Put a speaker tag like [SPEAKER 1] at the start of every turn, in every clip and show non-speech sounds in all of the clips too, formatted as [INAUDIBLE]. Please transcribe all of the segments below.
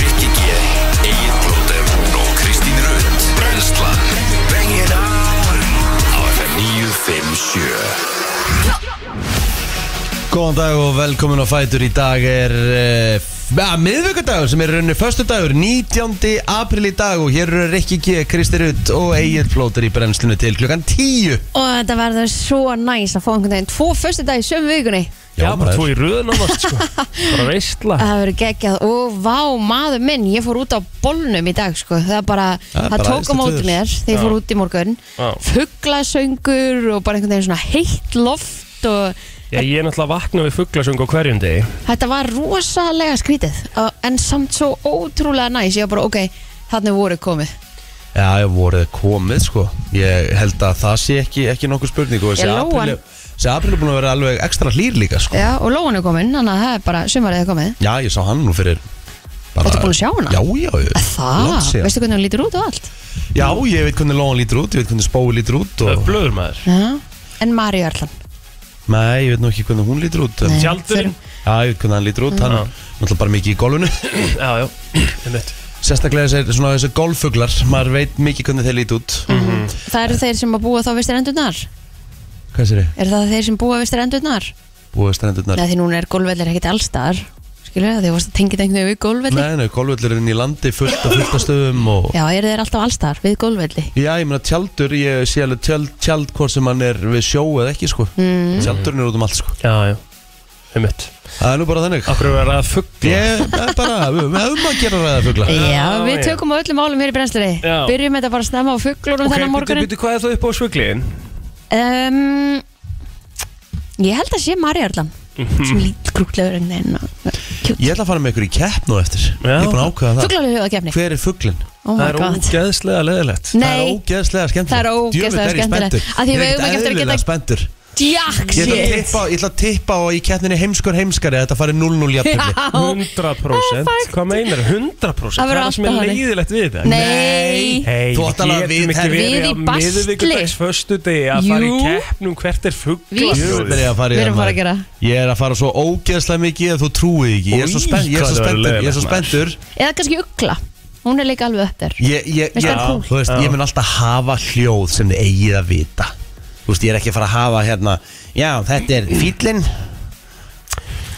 [SPEAKER 1] Rikki G, Egil Blóter og Kristín Rund Brenslan Bring it on Á FM 957
[SPEAKER 2] Góðan dag og velkomin á Fætur Í dag er uh, að, miðvikudagur sem er rauninu föstudagur 19. april í dag og hér eru Rikki G, Kristi Rutt og Egil Plóter í brennslinu til klukkan 10
[SPEAKER 3] Og þetta verður svo næs að fá einhvern veginn Tvo fyrstu dag í sömu vikunni
[SPEAKER 4] Já, bara
[SPEAKER 2] maður.
[SPEAKER 4] tvo í röðun ánast sko
[SPEAKER 3] [LAUGHS]
[SPEAKER 4] Bara veistla
[SPEAKER 3] Það verður geggjað og vá maður minn Ég fór út á bolnum í dag sko Það bara,
[SPEAKER 2] Það er
[SPEAKER 3] það
[SPEAKER 2] bara
[SPEAKER 3] tók á
[SPEAKER 2] æðislegt
[SPEAKER 3] móti
[SPEAKER 2] veður.
[SPEAKER 3] mér Þegar ég fór út í morgun
[SPEAKER 4] Já.
[SPEAKER 3] Fuglasöngur og bara einhvern veginn svona heitt loft Og
[SPEAKER 4] Já, ég er náttúrulega vaknað við fugglasöng á hverjum degi
[SPEAKER 3] þetta var rosalega skrítið uh, En samt svo ótrúlega næs Ég var bara ok, þannig voru komið
[SPEAKER 2] Já, ég voruð komið sko Ég held að það sé ekki, ekki nokkuð spurning og þessi
[SPEAKER 3] Ég lóan.
[SPEAKER 2] apríl- Þessi april er búin að vera alveg ekstra hlýr líka sko
[SPEAKER 3] Já, og lóan er komin, þannig að það er bara sumarið er komið
[SPEAKER 2] Já, ég sá hann nú fyrir bara-
[SPEAKER 3] Ertu búin að sjá hana?
[SPEAKER 2] Já, já, já
[SPEAKER 3] Það,
[SPEAKER 2] langt síðan.
[SPEAKER 3] Ah, veistu hvernig hún lítur út og allt
[SPEAKER 2] Já, ég veit hvernig lóan lítur út, ég veit hvernig spói lítur út og...
[SPEAKER 4] Blöður maður
[SPEAKER 3] Já, en Maríu Erlan
[SPEAKER 2] Nei, ég veit nú ekki hvernig hún lítur út en...
[SPEAKER 3] Nei.
[SPEAKER 4] Tjaldurinn Mm.
[SPEAKER 2] Já, ég veit hvernig hann lítur út, hann er náttúrulega bara mikið í golfinu
[SPEAKER 4] [CLEARS THROAT] Já, já, einmitt
[SPEAKER 2] Sérstaklega þessir, svona þessir golffuglar, maður veit mikið hvernig þeir líti út
[SPEAKER 4] Mhm.
[SPEAKER 2] Eh.
[SPEAKER 3] Það eru þeir sem að búa þá vistir endurnar
[SPEAKER 2] Hvað sér þið?
[SPEAKER 3] Er það þeir sem búa vistir endurnar?
[SPEAKER 2] Búið strendurnar?
[SPEAKER 3] Nei, því núna er gólvellir ekkit allstar Skilur það, því þú varst að tengja tengnið við gólvelli
[SPEAKER 2] Nei, nei, golfvöllur er inn í landi fullt af fullt af stöðum og...
[SPEAKER 3] Já, eru þeir alltaf allstar við gólvelli
[SPEAKER 2] Já, ég meina tjaldur, ég sé alveg tjald, tjald hvort sem hann er við sjó eða ekki, sko mm. Tjaldurinn er út um allt, sko
[SPEAKER 4] Já, já, einmitt
[SPEAKER 2] Það er nú bara þannig
[SPEAKER 4] Akkur er verið að fuggla
[SPEAKER 2] Ég það er bara, við við höfum að gera ræða fugla
[SPEAKER 3] Já,
[SPEAKER 4] [LAUGHS]
[SPEAKER 3] við
[SPEAKER 4] já.
[SPEAKER 3] tökum á öllum álum hér í brennslunni
[SPEAKER 4] Já.
[SPEAKER 3] Byrjum þetta bara að snemma á fugglunum okay, þennan morgunin
[SPEAKER 4] byrju, hvað er það upp á svögliðin?
[SPEAKER 3] um, Ég held að sé Maríu Erlan sem lít grúklegur einhvern veginn
[SPEAKER 2] Ég ætla að fara með ykkur í kepp nú eftir
[SPEAKER 4] Já.
[SPEAKER 2] Ég er búin að ákveða það
[SPEAKER 3] Fugglalegu höfðakefni
[SPEAKER 2] Hver er fuglinn?
[SPEAKER 3] Oh
[SPEAKER 4] Það
[SPEAKER 3] my
[SPEAKER 4] er
[SPEAKER 3] god
[SPEAKER 4] ógeðslega leðilegt
[SPEAKER 2] Það er
[SPEAKER 3] Nei,
[SPEAKER 2] ógeðslega skemmtilegt
[SPEAKER 3] Það er ógeðslega
[SPEAKER 2] Djöfull er ég
[SPEAKER 3] skemmtilegt.
[SPEAKER 2] spenntur.
[SPEAKER 3] Af
[SPEAKER 2] Ég
[SPEAKER 3] því
[SPEAKER 2] er
[SPEAKER 3] við
[SPEAKER 2] ekkert
[SPEAKER 3] eigum ekki eftir að
[SPEAKER 2] eðlilega
[SPEAKER 3] geta-
[SPEAKER 2] spenntur.
[SPEAKER 3] djakk
[SPEAKER 2] Ég ætla að
[SPEAKER 3] shit
[SPEAKER 2] tippa, ég ætla að tippa á í keppninni heimskur heimskari að þetta fari 0-0 jafnvel
[SPEAKER 3] Já.
[SPEAKER 4] 100% Hvað meinar, 100%
[SPEAKER 3] Það verður
[SPEAKER 4] Það er það sem er
[SPEAKER 3] alltaf þannig.
[SPEAKER 4] leiðilegt við þetta
[SPEAKER 3] Nei
[SPEAKER 4] Hey,
[SPEAKER 2] Þú átt alveg að
[SPEAKER 4] við getum
[SPEAKER 2] vita-
[SPEAKER 4] ekki
[SPEAKER 3] Við
[SPEAKER 4] verið
[SPEAKER 3] í
[SPEAKER 4] á
[SPEAKER 3] basli.
[SPEAKER 4] miðvikudags föstu degi að fara í
[SPEAKER 3] Jú.
[SPEAKER 4] keppnum hvert er
[SPEAKER 3] Við-
[SPEAKER 2] Djöfull
[SPEAKER 4] fuggla
[SPEAKER 2] er ég að fara í það,
[SPEAKER 3] Við erum bara
[SPEAKER 2] maður.
[SPEAKER 3] að gera.
[SPEAKER 2] Ég er að fara svo ógeðslega mikið að þú trúið ekki Ég er svo
[SPEAKER 4] Új,
[SPEAKER 2] spennt- ég er
[SPEAKER 4] hvað
[SPEAKER 2] svo
[SPEAKER 4] það
[SPEAKER 2] spenntur Ég
[SPEAKER 4] verður
[SPEAKER 2] er svo
[SPEAKER 4] leiðilegt, maður.
[SPEAKER 2] spenntur
[SPEAKER 3] Eða kannski Ugla Hún er líka alveg upp þér
[SPEAKER 2] Ég, ég,
[SPEAKER 3] Veist
[SPEAKER 2] ég,
[SPEAKER 3] það er kúl.
[SPEAKER 2] þú veist, ég mun alltaf hafa hljóð sem þið eigið að vita Þú veist, ég er ekki að fara að hafa hérna Já, þetta er fýllinn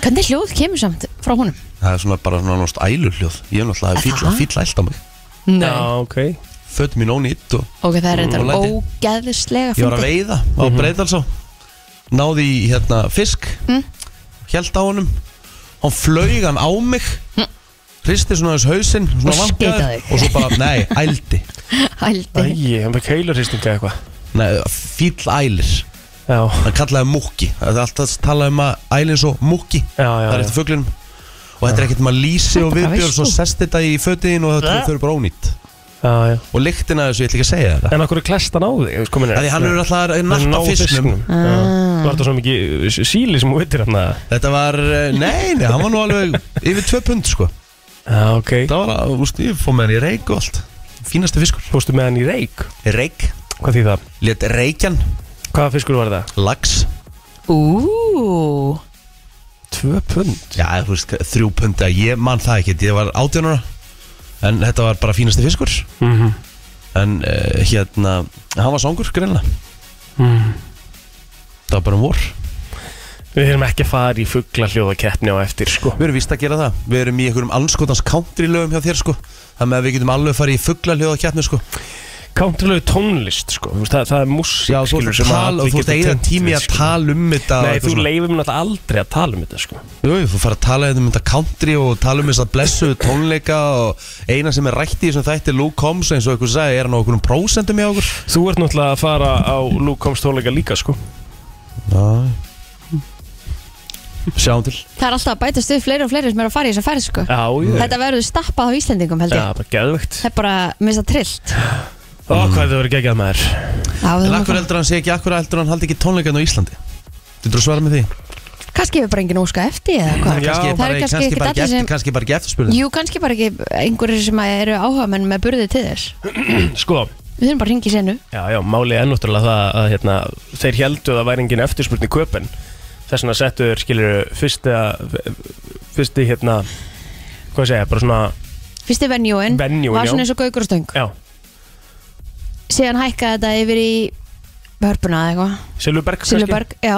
[SPEAKER 3] Hvernig hljóð kemur samt frá honum?
[SPEAKER 2] Það er svona bara svona náttúrulega ælu hljóð Ég er náttúrulega fýll
[SPEAKER 3] það?
[SPEAKER 2] fýll ælt á mig
[SPEAKER 3] Nei
[SPEAKER 4] Já, ok
[SPEAKER 2] Fötum mín ónýtt og
[SPEAKER 3] Ok, það er reyndar
[SPEAKER 2] Og læti.
[SPEAKER 3] ógeðislega
[SPEAKER 2] ég var að
[SPEAKER 3] fyndið.
[SPEAKER 2] veiða á
[SPEAKER 4] Mhm.
[SPEAKER 3] [LAUGHS]
[SPEAKER 2] Breiðalsá Náði í hérna fisk mm. Hjælt á honum Hann flög hann á mig Hristi svona þess hausinn svona
[SPEAKER 3] Mm. Og
[SPEAKER 2] vankaður,
[SPEAKER 3] skeytaði.
[SPEAKER 2] Og svo bara, nei, ældi
[SPEAKER 3] Hældi
[SPEAKER 4] Æi, hann var keilurhýstinga eitthvað
[SPEAKER 2] Nei, fýll ælir
[SPEAKER 4] Já,
[SPEAKER 2] hann kallaði múkki það er alltaf talað um að ælinn svo múkki
[SPEAKER 4] já, já,
[SPEAKER 2] það er
[SPEAKER 4] já.
[SPEAKER 2] eftir fuglinum og þetta er ekkert maður lýsi og
[SPEAKER 3] Þetta bara
[SPEAKER 2] viðbjörn
[SPEAKER 3] veist
[SPEAKER 2] svo
[SPEAKER 3] þú.
[SPEAKER 2] sest þetta í fötiðin og þetta þau eru bara ónýtt
[SPEAKER 4] já, já.
[SPEAKER 2] og lyktina þessu, ég ætla ekki að segja þetta
[SPEAKER 4] En okkur er klestan á þig þú veist, komin er-
[SPEAKER 2] Það er því hann er alltaf að
[SPEAKER 4] Hann er
[SPEAKER 2] narta
[SPEAKER 4] náð
[SPEAKER 2] fisknum
[SPEAKER 3] Ah.
[SPEAKER 4] Já. Var þetta svo mikið eh, s- síli sem hún veitir hann að
[SPEAKER 2] Þetta var, eh, nei, nei, hann var nú alveg yfir tvö pund sko
[SPEAKER 4] Já, ok
[SPEAKER 2] Það var, að, úst, ég fór með hann í reik og allt Fínasti fiskur
[SPEAKER 4] Fórstu með hann í reik
[SPEAKER 2] Reik,
[SPEAKER 4] Hvað því það?
[SPEAKER 2] let reikjan,
[SPEAKER 4] Hvaða fiskur var það?
[SPEAKER 2] lax
[SPEAKER 3] Ú
[SPEAKER 4] Tvö pund
[SPEAKER 2] Já, þú veist, þrjú pundi Ég man það ekki, ég var átjónara En þetta var bara fínasti fiskur
[SPEAKER 4] Mhm.
[SPEAKER 2] En uh, hérna, hann var songur greinlega Það var bara um vor Við
[SPEAKER 4] Við erum ekki að fara í fuggla á eftir sko
[SPEAKER 2] erum víst að gera það Við erum í einhverjum anskotans country lögum hjá þér sko Þannig að við getum alveg farið í fuggla hljóðakeppni sko
[SPEAKER 4] Countrylegu tónlist sko Þú veist, það, það er músík
[SPEAKER 2] Já, þú
[SPEAKER 4] skilur,
[SPEAKER 2] ert
[SPEAKER 4] sem
[SPEAKER 2] að
[SPEAKER 4] að
[SPEAKER 2] tala
[SPEAKER 4] allir
[SPEAKER 2] og þú ert
[SPEAKER 4] geta
[SPEAKER 2] eigið
[SPEAKER 4] tengt
[SPEAKER 2] tími
[SPEAKER 4] við,
[SPEAKER 2] að
[SPEAKER 4] sko.
[SPEAKER 2] tala um þetta og
[SPEAKER 4] Nei,
[SPEAKER 2] eitthvað
[SPEAKER 4] þú
[SPEAKER 2] svona.
[SPEAKER 4] leifir mér náttúrulega aldrei að tala um þetta sko
[SPEAKER 2] Jú, jú, þú fara að tala um þetta country og tala um þess að blessu tónleika og eina sem er rætt í þessum þætti Luke Combs eins og ykkur sagði, er hann á okkur um prósentum hjá okkur?
[SPEAKER 4] Þú ert náttúrulega að fara á Luke Combs tónleika líka sko
[SPEAKER 2] Já Sjáum til
[SPEAKER 3] Það er alltaf að bæta stuð fleiri og fleiri sem eru að fara í þess að ferð sko
[SPEAKER 4] Já, ég
[SPEAKER 3] Þetta verður stappað á Íslendingum held ég
[SPEAKER 4] Já, bara geðvegt
[SPEAKER 3] Það er bara, minnst það trillt
[SPEAKER 4] Ó, hvað þau verið geggjað maður
[SPEAKER 2] Mm. En
[SPEAKER 3] Já, við þurfum að
[SPEAKER 2] akkur
[SPEAKER 3] fara.
[SPEAKER 2] heldur hann sé ekki, akkur heldur hann haldi ekki tónleikan á Íslandi? Þú að svara með því?
[SPEAKER 3] Kannski hefur bara enginn óska eftir eða hvað
[SPEAKER 4] Já.
[SPEAKER 2] kannski,
[SPEAKER 3] Það
[SPEAKER 2] bara,
[SPEAKER 3] eru
[SPEAKER 2] kannski,
[SPEAKER 3] kannski
[SPEAKER 2] kannski,
[SPEAKER 3] ekkert
[SPEAKER 2] bara
[SPEAKER 3] allir
[SPEAKER 2] ekki
[SPEAKER 3] sem-
[SPEAKER 2] eftir, kannski bara ekki eftirspurning
[SPEAKER 3] Jú, kannski bara ekki einhverjir sem eru áhuga menn með burði til þess
[SPEAKER 4] [CLEARS THROAT] Sko,
[SPEAKER 3] Við þurfum bara að ringa í senu
[SPEAKER 4] Já, já, málið er náttúrulega það að hérna, þeir heldu að það væri engin eftirspurn í köpen þess vegna settu þeir, skilur, fyrsti fyrsti, hérna hvað segja, bara svona,
[SPEAKER 3] Fyrsti venjúin
[SPEAKER 4] Venjúin,
[SPEAKER 3] var
[SPEAKER 4] já.
[SPEAKER 3] svona eins og gaukur og stöng
[SPEAKER 4] já
[SPEAKER 3] Síðan hækkaði þetta yfir í Hörpuna eða eitthvað
[SPEAKER 4] Silvuberg, kannski?
[SPEAKER 3] Silverberg, já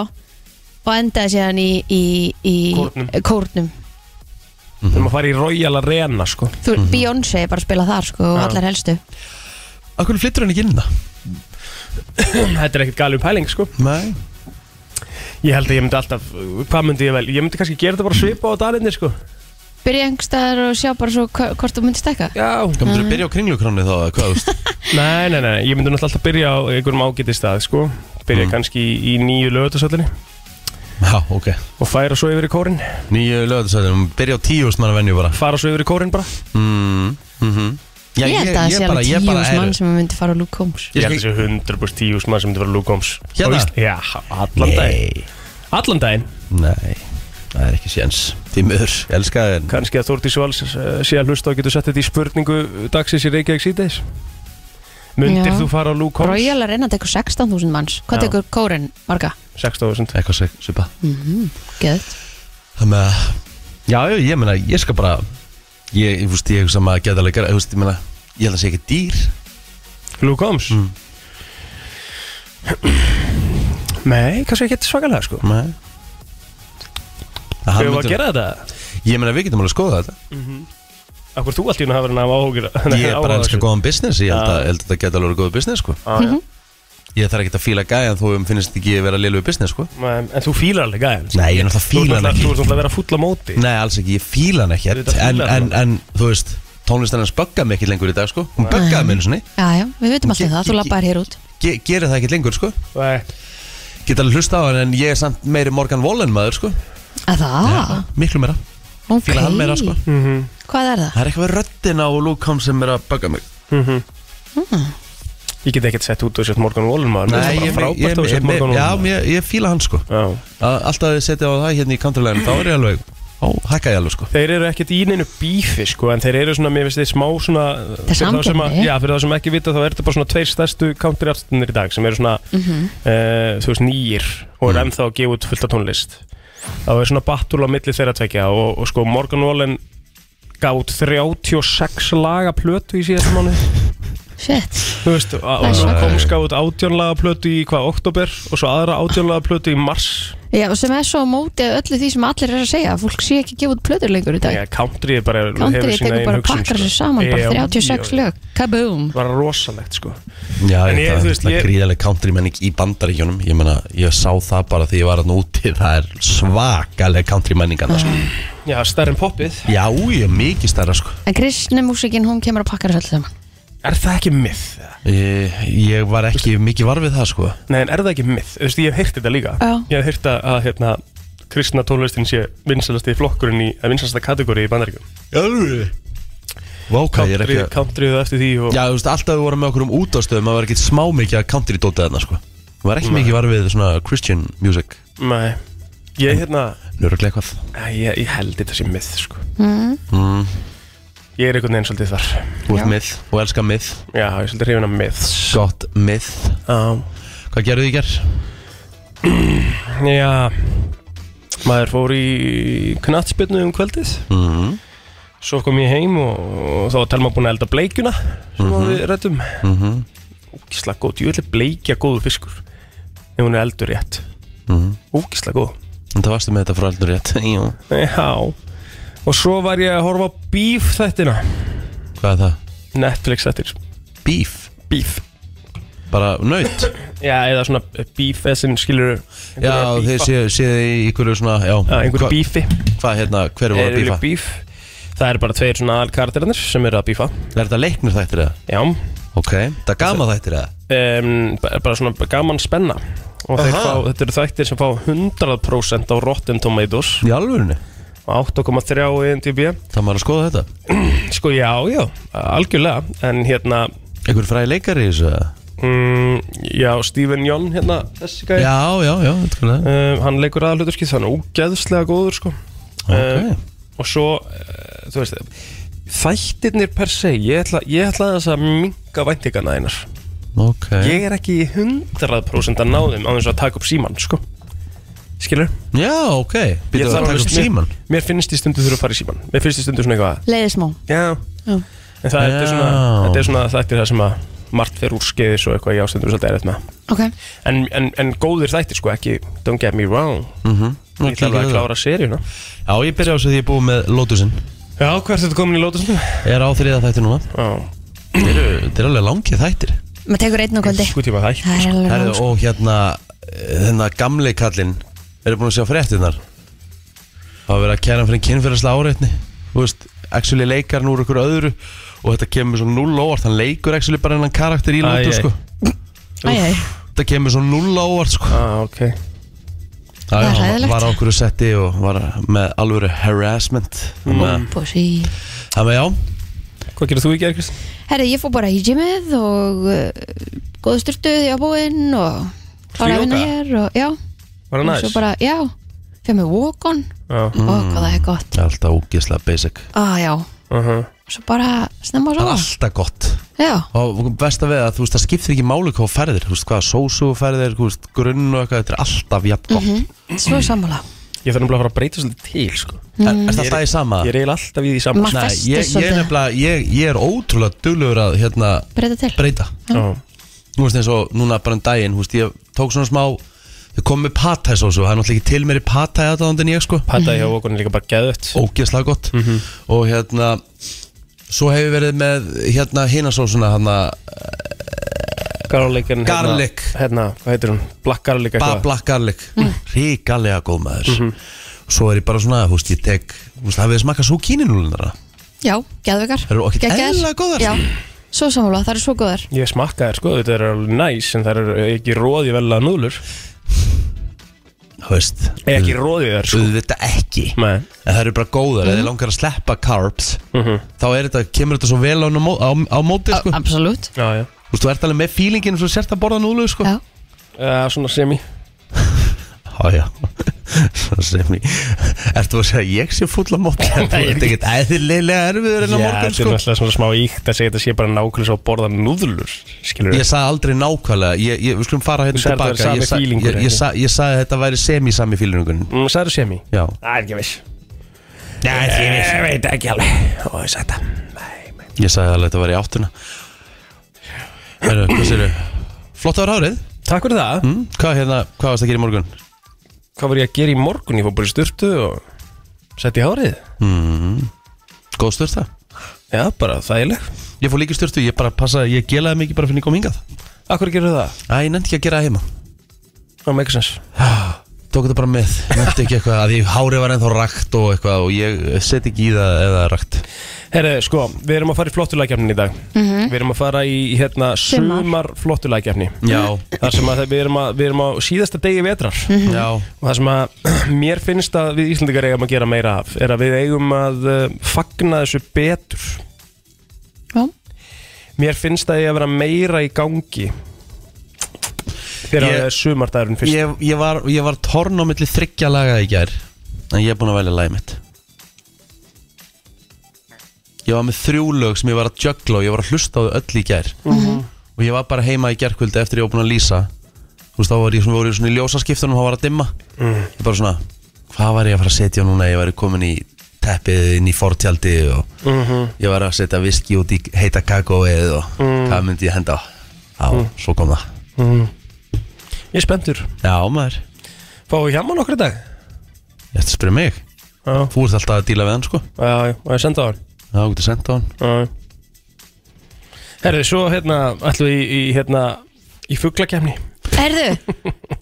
[SPEAKER 3] Og endaði síðan í, í, í
[SPEAKER 4] Kórnum.
[SPEAKER 3] eh, Kórnum.
[SPEAKER 4] Þeir maður fara í Royal Arena, sko
[SPEAKER 3] Þú,
[SPEAKER 2] Mhm.
[SPEAKER 3] Beyoncé er bara að spila þar sko, og
[SPEAKER 4] Já.
[SPEAKER 3] allar helstu
[SPEAKER 2] Akkur flyttur hann ekki inn það?
[SPEAKER 4] [CLEARS THROAT] Þetta er ekkert galum pæling, sko
[SPEAKER 2] Nei
[SPEAKER 4] Ég held að ég myndi alltaf, hvað myndi ég vel Ég myndi kannski gera þetta bara svipa á dalinni, sko
[SPEAKER 3] Byrja einhverstaðar og sjá bara svo hva- hvort þú myndir stekka Mm.
[SPEAKER 4] Já,
[SPEAKER 2] Hvað myndir þú byrja á kringlukrónu þá? eða Hvað, þú veist?
[SPEAKER 4] [LAUGHS] nei, nei, nei, ég myndi náttúrulega alltaf byrja á einhverjum ágæti stað, sko Byrja kannski í, í nýju lögutasöllinni
[SPEAKER 2] Mm. Já, ok
[SPEAKER 4] og færa svo yfir í kórin
[SPEAKER 2] Nýju lögðarsæðum, byrja á tíu húsmanna venju bara
[SPEAKER 4] Fara svo yfir í kórin bara
[SPEAKER 2] mm, mm Já,
[SPEAKER 3] Ég held að það sé
[SPEAKER 2] bara-
[SPEAKER 3] alveg
[SPEAKER 2] ég
[SPEAKER 3] tíu
[SPEAKER 2] bara-
[SPEAKER 3] hús
[SPEAKER 2] heyrðu,
[SPEAKER 3] mann sem myndi fara á Luke Combs
[SPEAKER 2] Ég
[SPEAKER 4] Ég
[SPEAKER 2] skal-
[SPEAKER 4] held að þessi 100% tíu mann sem þetta var Luke Holmes
[SPEAKER 2] Hérna?
[SPEAKER 4] Á Ísl- Já, allan daginn
[SPEAKER 2] Nei,
[SPEAKER 4] Allan daginn
[SPEAKER 2] nei, það er ekki séns Tímur, ég elska það en
[SPEAKER 4] Kanski að Þórdís Valls uh, sé að hlusta og getur sett þetta í spurningu dagsins í Reykjavík síðdeis Mundir
[SPEAKER 3] Já.
[SPEAKER 4] þú fara á Luke Holmes?
[SPEAKER 3] Royal Arena tekur 16.000 manns Hvað
[SPEAKER 4] Já.
[SPEAKER 3] tekur kórin marga?
[SPEAKER 4] 6000
[SPEAKER 2] Eitthvað sem svipa
[SPEAKER 4] Mhm.
[SPEAKER 3] Gæðt
[SPEAKER 2] Þannig að Já, já, ég meina, ég skal bara Ég, ég fúst, ég hugsa maður að geta alveg gera Ég fúst, ég meina, ég held að sé ekki dýr Mm.
[SPEAKER 4] Luke Holmes? Nei, kannski ekki svakalega sko
[SPEAKER 2] Nei
[SPEAKER 4] Þau var að gera þetta Mhm.
[SPEAKER 2] Ég meina, við getum alveg að skoða
[SPEAKER 4] [LAUGHS]
[SPEAKER 2] þetta
[SPEAKER 4] Akkur þú allt í hún að hafa hann af áhugur
[SPEAKER 2] Ég er bara að elska góðan business Ég held að,
[SPEAKER 4] Já.
[SPEAKER 2] held að þetta geta alveg góð business, sko
[SPEAKER 4] góð
[SPEAKER 2] Ég þarf ekki að fíla gæjan þó um finnst ekki að vera lilu business, sko
[SPEAKER 4] En þú fílar alveg gæðan
[SPEAKER 2] Nei, ég er náttúrulega
[SPEAKER 4] Þú ert
[SPEAKER 2] fíla hann
[SPEAKER 4] náttúrulega-
[SPEAKER 2] ekki
[SPEAKER 4] þú ert náttúrulega að vera fulla móti
[SPEAKER 2] Nei, alls ekki, ég fíla hann ekki
[SPEAKER 4] Þú veit að
[SPEAKER 2] en,
[SPEAKER 4] fílar
[SPEAKER 2] en,
[SPEAKER 4] hann.
[SPEAKER 2] en, þú veist, tónlistan hans böggaði mig ekki lengur í dag, sko Hún böggaði mig einu sinni
[SPEAKER 3] Já, já, við veitum
[SPEAKER 2] Ge-
[SPEAKER 3] alltaf það, þú
[SPEAKER 2] ge-
[SPEAKER 3] lappar hér út
[SPEAKER 2] Ge- Gerir það ekki lengur, sko
[SPEAKER 4] Nei.
[SPEAKER 2] Geta alveg hlusta á hann, en ég er samt meiri Morgan Wallen maður, sko
[SPEAKER 3] Að það,
[SPEAKER 2] Miklu meira,
[SPEAKER 3] ok
[SPEAKER 2] fíla hann meira, sko
[SPEAKER 4] Mhm.
[SPEAKER 3] Hvað er það?
[SPEAKER 2] Það er eitthvað við röddina og Luke Holmes sem er að bögga mig
[SPEAKER 4] Hm. Mhm. Ég get ekkert sett út og sett Morgan Wallen maður Mér
[SPEAKER 2] Nei,
[SPEAKER 4] finnst
[SPEAKER 2] ég,
[SPEAKER 4] það bara
[SPEAKER 2] ég,
[SPEAKER 4] frábært að
[SPEAKER 2] ég,
[SPEAKER 4] sett Morgan
[SPEAKER 2] ég, já,
[SPEAKER 4] Wallen
[SPEAKER 2] ég, ég fíla hann, sko
[SPEAKER 4] Já.
[SPEAKER 2] Að- Alltaf að ég setja á það hérna í countrylæðin Þá er ég alveg, ó, hækka ég alveg, sko
[SPEAKER 4] Þeir eru ekkert í neinu bífi sko En þeir eru svona, mér finnst þið smá svona
[SPEAKER 3] er
[SPEAKER 4] fyrir þá sem að-
[SPEAKER 3] samkeppni.
[SPEAKER 4] Já, fyrir það sem ekki vita þá er þetta bara svona tveir stærstu countryartistunir í dag Sem eru svona,
[SPEAKER 3] Mhm.
[SPEAKER 4] eh, þú veist, nýjir Og er ennþá að gefa út fullt af tónlist Þá er svona battúl á milli þeirra tvekja og, og sko, Morgan Wallen gaf út 36 laga plötu í síðast mánu
[SPEAKER 3] Shit
[SPEAKER 4] Þú veist, og
[SPEAKER 3] er
[SPEAKER 4] og
[SPEAKER 3] svakalegt.
[SPEAKER 4] kom skáð út átjónlaga plötu í hvað, oktober Og svo aðra átjónlaga plötu í mars
[SPEAKER 3] Já, sem er svo á móti að öllu því sem allir er að segja að Fólk sé ekki að gefa út plöður lengur í dag
[SPEAKER 4] Já, country er bara
[SPEAKER 3] Country
[SPEAKER 4] hefur sína
[SPEAKER 3] tekur
[SPEAKER 4] eigin
[SPEAKER 3] bara að
[SPEAKER 4] hugsun,
[SPEAKER 3] pakka
[SPEAKER 4] sko.
[SPEAKER 3] sér saman
[SPEAKER 4] Já,
[SPEAKER 3] bara 36
[SPEAKER 4] já, já.
[SPEAKER 3] lög Kaboom
[SPEAKER 4] Bara rosalegt sko
[SPEAKER 2] Já,
[SPEAKER 4] En ég-
[SPEAKER 2] ég, það
[SPEAKER 4] þú
[SPEAKER 2] er
[SPEAKER 4] veist,
[SPEAKER 2] ég...
[SPEAKER 4] ég-
[SPEAKER 2] gríðarlega country menning í bandaríkjónum Ég meina, ég sá það bara því ég var hann úti Það er svakalega country menningarna sko.
[SPEAKER 4] Já, stærri en poppið
[SPEAKER 2] Já, ég er mikið stærra sko.
[SPEAKER 3] En kristnumúsikin, hún kemur að pakka sér allir saman
[SPEAKER 4] Er það ekki myth?
[SPEAKER 2] ég, ég var ekki mikið var við það sko.
[SPEAKER 4] Nei, en er það ekki myth? Þú veist, ég hef heyrt þetta líka
[SPEAKER 3] Já.
[SPEAKER 4] Ég hef heyrt að, að hérna, kristna tónlistin sé vinsalasti flokkurinn í, að vinsalasta kategóri í bandaríkjum
[SPEAKER 2] Jálfur Vá, hvað ég er ekki
[SPEAKER 4] Country,
[SPEAKER 2] að
[SPEAKER 4] country það eftir því og
[SPEAKER 2] Já, þú veist, alltaf við vorum með okkur um útastöðum Það var ekki smá mikið að country dótið þarna sko. Það var ekki mikið var við svona Christian music
[SPEAKER 4] Nei Ég, hérna,
[SPEAKER 2] Nörglega eitthvað
[SPEAKER 4] æ, ég, ég held þetta sé myth sko mm.
[SPEAKER 1] Mm-hmm.
[SPEAKER 4] Ég er einhvern veginn svolítið þar
[SPEAKER 2] Þú ert mið og elska mið
[SPEAKER 4] Já, ég er svolítið hrifin af myths
[SPEAKER 2] Gott mið
[SPEAKER 4] Já
[SPEAKER 2] Hvað gerðu þið í gerð?
[SPEAKER 4] Já Maður fór í knattspyrnu um kvöldið
[SPEAKER 2] Mm.
[SPEAKER 4] Svo kom ég heim og, og þá var Telma búin að elda bleikjuna sem
[SPEAKER 2] Mhm.
[SPEAKER 4] við
[SPEAKER 1] Mm-hmm.
[SPEAKER 4] rættum mm -hmm. Úkislega góð, ég vil bleikja góðu fiskur ef hún er eldur rétt
[SPEAKER 2] Mhm.
[SPEAKER 4] Úkislega góð
[SPEAKER 2] Það varstu með þetta frá eldur rétt Jú.
[SPEAKER 4] Já Og svo var ég að horfa á Beef þættina
[SPEAKER 2] Hvað er það?
[SPEAKER 4] Netflix þættir
[SPEAKER 2] Beef
[SPEAKER 4] Beef
[SPEAKER 2] Bara naut
[SPEAKER 4] Já, eða svona beef eða sem skilur
[SPEAKER 2] Já, þeir séu sé í ykkur svona Já,
[SPEAKER 4] Já, einhverju
[SPEAKER 2] Hva-
[SPEAKER 4] bífi
[SPEAKER 2] Hvað hérna, hver voru að bífa?
[SPEAKER 4] Eða bíf Það er bara tveir svona alkaraterinir sem eru að bífa
[SPEAKER 2] Er þetta leiknir þættir eða?
[SPEAKER 4] Já
[SPEAKER 2] Ok, það er gama þættir eða?
[SPEAKER 4] um, bara svona gaman spenna og þeir
[SPEAKER 2] Aha.
[SPEAKER 4] fá, þetta eru þættir sem fá 100% á Rotten Tomatoes
[SPEAKER 2] Í alvörinu?
[SPEAKER 4] og 8,3 á IMDb
[SPEAKER 2] Það maður að skoða þetta
[SPEAKER 4] [CLEARS THROAT] sko já, já, algjörlega en hérna,
[SPEAKER 2] Einhver fræði leikari í þessu eða?
[SPEAKER 4] mm, já, Stephen Yeun hérna, þessi gæði
[SPEAKER 2] Já, já, já, þetta er það
[SPEAKER 4] um, hann leikur aðaluturskið, hann er ógeðslega góður sko
[SPEAKER 2] Ok.
[SPEAKER 4] og svo, uh, þú veist þættirnir per se, ég ætla, ég ætla að þess að minga væntingana einar
[SPEAKER 2] Ok
[SPEAKER 4] Ég er ekki í 100% að ná þeim á þess að taka upp síman, sko Skilur?
[SPEAKER 2] Já, ok
[SPEAKER 4] Ég
[SPEAKER 2] Býtum við
[SPEAKER 4] þarf
[SPEAKER 2] að taka
[SPEAKER 4] veist,
[SPEAKER 2] upp síman
[SPEAKER 4] mér, mér finnst í stundu þurfa að fara í síman Mér finnst í stundu svona eitthvað
[SPEAKER 3] leiði smá
[SPEAKER 4] Já
[SPEAKER 3] Já.
[SPEAKER 4] En það þetta er svona,
[SPEAKER 2] Já.
[SPEAKER 4] þetta er svona þættir það sem að margt fer úr skeiðis og eitthvað ég ástundum svolítið erfitt með
[SPEAKER 3] Ok,
[SPEAKER 4] en, en, en góðir þættir sko, ekki Don't get me wrong
[SPEAKER 2] Mhm,
[SPEAKER 4] Ég ætla alveg að klára seríuna
[SPEAKER 2] Já, ég byrja á þess að ég er búið með Lotusin
[SPEAKER 4] Já, hvað er þetta komin í lótusinu?
[SPEAKER 2] Ég er á þriða þætti núna
[SPEAKER 4] Já,
[SPEAKER 2] Þeir eru- Þetta er alveg langið þættir
[SPEAKER 3] maður tekur einn á kvöldi
[SPEAKER 4] sko tíma þætt
[SPEAKER 3] Það er alveg
[SPEAKER 2] Herðu,
[SPEAKER 3] rann, sko.
[SPEAKER 2] og hérna Þennan gamli kallinn Eru búin að sjá fréttinnar Það var verið að kæra hann fyrir kynferðislega áreitni Þú veist, actually leikar hann úr ykkur öðru Og þetta kemur svo null á óvart Hann leikur actually bara hennan karakter í
[SPEAKER 4] Æ,
[SPEAKER 2] Lotus
[SPEAKER 4] æ.
[SPEAKER 2] sko
[SPEAKER 3] Æ, æ, æ.
[SPEAKER 2] Þetta kemur svo null á óvart sko
[SPEAKER 4] ah, ok
[SPEAKER 2] Já,
[SPEAKER 3] Það er
[SPEAKER 2] já, hann
[SPEAKER 3] hræðilegt.
[SPEAKER 2] var á okkur setti og var með alvöru harassment Þannig
[SPEAKER 3] Bósi.
[SPEAKER 2] að- þannig að já,
[SPEAKER 4] Mm. Hvað gerir þú í gerð, Kristi?
[SPEAKER 3] Herðu, ég fór bara í gymið og uh, góðu styrtu því á búinn og klára að vinna
[SPEAKER 4] Yoga?
[SPEAKER 3] hér og já,
[SPEAKER 4] Var það
[SPEAKER 3] og
[SPEAKER 4] næs?
[SPEAKER 3] svo bara, já, fyrir mig walk-on
[SPEAKER 4] Já,
[SPEAKER 3] mm. og hvað það er gott.
[SPEAKER 2] það er alltaf ógeðslega basic
[SPEAKER 3] Á, já,
[SPEAKER 4] uh
[SPEAKER 3] og svo bara snemma að
[SPEAKER 2] Það er
[SPEAKER 3] sofa.
[SPEAKER 2] alltaf gott
[SPEAKER 3] Já,
[SPEAKER 2] Og best að við að þú veist, það skiptir ekki máli hvað þú færðir Þú veist, hvaða sósu þú færðir, þú veist, grunn og eitthvað Þetta er alltaf jafn gott mm
[SPEAKER 3] Mhm. svo sammála. Mm.
[SPEAKER 4] Ég þarf nefnilega að fara að breyta svolítið til, sko
[SPEAKER 2] -hmm. Er, er það
[SPEAKER 4] Ég
[SPEAKER 2] það í sama?
[SPEAKER 4] Ég er eiginlega alltaf í því saman
[SPEAKER 3] Ma-
[SPEAKER 2] Nei,
[SPEAKER 3] festist
[SPEAKER 2] ég, ég, er
[SPEAKER 3] svolítið.
[SPEAKER 2] nefnilega, ég, ég er ótrúlega duglegur að hérna,
[SPEAKER 3] Breyta til.
[SPEAKER 2] breyta
[SPEAKER 4] Já,
[SPEAKER 2] Nú veist eins og núna bara um daginn, þú veist, ég tók svona smá Þau komum með patæ sósu, það er náttúrulega ekki til mér í patæ aðdáðandi en ég sko
[SPEAKER 4] Pattaði hjá okkur er líka bara Mhm. geðut
[SPEAKER 2] ógeðslega gott og hérna svo hefur verið með hérna hinasósuna hérna
[SPEAKER 4] Garlic en hérna-
[SPEAKER 2] eh, Garlic.
[SPEAKER 4] Hérna, hvað heitir hún? Black garlic
[SPEAKER 2] ba
[SPEAKER 4] eitthvað Mhm.
[SPEAKER 2] black garlic mm. ríkalega góð maður svo er ég bara svona, húst, ég tek húst, hafið þið smakað svo kíninúlundara
[SPEAKER 3] Já, geðvegar.
[SPEAKER 2] Þær eru ekkert
[SPEAKER 3] Geggjaðar.
[SPEAKER 2] eðlilega góðar.
[SPEAKER 3] Já, svo sammála, það eru svo góðar.
[SPEAKER 4] Ég smakka þær sko, þetta er alveg næs en það er ekki róði vel að núðlur
[SPEAKER 2] þú veist,
[SPEAKER 4] Eða ekki róði þær sko
[SPEAKER 2] auðvitað ekki
[SPEAKER 4] Nei,
[SPEAKER 2] en það eru bara góðar, mm. eða langar að sleppa carbs
[SPEAKER 4] Mhm.
[SPEAKER 2] þá er þetta, kemur þetta svo vel á, á, á, á móti, sko,
[SPEAKER 3] A- Absolutt.
[SPEAKER 4] já, já
[SPEAKER 2] þú veist, þú ert alveg með feelingin svo sért að borða núlu, sko
[SPEAKER 3] Já,
[SPEAKER 4] uh, Svona semi
[SPEAKER 2] Já, já [LAUGHS] Svo sem ég Ertu að segja að ég sé fulla mót [LAUGHS] Þetta er ekkert eðlilega erfiður en á
[SPEAKER 4] þetta er
[SPEAKER 2] morgun sko.
[SPEAKER 4] náttúrulega svona smá íkt að segja þetta sé bara nákvæmlega svo að borða núðlur Skilur
[SPEAKER 2] Ég sagði aldrei nákvæmlega ég, ég, Við skulum fara hérna
[SPEAKER 4] Þú sagðir það
[SPEAKER 2] tilbaka
[SPEAKER 4] væri
[SPEAKER 2] Ég,
[SPEAKER 4] sami
[SPEAKER 2] sa, ég,
[SPEAKER 4] fílingur,
[SPEAKER 2] ég,
[SPEAKER 4] ekki?
[SPEAKER 2] sa, ég sagði að þetta væri semi-sami fílingun
[SPEAKER 4] mm, Sæður semi?
[SPEAKER 2] Já
[SPEAKER 4] Það er ekki viss
[SPEAKER 2] Nei,
[SPEAKER 4] Ég veit ekki alveg Ó, ég sagði þetta
[SPEAKER 2] Ég sagði alveg að þetta væri í áttuna Heru, Hvað sér Flott ára hárið
[SPEAKER 4] Takk fyrir það
[SPEAKER 2] mm, Hvað hérna, hvað varst að gera í morgun?
[SPEAKER 4] Hvað var ég að gera í morgun? Ég fór bara í styrtu og sett í hárið
[SPEAKER 1] Mm-hmm.
[SPEAKER 2] Góð styrta
[SPEAKER 4] Já, bara þægileg
[SPEAKER 2] Ég fór líka í styrtu, ég bara passaði, ég gelaði mikið bara fyrir ég kom hingað
[SPEAKER 4] Akkur gerur það?
[SPEAKER 2] Æ, ég nefndi ekki að gera það heima
[SPEAKER 4] Það make sense
[SPEAKER 2] Tók þetta bara með, nefndi ekki eitthvað að því hárið var ennþá rakt og eitthvað og ég eh, set ekki í það eða það er rakt
[SPEAKER 4] Herre, sko, við erum að fara í flottulækjafnin í dag Við erum að fara í hérna
[SPEAKER 3] Mm. Sumar.
[SPEAKER 4] sumar flottulækjafni
[SPEAKER 2] Já,
[SPEAKER 4] Þar sem að við erum, að, við erum á síðasta degi vetrar
[SPEAKER 3] Mhm.
[SPEAKER 2] já,
[SPEAKER 4] og það sem að [CLEARS THROAT] mér finnst að við Íslandingar eigum að gera meira af er að við eigum að uh, fagna þessu betur
[SPEAKER 3] já,
[SPEAKER 4] Mér finnst að ég að vera meira í gangi þegar
[SPEAKER 2] Ég-
[SPEAKER 4] það er sumardagurinn fyrst
[SPEAKER 2] ég, ég var, ég var torn á milli þryggja laga í gær en ég er búin að velja lagið mitt Ég var með þrjú lög sem ég var að juggla og ég var að hlusta á þau öll í gær og ég var bara heima í gærkvöldi eftir ég var búin að lýsa þú veist þá var ég svona, voru ég svona í ljósaskiptunum og það var að dimma ég bara svona, hvað var ég að fara að setja núna ef ég væri komin í teppið inn í fortjaldi og
[SPEAKER 4] Mhm.
[SPEAKER 2] ég var að setja viski út í heita kakóið og hvað myndi ég henda á Já, svo kom það
[SPEAKER 4] Ég er spenntur,
[SPEAKER 2] Já maður,
[SPEAKER 4] fáum við hjá maður nokkur í dag
[SPEAKER 2] ég ætti að spyrja mig
[SPEAKER 4] Já,
[SPEAKER 2] Þú ert alltaf að díla við hann sko
[SPEAKER 4] já, já, og ég senda á hann
[SPEAKER 2] Já, þú getur sendt á hann
[SPEAKER 4] Já, já. Herri, svo hérna ætlum við í, í hérna í fuglakefni
[SPEAKER 3] Erðu,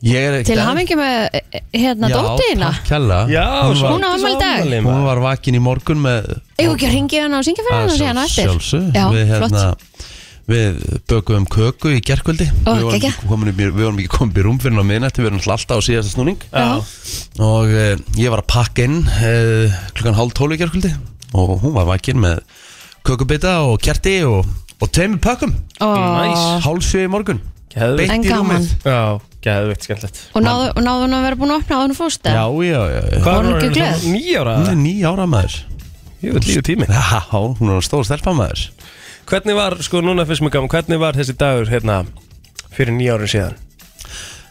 [SPEAKER 2] Ég er [LAUGHS] ekki
[SPEAKER 3] til hamingi með eh, hérna dóttina
[SPEAKER 2] Já, takk kjalla hún,
[SPEAKER 3] svo-
[SPEAKER 2] var,
[SPEAKER 3] Hún á afmæli í dag.
[SPEAKER 2] hún var vakin í morgun með
[SPEAKER 3] Eigum við ekki að ringja hann og syngja fyrir hann og segja hann á eftir
[SPEAKER 2] Sjálfsög
[SPEAKER 3] Já,
[SPEAKER 2] Við
[SPEAKER 3] flott
[SPEAKER 2] hérna Við bökuðum köku í gerkvöldi
[SPEAKER 3] Ó,
[SPEAKER 2] við, vorum
[SPEAKER 3] geggjað.
[SPEAKER 2] ekki komin, upp í- við vorum ekki komin upp í rúm fyrir á miðnætti Við vorum náttúrulega alltaf á síðasta snúning
[SPEAKER 3] Já.
[SPEAKER 2] Og eh, ég var að pakka inn eh, klukkan hálf tólu í gerkvöldi Og hún var vakin með kökubita og kerti og, og tveimur pökkum
[SPEAKER 3] Ó,
[SPEAKER 2] Hálf sjö í morgun
[SPEAKER 4] Geðvitt
[SPEAKER 3] En
[SPEAKER 2] Beint í
[SPEAKER 3] gaman
[SPEAKER 2] rúmið.
[SPEAKER 4] Já, geðvitt, skemmtilegt
[SPEAKER 3] Og náðu og náðu hann að vera búin að opna á hann fórstu
[SPEAKER 2] Já, já, já, já.
[SPEAKER 4] Hvað
[SPEAKER 3] Var hún ekki glöð?
[SPEAKER 4] Nýja ára?
[SPEAKER 2] Hún er nýja ára maður
[SPEAKER 4] Jú, líðu tími
[SPEAKER 2] Já, hún er stór stelpa maður
[SPEAKER 4] Hvernig var, sko, núna fyrst mér gaman Hvernig var þessi dagur, hérna fyrir nýja árum síðan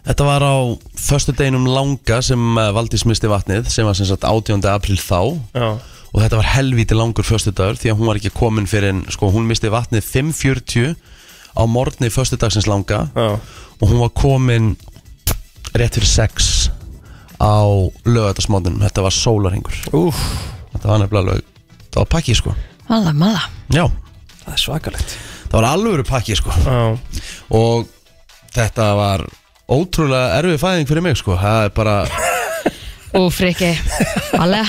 [SPEAKER 2] Þetta var á förstu deginum langa sem eh, Valdís misti vatnið sem var sem sagt 18. april þá
[SPEAKER 4] Já,
[SPEAKER 2] og þetta var helvíti langur föstudagur því að hún var ekki komin fyrir en sko hún misti vatnið 5.40 á morgni föstudagsins langa
[SPEAKER 4] já,
[SPEAKER 2] og hún var komin rétt fyrir 6 á lögatarsmóndunum þetta var sólarhingur
[SPEAKER 4] úf,
[SPEAKER 2] þetta var nefnilega lög þetta var pakki sko
[SPEAKER 3] Mala, mala
[SPEAKER 2] já
[SPEAKER 4] það er svakalegt
[SPEAKER 2] það var alvöru pakki sko
[SPEAKER 4] Já,
[SPEAKER 2] og þetta var ótrúlega erfið fæðing fyrir mig sko það er bara,
[SPEAKER 3] Ú, friki Mala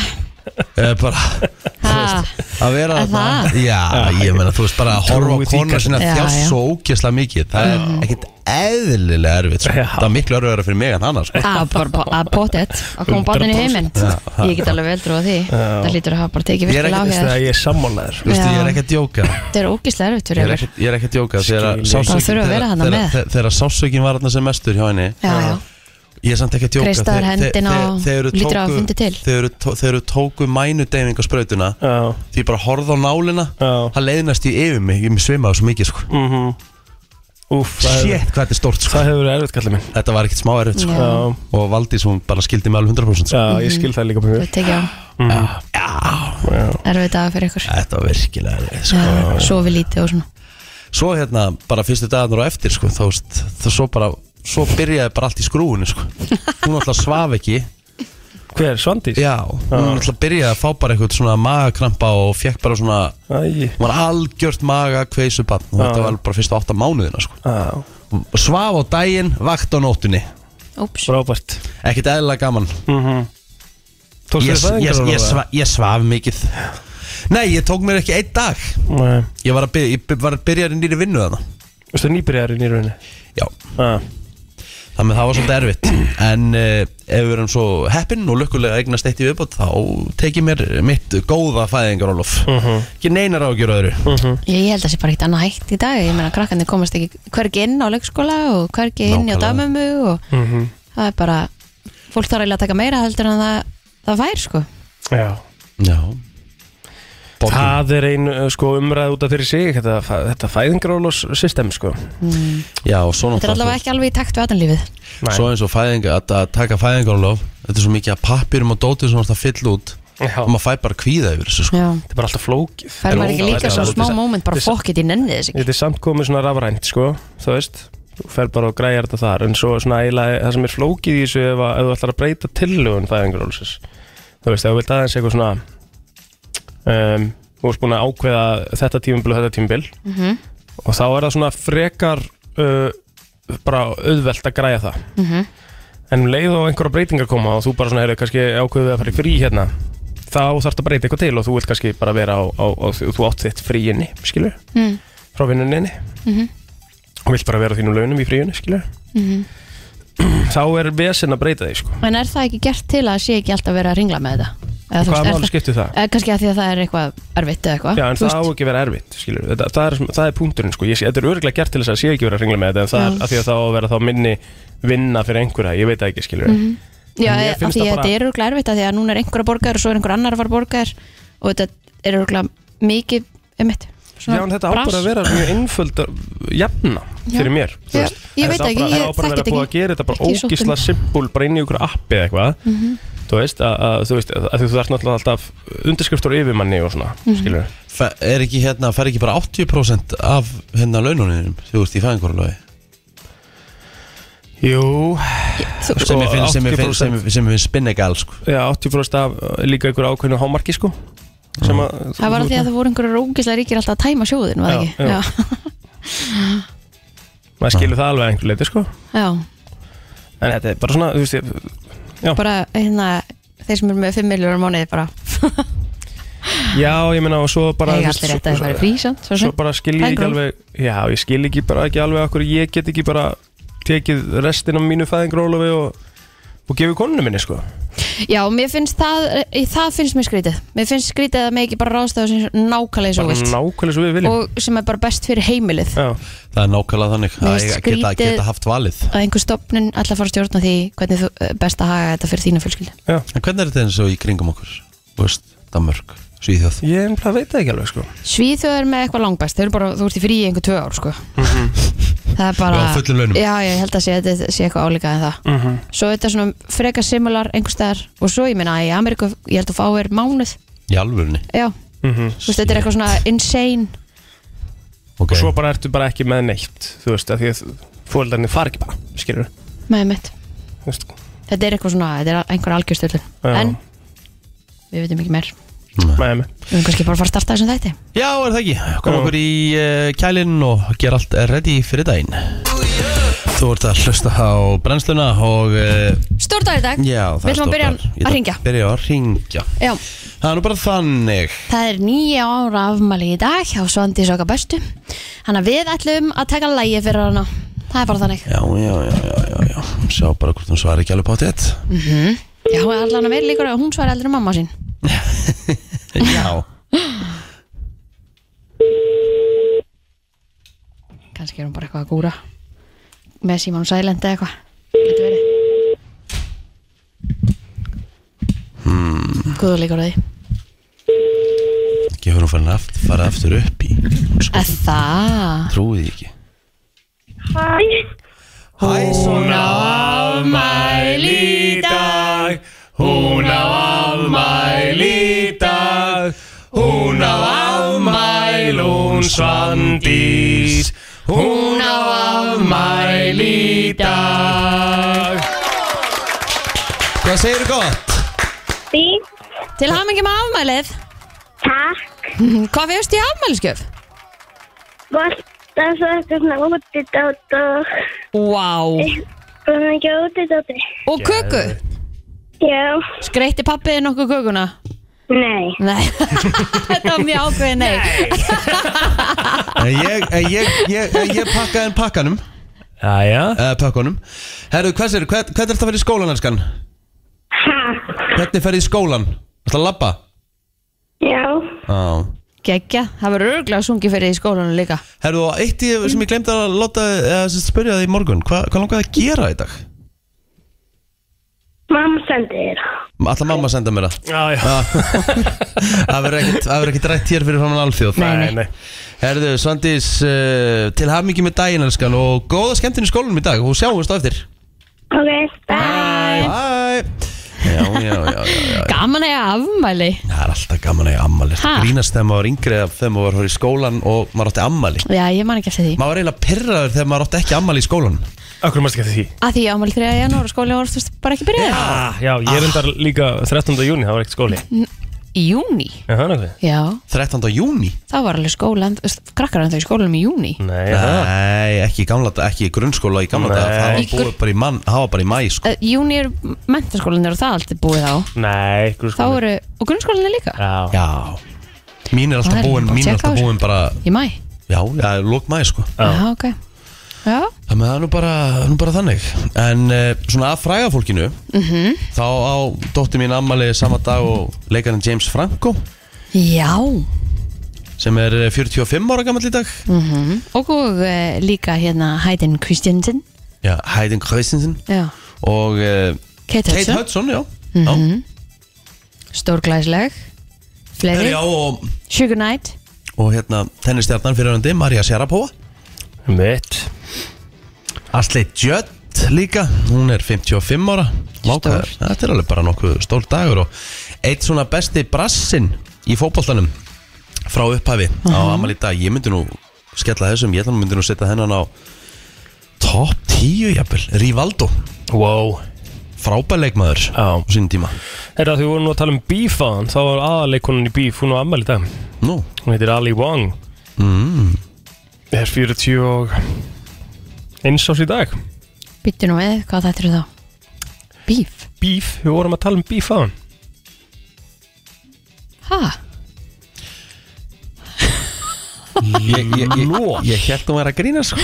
[SPEAKER 2] er bara
[SPEAKER 3] Ha,
[SPEAKER 2] að vera
[SPEAKER 3] Er það?
[SPEAKER 2] þarna já, ég meina, þú veist bara að horfa á
[SPEAKER 4] Trúi því
[SPEAKER 2] konuna
[SPEAKER 4] kannski.
[SPEAKER 2] sinna
[SPEAKER 3] Já, já.
[SPEAKER 2] þjást svo ógeðslega mikið það er ekkert eðlilega erfitt sko.
[SPEAKER 4] Já.
[SPEAKER 2] það er miklu erfiðara fyrir mig en hana sko.
[SPEAKER 3] að bara po- að pottet Að koma bátinn í heiminn Ég get alveg vel trúið því Það hlýtur að hafa bara tekið
[SPEAKER 2] Ég er
[SPEAKER 3] virkilega á
[SPEAKER 2] ekkert-
[SPEAKER 4] það
[SPEAKER 3] hér
[SPEAKER 4] er ég er sammálaður
[SPEAKER 2] Þú veist, ég er
[SPEAKER 3] Já.
[SPEAKER 2] ekki að djóka
[SPEAKER 3] Þetta er ógislega erfitt
[SPEAKER 2] ég
[SPEAKER 3] fyrir
[SPEAKER 2] er
[SPEAKER 3] ykkur
[SPEAKER 2] ekki- ég er ekki að djóka þegar
[SPEAKER 4] Skil ég.
[SPEAKER 2] sásaukin-
[SPEAKER 3] Bara þurfa að
[SPEAKER 2] þegar-
[SPEAKER 3] vera þarna
[SPEAKER 2] þegar-
[SPEAKER 3] með.
[SPEAKER 2] þegar- þegar sásökin var þarna sem mestur hjá henni
[SPEAKER 3] Já, já
[SPEAKER 2] ég er samt ekki að djóka
[SPEAKER 3] Kreistaður hendina og lítur á að hafa fundið til.
[SPEAKER 2] þegar þú tó- þegar þú tóku mænudeyfing á sprautuna
[SPEAKER 4] Já,
[SPEAKER 2] því ég bara horfði á nálina
[SPEAKER 4] Já.
[SPEAKER 2] það leiðnast í yfir mig, ég svimaði svo mikið sko.
[SPEAKER 4] mhm Úf, það hefur-
[SPEAKER 2] shit hvað þetta er stort sko.
[SPEAKER 4] það hefur verið erfitt kallið minn
[SPEAKER 2] þetta var ekkert smá erfitt sko.
[SPEAKER 3] Já.
[SPEAKER 4] Já,
[SPEAKER 2] og Valdís hún bara skildi mig alveg 100% sko.
[SPEAKER 4] já, ég skil það líka mjög
[SPEAKER 3] Þetta Mm. tekið á
[SPEAKER 4] Já,
[SPEAKER 3] erfið dag fyrir ykkur
[SPEAKER 2] Þetta var virkilega erfið sko.
[SPEAKER 3] Já, Sofi lítið og svona
[SPEAKER 2] Svo hérna bara fyrstu dagarnar á eftir sko, þá, veist, þá svo bara svo byrjaði bara allt í skrúinu sko. hún alltaf svaf ekki
[SPEAKER 4] hver, Svandís? Ah.
[SPEAKER 2] já, hún alltaf byrjaði að fá bara eitthvað svona magakrampa og fekk bara svona
[SPEAKER 4] Æ,
[SPEAKER 2] hún var algjört maga kveisu bann og þetta
[SPEAKER 4] Já.
[SPEAKER 2] var bara fyrstu átta mánuðina sko.
[SPEAKER 4] já,
[SPEAKER 2] svaf á daginn, vakt á nóttunni
[SPEAKER 3] Úps
[SPEAKER 4] frábært
[SPEAKER 2] ekkert eðlilega gaman
[SPEAKER 4] Mhm Tókstu
[SPEAKER 2] ég,
[SPEAKER 4] þér það
[SPEAKER 2] ég,
[SPEAKER 4] einhverjum?
[SPEAKER 2] ég, sva, ég svaf mikið nei, ég tók mér ekki einn dag
[SPEAKER 4] Nei,
[SPEAKER 2] ég var að byrja, ég by- var að byrja í nýri vinnu þarna
[SPEAKER 4] þú veist það nýbyrjarinn í rauninni
[SPEAKER 2] já,
[SPEAKER 4] Já,
[SPEAKER 2] Þannig að það var svolítið erfitt En uh, ef við erum svo heppinn og lukkulega eignast eitt í viðbót Þá tek ég mér mitt góða fæðingarólof Ekki neinar ágjur öðru
[SPEAKER 3] Ég, ég held að það sé bara ekkert annað hægt í dag Ég meina krakkandi komast ekki hvergi inn á leikskóla og hvergi inn á
[SPEAKER 2] Nákvæmlega.
[SPEAKER 3] damömu og
[SPEAKER 4] mhm,
[SPEAKER 3] það er bara fólk þarf eiginlega að taka meira heldur en það, það fær sko
[SPEAKER 4] já
[SPEAKER 2] Já Borgum.
[SPEAKER 4] Það er ein uh, sko, umræð út af fyrir sig þetta, fæ- þetta fæðingarólos system sko.
[SPEAKER 2] Já, og svo
[SPEAKER 3] Mm. Þetta er allavega ekki alveg í takt við aðanlífið
[SPEAKER 4] Nei.
[SPEAKER 2] Svo eins og fæðinga, að, að taka fæðingarólof Þetta er svo mikið að pappirum og dótið sem það fyll út
[SPEAKER 4] Já.
[SPEAKER 2] Og maður fæ bara kvíða yfir þessu sko.
[SPEAKER 3] Já
[SPEAKER 4] Þetta er bara alltaf flókið
[SPEAKER 3] Fær maður ekki
[SPEAKER 4] Þetta er
[SPEAKER 3] líka svo
[SPEAKER 4] ógeðslega-
[SPEAKER 3] smá moment bara
[SPEAKER 4] þetta er-
[SPEAKER 3] fokkit í nenni þess ekki
[SPEAKER 4] Þetta er samt komið svona rafrænt sko, þú veist Þú fer bara og græjar þetta þar En svo svona eiginlega það sem er flókið í þessu ef, að, ef þú ætlar að breyta tillögun fæðingarólusis Þú veist, ef þú vilt aðeins eitthvað svona um, Þú veist búin að ákveða þetta tímabil og þetta tímabil
[SPEAKER 3] Mhm.
[SPEAKER 4] Og þá er það svona frekar uh, bara auðvelt að græja það
[SPEAKER 3] Mhm.
[SPEAKER 4] En um leið og einhverja breytingar koma og þú bara svona, heyrðu, kannski ákveðu að fara í frí hérna þá þarf að breyta eitthvað til og þú vilt kannski bara vera á, á, á þú átt þitt frí inni, skilur
[SPEAKER 3] Mm.
[SPEAKER 4] frá vinnuninni
[SPEAKER 3] Mhm.
[SPEAKER 4] og vilt bara vera á þínum launum í fríunni, skilur
[SPEAKER 3] Mhm.
[SPEAKER 4] þá er vesen að breyta því, sko
[SPEAKER 3] En er það ekki gert til að sé ekki alltaf verið að ringla með þetta? Eða, þú
[SPEAKER 4] hvaða
[SPEAKER 3] veist, er
[SPEAKER 4] máli
[SPEAKER 3] það-
[SPEAKER 4] skiptir það?
[SPEAKER 3] Eh, Kannski að því að það er eitthvað erfitt eða eitthvað
[SPEAKER 4] Já, en
[SPEAKER 3] þú
[SPEAKER 4] það á ekki að vera erfitt, skilur þetta, það, er, það er punkturinn, sko, ég, sé- þetta er örgulega gert til þess að sé ekki vera að ringla með þetta, en það
[SPEAKER 3] Já.
[SPEAKER 4] er að því að þá á að vera þá minni vinna fyrir einhverja, ég veit það ekki,
[SPEAKER 3] Mhm.
[SPEAKER 4] skilur mm
[SPEAKER 3] Já, eh,
[SPEAKER 4] En mér
[SPEAKER 3] af
[SPEAKER 4] finnst
[SPEAKER 3] því
[SPEAKER 4] það
[SPEAKER 3] að
[SPEAKER 4] bara-
[SPEAKER 3] þetta er örgulega erfitt af því að núna er einhver að borga þér og svo er einhver annar að fara að borga þér og þetta er örgulega mikið um mitt
[SPEAKER 4] Já, en þetta á bara að vera mjög einföld að jafna
[SPEAKER 3] Já.
[SPEAKER 4] fyrir mér þú
[SPEAKER 3] Já,
[SPEAKER 4] veist.
[SPEAKER 3] ég
[SPEAKER 4] En
[SPEAKER 3] veit
[SPEAKER 4] það á
[SPEAKER 3] ekki,
[SPEAKER 4] bara-
[SPEAKER 3] ég
[SPEAKER 4] það á bara
[SPEAKER 3] þekki
[SPEAKER 4] að vera
[SPEAKER 3] þetta
[SPEAKER 4] búið að
[SPEAKER 3] ekki.
[SPEAKER 4] gera þetta bara
[SPEAKER 3] Ekki Mhm. í sóttinni.
[SPEAKER 4] ógísla simpul bara inn í ykkur appi eða eitthvað þú veist, að, að, þú veist að, að þú þarf náttúrulega alltaf undirskriftur á yfirmanni og svona,
[SPEAKER 3] Mhm.
[SPEAKER 4] mm skilur
[SPEAKER 2] Fæ- Er ekki hérna, fær ekki bara 80% af hérna laununinum Þú veist, í fæðingarólofi
[SPEAKER 4] Jú,
[SPEAKER 2] Sem ég finn, sem ég finn,
[SPEAKER 4] 80%.
[SPEAKER 2] sem ég finn, sem ég finn spinnegal sko.
[SPEAKER 4] já, 80% af uh, líka ykkur ákveðnu hámarki sko sem að,
[SPEAKER 3] Mm. Það var af því að það voru einhverju ógislega ríkir alltaf að tæma sjóðin, var það
[SPEAKER 4] Já,
[SPEAKER 3] ekki?
[SPEAKER 4] já.
[SPEAKER 3] Já,
[SPEAKER 4] maður skilur það alveg að einhver leiti sko
[SPEAKER 3] já,
[SPEAKER 4] en þetta er bara svona, þú veist, ég-
[SPEAKER 3] bara hérna þeir sem eru með 5 miljónur mánuði bara
[SPEAKER 4] já, ég meina og svo bara þú
[SPEAKER 3] [LAUGHS] eiga
[SPEAKER 4] veist,
[SPEAKER 3] allir
[SPEAKER 4] svo-
[SPEAKER 3] rétt að það
[SPEAKER 4] svo-
[SPEAKER 3] er frísamt
[SPEAKER 4] svo bara skil ég ekki
[SPEAKER 3] Fæðingarorlof.
[SPEAKER 4] alveg já, ég skil ekki bara ekki alveg okkur ég get ekki bara tekið restin af mínu fæðingrólofi og, og gefið konunum minni sko
[SPEAKER 3] Já, mér finnst það, í- það finnst mér skrítið Mér finnst skrítið að með ekki bara ráðstöðu sem nákvæmlega svo
[SPEAKER 4] bara
[SPEAKER 3] vilt
[SPEAKER 4] nákvæmlega svo við viljum
[SPEAKER 3] og sem er bara best fyrir heimilið
[SPEAKER 4] já,
[SPEAKER 2] Það er nákvæmlega þannig að
[SPEAKER 3] Mér finnst
[SPEAKER 2] eiga- geta,
[SPEAKER 3] skrítið-
[SPEAKER 2] geta haft valið
[SPEAKER 3] að einhver stopnun ætla að fara að stjórna því hvernig þú eh, best að haga þetta fyrir þína fjölskyldu
[SPEAKER 4] já,
[SPEAKER 2] En hvernig er þetta eins og í kringum okkur? Þú veist, Danmörk, Svíþjóð
[SPEAKER 4] ég nefnilega veit það ekki alveg sko
[SPEAKER 3] Svíþjóð er með eitthvað langbæst, þau eru bara, þú ert í frí í einhver tvö ár sko það er bara
[SPEAKER 2] Já, á fullum launum.
[SPEAKER 3] já, já, ég held að sé, þetta sé eitthvað álíka en það
[SPEAKER 4] Mhm.
[SPEAKER 3] svo þetta er svona freka simular einhverstaðar og svo ég minna í Ameríku ég held að fá er mánuð
[SPEAKER 2] [LAUGHS] Í alvörunni
[SPEAKER 3] já,
[SPEAKER 4] Mhm.
[SPEAKER 3] þú veist, þetta er eitthvað svona insane
[SPEAKER 2] Ok.
[SPEAKER 4] og svo bara ertu bara ekki með neitt þú veist, af því að fóldarnir far ekki bara skilur,
[SPEAKER 3] með mitt
[SPEAKER 4] þú veist
[SPEAKER 3] þetta er eitthvað svona, þetta er einhver algjörstöldun
[SPEAKER 4] Já.
[SPEAKER 3] en við veitum ekki meir
[SPEAKER 4] með mig
[SPEAKER 3] við erum kannski bara að fara að starta þessum þætti
[SPEAKER 2] Mm. Já, er það ekki? Kom
[SPEAKER 4] Já.
[SPEAKER 2] okkur í uh, kælinn og gera allt ready fyrir daginn Þú ert að hlusta á brennsluna og uh,
[SPEAKER 3] stór dag í dag,
[SPEAKER 2] Já, það
[SPEAKER 3] Við ætlum að byrja
[SPEAKER 2] stórt þar. Ég ætla
[SPEAKER 3] að hringja.
[SPEAKER 2] Byrja að ringja
[SPEAKER 3] já,
[SPEAKER 2] Það er nú bara þannig
[SPEAKER 3] það er nýja ára afmæli í dag hjá Svandi Soka Bestu hann að við ætlum að taka lægi fyrir hana það er bara þannig
[SPEAKER 2] Já, já, já, já, já, já Sjá bara hvort hún svarar ekki alveg pátt
[SPEAKER 3] [LAUGHS]
[SPEAKER 2] eitt
[SPEAKER 1] Mm-hmm.
[SPEAKER 3] já, allan að vera líkur að hún svar eldur mamma sín
[SPEAKER 2] Já
[SPEAKER 3] kannski er hún bara eitthvað að gúra með síman sælend eða eitthvað getur verið hmm. góður líkur á því
[SPEAKER 2] Ekki hefur hún farin aft, fara aftur upp í Sko,
[SPEAKER 3] að það
[SPEAKER 2] trúið ekki
[SPEAKER 5] Hæ,
[SPEAKER 2] Hæ, svona
[SPEAKER 3] afmæli í dag
[SPEAKER 2] Hún á afmæli í dag Hún á afmæl hún svandís Hún á afmæl í dag Hvað segirðu gott?
[SPEAKER 5] fín,
[SPEAKER 3] til hamingi með afmælið
[SPEAKER 5] takk,
[SPEAKER 3] [LAUGHS] hvað fyrst í afmæliskjöf?
[SPEAKER 5] gott að svo eitthvað svona útidótt og
[SPEAKER 3] Wow.
[SPEAKER 5] svona ekki útidótti.
[SPEAKER 3] og köku,
[SPEAKER 5] Já,
[SPEAKER 3] skreitti pappiði nokkuð kökuna?
[SPEAKER 5] nei,
[SPEAKER 3] nei, [LAUGHS] þetta var mjög ákveðið nei,
[SPEAKER 2] Ég, ég, ég, ég pakkaði en pakkanum
[SPEAKER 4] Jæja
[SPEAKER 2] uh, Pakkanum Herru, hvað segirðu? Hvern, hvernig ertu að fara í skólan, elskan?
[SPEAKER 5] ha,
[SPEAKER 2] Hvernig ferðu í skólan? Ertu að labba?
[SPEAKER 5] já,
[SPEAKER 2] Á
[SPEAKER 3] geggja, það verður örglega sungið fyrir í skólanum líka
[SPEAKER 2] Herru, og eitt í- sem ég glemdi að láta eða sem spyrja þig í morgun, hvað hva langaði að gera í dag?
[SPEAKER 5] mamma sendi þér.
[SPEAKER 2] Alla mamma senda mér það
[SPEAKER 4] Já, já.
[SPEAKER 2] Já. [LAUGHS] Það verður ekkert- það verður ekkert rætt hér fyrir framann alþjóð
[SPEAKER 4] Nei, nei.
[SPEAKER 2] Herðu, Svandís, uh, til hamingi með daginn elskan og góða skemmtinn í skólanum í dag og sjáumst á
[SPEAKER 4] [LAUGHS]
[SPEAKER 2] eftir
[SPEAKER 5] Ok, bye.
[SPEAKER 2] Bye Já, já, já, já, já.
[SPEAKER 3] gaman að ég afmæli
[SPEAKER 2] Það er alltaf gaman að ég ammali
[SPEAKER 3] Ha?
[SPEAKER 2] Grínast þegar maður var yngri eða þegar maður var fór í skólan og maður átti ammali
[SPEAKER 3] já, ég man ekki eftir því
[SPEAKER 2] Maður var eiginlega pyrraður þegar maður átti ekki ammali í skólanum
[SPEAKER 4] Akkur mást ekki eftir því
[SPEAKER 3] að því ég ámæli 3. janúar og skóli var þú veist, bara ekki byrjaði
[SPEAKER 4] ah, Já, ég er undar líka 13. júni, það var ekkert skóli
[SPEAKER 3] í júni,
[SPEAKER 4] Er það nokkuð?
[SPEAKER 3] já,
[SPEAKER 2] 13. júni
[SPEAKER 3] þá var alveg skóla þú veist, krakkar en þau í skólanum í júni
[SPEAKER 2] Mm.
[SPEAKER 4] Nei, það
[SPEAKER 2] Nei, ekki í gamla dag, ekki í grunnskóla í gamla
[SPEAKER 4] Nei.
[SPEAKER 2] dag Það var
[SPEAKER 3] Í
[SPEAKER 2] búið
[SPEAKER 3] grunn-
[SPEAKER 2] bara í mann, það var bara í mæ sko.
[SPEAKER 3] uh, júni eru mentaskólanir og það allt er búið þá
[SPEAKER 4] Nei, grúskóli
[SPEAKER 3] þá eru, og grunnskólanir líka
[SPEAKER 4] Já,
[SPEAKER 2] Já Mín er alltaf
[SPEAKER 3] Það er
[SPEAKER 2] búin,
[SPEAKER 3] bara að
[SPEAKER 2] mín er
[SPEAKER 3] tékka á
[SPEAKER 2] alltaf
[SPEAKER 3] þessu.
[SPEAKER 2] búin bara
[SPEAKER 3] í mæ,
[SPEAKER 2] Já, já, lók maður sko
[SPEAKER 4] Já.
[SPEAKER 3] já, ok já,
[SPEAKER 2] Þannig að það er nú bara, nú bara þannig En uh, svona að fræga fólkinu
[SPEAKER 3] Mhm.
[SPEAKER 2] -hmm. Þá á dóttir mín ammali sama dag og leikarinn James Franco
[SPEAKER 3] já
[SPEAKER 2] Sem er eh, 45 ára gammal í dag
[SPEAKER 3] Mhm. og uh, líka hérna Hayden Christiansen
[SPEAKER 2] Já, Hayden Christensen
[SPEAKER 3] já,
[SPEAKER 2] Og uh,
[SPEAKER 3] Kate
[SPEAKER 2] Kate
[SPEAKER 3] Hudson,
[SPEAKER 2] Hudson, já mm -hmm.
[SPEAKER 3] stórglæsleg
[SPEAKER 2] Já,
[SPEAKER 3] fleiri,
[SPEAKER 2] já og,
[SPEAKER 3] Sugar Knight
[SPEAKER 2] og hérna tennistjarnan fyrir hundi Maria Sharapova
[SPEAKER 4] mitt
[SPEAKER 2] Asli Jött líka, hún er 55 ára Vákaður, þetta er alveg bara nokkuð stór dagur og eitt svona besti brassinn í fótboltanum frá upphafi á amal í dag ég myndi nú skella þessum, ég ætla nú myndi nú setja hennan á top 10 jafnvel, Rivaldo
[SPEAKER 4] Wow
[SPEAKER 2] frábær leikmaður
[SPEAKER 4] Já.
[SPEAKER 2] á sínum tíma
[SPEAKER 4] Herra, því vorum nú að tala um Beef á hann Þá var aðaleikonin í Beef, hún á ammæli í dag Hún
[SPEAKER 2] Nú,
[SPEAKER 4] heitir Ali Wong mm. Er 40 og eins ás í dag
[SPEAKER 3] byttu nú við, hvað þetta eru þá Beef,
[SPEAKER 4] Beef, við vorum að tala um Beef á hann
[SPEAKER 3] ha,
[SPEAKER 2] ég, ég, ég, ég held hún væri að grína sko.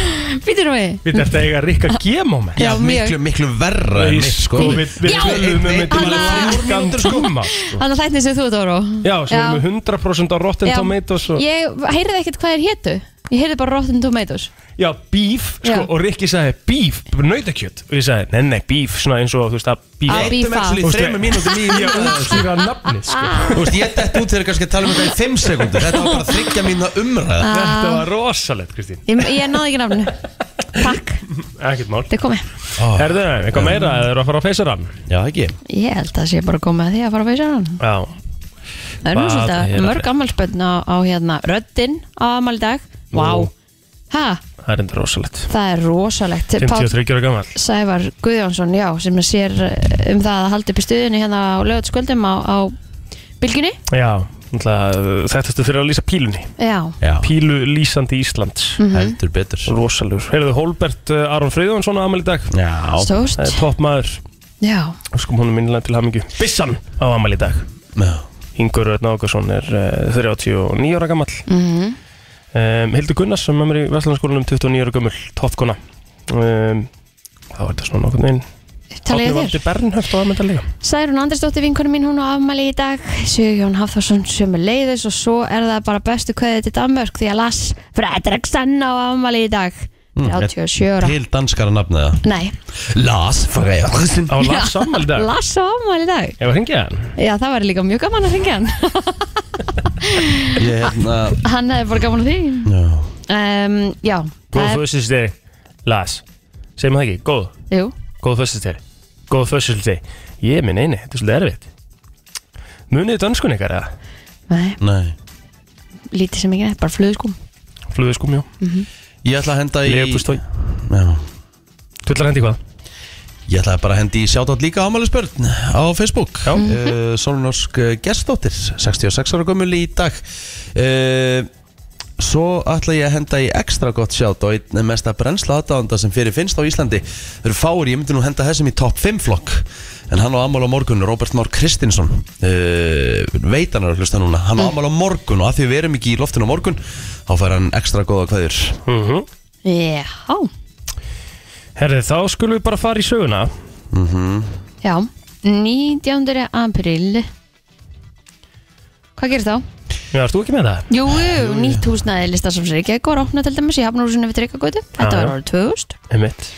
[SPEAKER 3] byttu nú við
[SPEAKER 4] Við þetta eiga Rikka G moment
[SPEAKER 3] Já, mjög.
[SPEAKER 2] miklu, miklu verra en
[SPEAKER 4] Nei,
[SPEAKER 2] mitt sko
[SPEAKER 4] sko, við við
[SPEAKER 3] Já,
[SPEAKER 4] tölum um þetta
[SPEAKER 3] hana-
[SPEAKER 4] Þannig tíma sko.
[SPEAKER 3] Þannig að þættin sem þú, Dóró
[SPEAKER 4] Já, sem við erum með 100% á Rotten Tomatoes og...
[SPEAKER 3] Ég heyrði ekkert hvað þér hétu Ég heyrði bara Rotten Tomatoes
[SPEAKER 4] Já, bíf, sko,
[SPEAKER 3] Já.
[SPEAKER 4] og Rikki sagði bíf, nautakjöt Og ég sagði, nei, nei, bíf, svona eins og, þú veist, að bíf
[SPEAKER 3] Að bíf.
[SPEAKER 2] Eittum actually
[SPEAKER 4] Ústu-
[SPEAKER 2] þreymur mínútum
[SPEAKER 4] [LAUGHS]
[SPEAKER 2] í
[SPEAKER 4] Ég útskýra nafnið, sko
[SPEAKER 2] Þú veist, ég dætt út þegar kannski að tala um þetta í 5 sekundur Þetta var bara þryggja mínúna umræða
[SPEAKER 4] Þetta
[SPEAKER 3] ah,
[SPEAKER 4] var rosalegt, Kristín
[SPEAKER 3] ég, ég náði ekki nafnu Takk,
[SPEAKER 4] Ekkert mál Ah.
[SPEAKER 3] þetta er komið
[SPEAKER 4] Herðu, eitthvað meira, eða eru að fara á feysarann
[SPEAKER 2] Já, ekki
[SPEAKER 3] Ég held að sé bara komið að því að fara á feysarann
[SPEAKER 4] Já,
[SPEAKER 3] Það er nú
[SPEAKER 4] Hvað
[SPEAKER 3] svolítið að
[SPEAKER 4] er að
[SPEAKER 3] mörg
[SPEAKER 4] frétta?
[SPEAKER 3] ammálspönn á, á hérna Röddin á ammál í dag Vá
[SPEAKER 4] Ó.
[SPEAKER 3] Ha,
[SPEAKER 4] það er enda rosalegt
[SPEAKER 3] það er rosalegt Páll
[SPEAKER 4] 53 ára gammal
[SPEAKER 3] Sævar Guðjónsson, já, sem sér eh, um það að halda upp í stuðinu hérna á lögatskvöldum á, á bylginni
[SPEAKER 4] Já, náttúrulega, þetta stu fyrir að lýsa pílunni
[SPEAKER 3] Já,
[SPEAKER 2] Já,
[SPEAKER 4] Pílu lýsandi Íslands
[SPEAKER 3] Mhm.
[SPEAKER 2] heldur betur
[SPEAKER 4] Rosalegur Heyrðu, Holbert uh, Aron Freyðjónsson á amal í dag
[SPEAKER 2] Já,
[SPEAKER 3] stórt
[SPEAKER 4] Það er toppmaður
[SPEAKER 3] Já,
[SPEAKER 4] Sko, hún er minnilega til hamingju Bissan á amal í dag
[SPEAKER 2] já
[SPEAKER 4] Ingur Örn Ákarsson er uh, 39 ára gammal
[SPEAKER 3] mhm,
[SPEAKER 4] um, Hildur Gunnars sem er með mér í Vestlandskólanum 29 ára gammal Toppkona um, Það var þetta svona nokkurn veginn
[SPEAKER 3] tala ég þér
[SPEAKER 4] Valdi Bernhöft á amal í dag
[SPEAKER 3] Særún Andersdóttir vinkonu mín, hún á afmæli í dag Sigjón Hafþórsson sömu leiðis og svo er það bara bestu kveðið til Danmörk því að Lass Fredriksson á afmæli í dag 37 ára
[SPEAKER 2] Mm. Til danskara nafnið það
[SPEAKER 3] Nei,
[SPEAKER 2] Lars Freyðarsson
[SPEAKER 4] Á
[SPEAKER 3] [LAUGHS]
[SPEAKER 4] Lars amal í dag
[SPEAKER 3] Lass á afmæli í dag
[SPEAKER 4] Ég var hengið hann
[SPEAKER 3] Já, það var líka mjög gaman að hringja hann [LAUGHS]
[SPEAKER 2] Ég hérna
[SPEAKER 3] Hann hefði bara gaman að því
[SPEAKER 2] Já
[SPEAKER 3] um, Já,
[SPEAKER 4] Góð
[SPEAKER 3] það er,
[SPEAKER 4] fösisteri Lars Segjum það ekki, góð
[SPEAKER 3] jú
[SPEAKER 4] Góð fösisteri Góð fösisteri Ég minn eini, þetta er svolítið erfitt Munið dönskun ykkar eða?
[SPEAKER 3] Nei,
[SPEAKER 2] Nei
[SPEAKER 3] lítið sem ekki neitt, bara sko. flöðskum
[SPEAKER 4] Flúðiskum, já
[SPEAKER 2] Ég ætla að henda í
[SPEAKER 4] Leifupustói
[SPEAKER 2] Já
[SPEAKER 4] Þú ætlar að hendi hvað?
[SPEAKER 2] Ég ætlaði bara að hendi í sjátátt líka ámælisbörn á Facebook uh, Sólunarsk uh, gestóttir 66 ára gömul í dag uh, Svo ætla ég að henda í ekstra gott sjátt og einn mesta brennsla aðdáðanda sem fyrir finnst á Íslandi Þau eru fáir, ég myndi nú henda þessum í topp 5 flokk En hann á ammál á morgun, Robert Már Kristinsson uh, Veit hann er að hlusta núna
[SPEAKER 4] Mm.
[SPEAKER 2] Hann á ammál á morgun og að því við erum ekki í loftinu á morgun Þá fær hann ekstra góða kveður
[SPEAKER 4] Mm
[SPEAKER 3] Já,
[SPEAKER 4] Herði, þá skulum við bara fara í söguna
[SPEAKER 2] Mhm.
[SPEAKER 3] já 19. apríl Hvað gerist þá?
[SPEAKER 4] Já, erst þú ekki með það?
[SPEAKER 3] Jú, jú, nýtt húsnaði listasafns Reykjavík var opnað til dæmis í Hafnarhúsinu við Tryggagötu Þetta
[SPEAKER 4] Já, já.
[SPEAKER 3] var árið 2000
[SPEAKER 4] Einmitt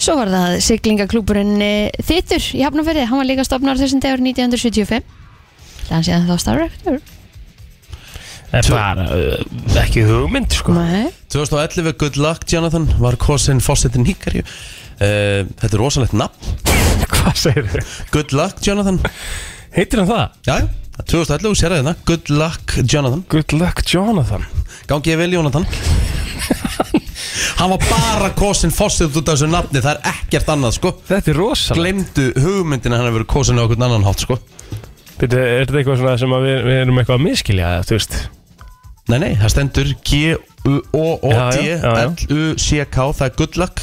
[SPEAKER 3] Svo var það siglingaklúburinn eh, Þittur í Hafnarferði Hann var líka stopnar þessum dagur 1975 Þannig séðan þá starfrektur
[SPEAKER 4] En bara, uh, ekki hugmynd, sko
[SPEAKER 3] Nei
[SPEAKER 2] 2011 Good Luck Jonathan var kosin fósettin Níkaríu uh, Þetta er rosalegt nafn
[SPEAKER 4] [LAUGHS] Hvað segir þau?
[SPEAKER 2] Good Luck Jonathan
[SPEAKER 4] Heitir hann það?
[SPEAKER 2] Já, já, 2011 sér að hérna Good Luck Jonathan
[SPEAKER 4] Good luck Jonathan
[SPEAKER 2] Gangi ég vel Jonathan Hann var bara kosin fósettin út af þessu nafni Það er ekkert annað sko
[SPEAKER 4] Þetta er rosalega
[SPEAKER 2] Glemdu hugmyndina að hann hefur verið kosin á okkur annan hátt sko
[SPEAKER 4] Þetta er þetta eitthvað svona sem að við, við erum eitthvað að miskilja, eða, þú veist
[SPEAKER 2] Nei, nei, það stendur
[SPEAKER 4] Já, já, já, já.
[SPEAKER 2] G-U-O-O-D-L-U-C-K Það er Good Luck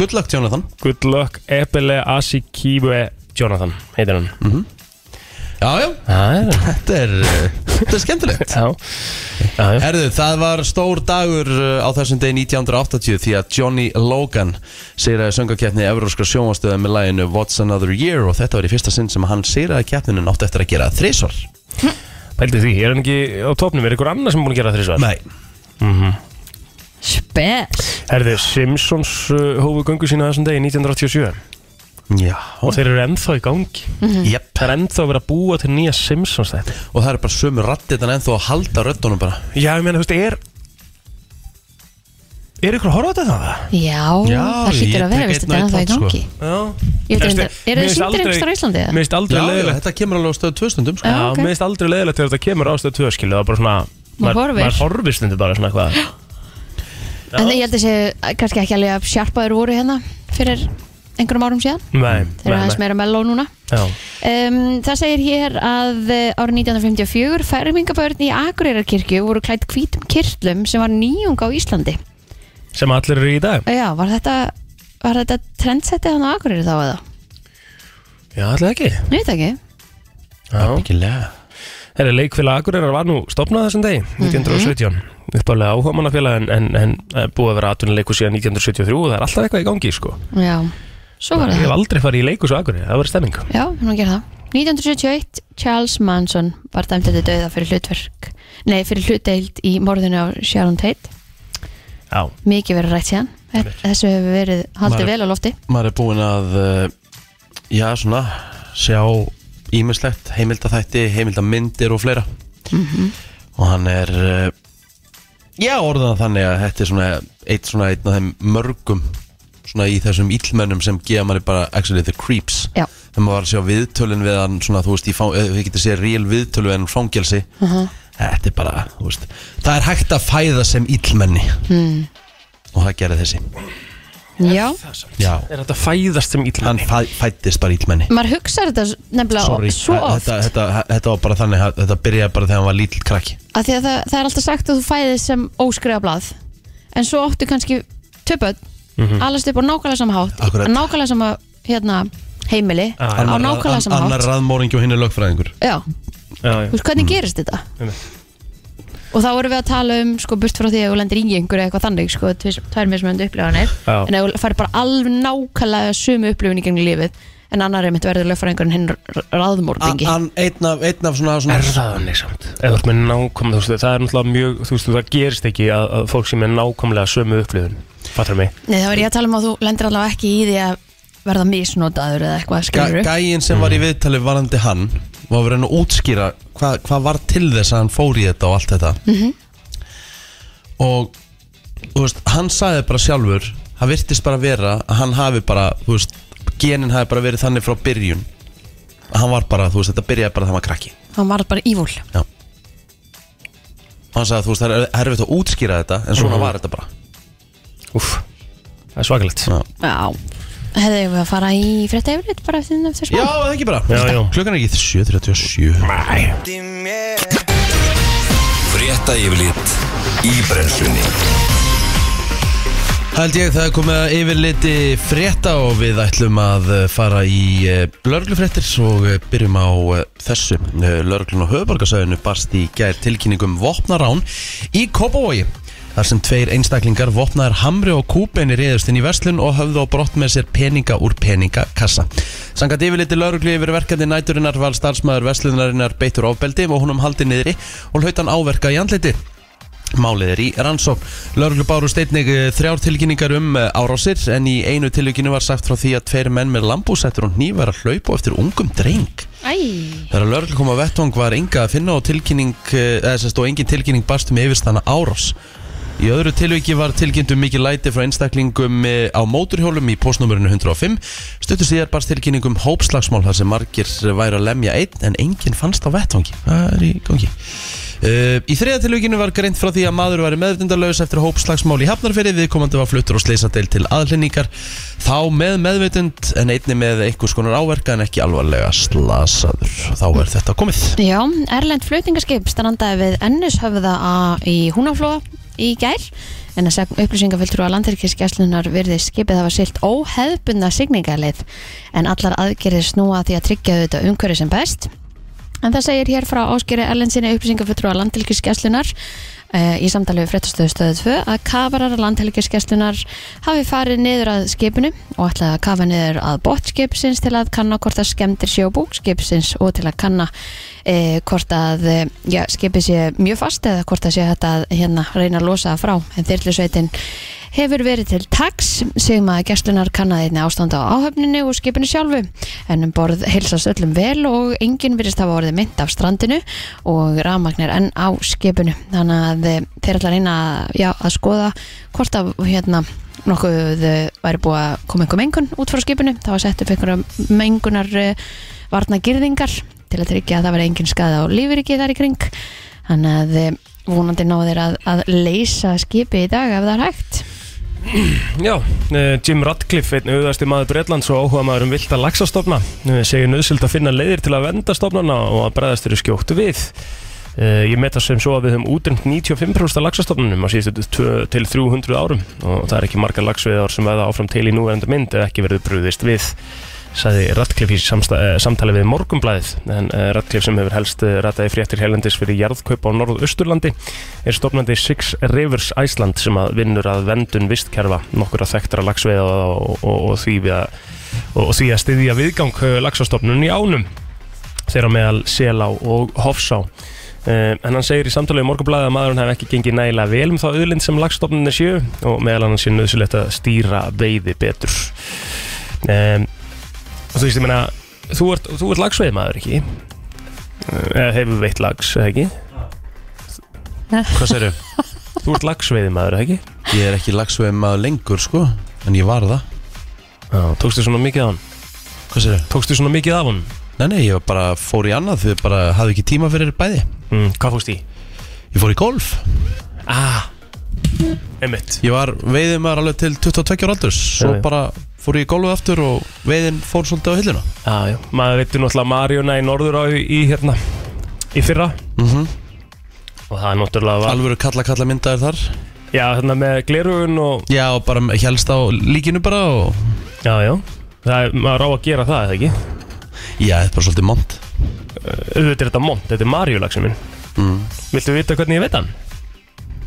[SPEAKER 2] Good Luck Jonathan
[SPEAKER 4] Good luck Ebele Asikiwe Jonathan Heitir hann
[SPEAKER 2] Mhm. Já, já,
[SPEAKER 4] Já, já,
[SPEAKER 2] þetta er, eh, þetta er skemmtilegt
[SPEAKER 4] já Já, já
[SPEAKER 2] Herðu, það var stór dagur uh, á þessum degi 1980 því að Johnny Logan sýraði söngakeppni Evróskra sjónvastöða með læginu What's Another Year og þetta var í fyrsta sinn sem hann sýraði keppninu nátt eftir að gera þrísvar
[SPEAKER 4] Pældi því, er hann ekki á topnum, er einhver annar sem er búin að gera Mhm. þrísvar?
[SPEAKER 2] Nei,
[SPEAKER 3] Spes
[SPEAKER 4] Herði, Simpsons uh, hófu göngu sína á þessum degi 1987
[SPEAKER 2] já,
[SPEAKER 4] Og þeir eru ennþá í gangi
[SPEAKER 3] Mhm.
[SPEAKER 2] jep
[SPEAKER 4] Það er ennþá verið að búa til nýja Simpsons þetta
[SPEAKER 2] og það er bara sömu rattitan ennþá að halda röddunum bara
[SPEAKER 4] Já, ég meina, þú veist, er Er ykkur að horfa á þetta það?
[SPEAKER 3] Já,
[SPEAKER 2] Já,
[SPEAKER 3] það
[SPEAKER 2] ég
[SPEAKER 3] hlýtur að vera,
[SPEAKER 2] tek
[SPEAKER 3] veist,
[SPEAKER 2] einn og
[SPEAKER 3] þetta er ennþá í
[SPEAKER 2] einn þátt,
[SPEAKER 3] gangi
[SPEAKER 4] sko. Já
[SPEAKER 3] Ég veit reyndar- eru þið
[SPEAKER 4] Mér
[SPEAKER 3] sýndir
[SPEAKER 4] finnst aldrei-
[SPEAKER 3] einhvers staðar á Íslandi, eða?
[SPEAKER 4] Mér
[SPEAKER 2] Já,
[SPEAKER 4] finnst
[SPEAKER 2] já,
[SPEAKER 4] aldrei leiðilegt
[SPEAKER 2] þetta kemur alveg á stöðu tvö stundum sko.
[SPEAKER 4] Já,
[SPEAKER 3] ok.
[SPEAKER 4] mér finnst aldrei leiðilegt þegar þetta kemur ástöð tvö skilu Það er bara svona
[SPEAKER 3] Maður horfir.
[SPEAKER 4] Maður horfir stundu bara svona eitthvað
[SPEAKER 3] En ég held að sé eh, kannski ekki alveg að sjarpaður voru hérna fyrir einhverjum árum síðan
[SPEAKER 4] Nei,
[SPEAKER 3] Þeir eru aðeins
[SPEAKER 4] nei, nei
[SPEAKER 3] meira melló núna
[SPEAKER 4] Já,
[SPEAKER 3] Um, það segir hér að eh, árið 1954 færmingabörn í Akureyrarkirkju voru klætt hvítum kyrtlum sem var nýjung á Íslandi.
[SPEAKER 4] sem allir eru í dag
[SPEAKER 3] Já, var þetta, var þetta trendsettið hann á Akureyri þá eða?
[SPEAKER 4] Já, allir ekki
[SPEAKER 3] Nei, þetta ekki.
[SPEAKER 4] Já
[SPEAKER 2] Mikillega
[SPEAKER 4] Herra, leikfélag Akureyrar var nú stopnað þessum degi,
[SPEAKER 3] Mhm.
[SPEAKER 4] 1917 uppálega áhugamannafélag en, en, en eh, búið að vera atvinnuleikur síðan 1973 og það er alltaf eitthvað í gangi sko.
[SPEAKER 3] Já, svo var
[SPEAKER 4] Ég hef
[SPEAKER 3] það.
[SPEAKER 4] aldrei farið í leikus á Akureyri, það var stemming
[SPEAKER 3] Já, hann gerði það. 1971, Charles Manson var dæmt þetta dauða fyrir hlutverk, nei, fyrir hlutdeild í morðinu á Sharon Tate.
[SPEAKER 4] Já,
[SPEAKER 3] mikið verið rætt síðan þessu hefur verið haldið vel á lofti
[SPEAKER 2] maður er búinn að uh, já svona sjá ímislegt heimildaþætti, heimildamyndir og fleira og hann er uh, já orðan þannig að þetta er svona eitt svona einn af þeim mörgum svona í þessum illmennum sem gefa manni bara actually the creeps
[SPEAKER 3] Já.
[SPEAKER 2] þegar maður var að sjá viðtölin við hann svona þú veist, í fang- eh, við getum séð real viðtölu en fangelsi þetta er bara, þú veist það er hægt að fæða sem illmenni
[SPEAKER 3] hmm.
[SPEAKER 2] og það gerði þessi
[SPEAKER 3] já,
[SPEAKER 2] já,
[SPEAKER 4] er þetta fæðast sem
[SPEAKER 2] hann
[SPEAKER 4] ítlunni?
[SPEAKER 2] fæ, fættist bara illmenni
[SPEAKER 3] maður hugsa þetta s- nefnilega
[SPEAKER 2] Sorry,
[SPEAKER 3] svo
[SPEAKER 2] Þa-
[SPEAKER 3] oft
[SPEAKER 2] þetta, þetta, þetta var bara þannig að Þetta byrjaði bara þegar hann var lítill krakki
[SPEAKER 3] að því að það, það er alltaf sagt að þú fæðist sem óskrifa blað en svo áttu kannski töpöld mm
[SPEAKER 4] Mhm.
[SPEAKER 3] -hmm. allast upp á nákvæmlega samhátt
[SPEAKER 2] Mhm. Akkurat.
[SPEAKER 3] nákvæmlega sama hérna, heimili
[SPEAKER 4] Ah,
[SPEAKER 3] á nákvæmlega
[SPEAKER 2] Annar Mhm.
[SPEAKER 3] samhátt
[SPEAKER 2] raðmóringi og hinn er lögfræðingur
[SPEAKER 3] já,
[SPEAKER 4] Já, já.
[SPEAKER 3] þú veist hvernig gerist þetta
[SPEAKER 4] Einmitt.
[SPEAKER 3] og þá vorum við að tala um sko burt frá því að þú lendir í einhverju eitthvað þannig sko, tvis- tvær mismöndu upplifanir
[SPEAKER 4] Já.
[SPEAKER 3] en ef þú fær bara alveg nákvæmlega sömu upplifin í gangi lífið en annar er mitt verður lögfræðingur en hinn r- ráðmorðingi
[SPEAKER 2] An- Einn af, einn af svona, svona
[SPEAKER 4] Er það þannig samt? Ef þú ert með nákvæmlega, þú veist, það er náttúrulega mjög, þú veist, það gerist ekki að, að fólk sem er nákvæmlega sömu upplifun, fattar mig?
[SPEAKER 3] Nei, þá er ég að tala um að þú lendir allavega ekki í því að verða misnotaður eða eitthvað skilur
[SPEAKER 2] gæ- Gæinn sem
[SPEAKER 4] Mhm.
[SPEAKER 2] var í viðtali varandi hann Var verið að útskýra hvað hva var til þess að hann fór í þetta og allt þetta
[SPEAKER 3] Mhm.
[SPEAKER 2] Og þú veist, hann sagði bara sjálfur Hann virtist bara vera að hann hafi bara þú veist, Genin hafi bara verið þannig frá byrjun Að Hann var bara, þú veist, þetta byrjaði bara þegar hann var krakki
[SPEAKER 3] hann var bara ívúl
[SPEAKER 2] Já Og hann sagði að þú veist það er erfitt að útskýra þetta En svona var þetta bara
[SPEAKER 4] Mhm. Úff, það er svakalegt.
[SPEAKER 2] Já,
[SPEAKER 3] Já Hefðu við að fara í frétta yfirleitt bara eftir þessum smá
[SPEAKER 2] já það ekki bara
[SPEAKER 4] Já, já.
[SPEAKER 2] Klukkan er ekki 7.37
[SPEAKER 1] Frétta yfirlit í brennslunni
[SPEAKER 2] Held ég það er komið að yfirliti frétta Og við ætlum að eh, fara í lörglufréttir Og eh, byrjum á eh, þessu Lörglun og höfuborgarsöðinu barst í gær tilkynningum vopnarán Í Kópavogi Þar sem tveir einstaklingar vopnaðar hamri og kúbeinir reyðust inn í verslun og höfðu á brott með sér peninga úr peningakassa. Sangat yfirliti lauruglu yfir verkefni næturinnar var starfsmæður verslunarinnar beittur ofbeldi og honum haldi niðri og hlaut hann áverka í andliti. Málið er í rannsókn. Lörglu báru steinnig eh, þrjár tilkynningar um eh, árásir en í einu tilvíkinu var sagt frá því að tveir menn með lambúsættur og hníf var að hlaupa á eftir ungum dreng.
[SPEAKER 3] Æ
[SPEAKER 2] Þegar lörglu kom á vettvang var enga að finna og, tilkynning, eh, eða, sérst, og engin tilkynning barst um yfirstanna árás. Í öðru tilviki var tilkynntum mikið læti frá einstaklingum eh, á móturhjólum í postnumurinu 105. Stuttu síðar barst tilkynningum hópslagsmál þar sem margir væri að lemja einn en enginn fannst á vettvangi. Það er í gangi. Uh, í þriða tilvíkinu var greint frá því að maður væri meðvitundalaus eftir hópslagsmál í Hafnarfyrði viðkomandi var fluttur og sleysadeil til aðlendingar þá með meðvitund en einni með einhvers konar áverka en ekki alvarlega slasaður þá er þetta komið
[SPEAKER 3] Já, Erlend flutningaskip strandaði við ennishöfða á- í Húnaflóa í gær en að segja upplýsingafiltrú að landhelgiskeslunar virði skipið hafa silt óheðbundna signingarleið en allar aðgerðir snúa að því að tryggja auðvitað umhverju sem best En það segir hér frá áskeri Erlensinni upplýsingafulltrúa landhelgiskeslunar uh, í samtali við fréttastöðustöðu 2 að kafarar landhelgiskeslunar hafi farið niður að skipinu og ætlaði að kafa niður að bótt skipsins til að kanna hvort það skemmtir sjó búk skipsins og til að kanna uh, hvort að uh, já, skipið sé mjög fast eða hvort það sé þetta að hérna, reyna að losa það frá en þyrlusveitin hefur verið til tax segum að gæslunar kannaði einni ástand á áhöfninu og skipinu sjálfu en um borð heilsast öllum vel og enginn virðist hafa orðið mynd af strandinu og rafmagnir enn á skipinu þannig að eh, þeir ætla að reyna að- já, að skoða hvort að hérna nokkuð eh, væri búið að koma einhver mengun út frá skipinu þá var sett upp einhverja mengunar varna girðingar til að tryggja að það væri enginn skaði á lífriki þar í kring þannig að eh, vonandi náðir að, að leysa skipi í dag ef það er hægt
[SPEAKER 4] Já, eh, Jim Radcliffe, einn auðvasti maður Breitlands og áhuga maður um vilda laxastofna eh, segir nöðsild að finna leiðir til að venda stofnana og að bregðast eru skjóttu við eh, Ég met það sem svo að við höfum útrýmt 95% af laxastofnunum á síðustu tvö- til 300 árum og það er ekki margar laxveiðar sem veða áfram til í núverandi mynd ef ekki verður brugðist við sagði Radcliffe í samsta, eh, samtali við Morgumblæðið en eh, Radcliffe sem hefur helst eh, rataði fréttir helendis fyrir jarðkaup á norðausturlandi er stofnandi Six Rivers Iceland sem að vinnur að vendun vistkerfa nokkura þekktra lagsveiða og, og, og, því við að, og, og því að eh, styðja viðgang lagsastofnun í ánum þeirra meðal Selá og Hofsá Eh, En hann segir í samtalið morgunblæði að maðurinn hef ekki gengið nægilega vel um þá auðlind sem lagstofnunni séu og meðal annars sé nöðsulegt að stýra veiði betur. Um, og þú veist, ég meina, þú ert, þú ert lagsveið maður, ekki? Eh, Eða hefur veitt lags, eða ekki?
[SPEAKER 2] Hvað segir
[SPEAKER 4] Þú ert lagsveið maður, ekki?
[SPEAKER 2] Ég er ekki lagsveið maður lengur sko En ég var það
[SPEAKER 4] Já, tókstu svona mikið af hann?
[SPEAKER 2] Hvað segir
[SPEAKER 4] Tókstu svona mikið af hann?
[SPEAKER 2] Nei, nei, ég bara fór í annað Þau bara hafði ekki tíma fyrir bæði
[SPEAKER 4] Mm, hvað fórst í?
[SPEAKER 2] Ég fór í golf
[SPEAKER 4] Ah, einmitt.
[SPEAKER 2] Ég var veiðin maður alveg til 22 ára aldurs Svo
[SPEAKER 4] Já, já.
[SPEAKER 2] bara fór ég í golfið aftur Og veiðin fór svolítið á hilluna
[SPEAKER 4] Já, já, maður veitur náttúrulega Marjuna í norður á í, í hérna í fyrra
[SPEAKER 1] Mm-hmm.
[SPEAKER 2] Mhm.
[SPEAKER 1] [LAUGHS]
[SPEAKER 4] og það er náttúrulega var,
[SPEAKER 2] Alvöru kalla kalla myndaðir þar
[SPEAKER 4] já, hérna með glerugun og
[SPEAKER 2] Já, og bara helst á líkinu bara og...
[SPEAKER 4] já, já, það er, maður á að gera það eða ekki Eh,
[SPEAKER 2] Já, þetta er bara svolítið mont
[SPEAKER 4] auðvitað er þetta mont, þetta er Marjulagsin minn
[SPEAKER 2] mm.
[SPEAKER 4] Viltu vita hvernig ég veit hann?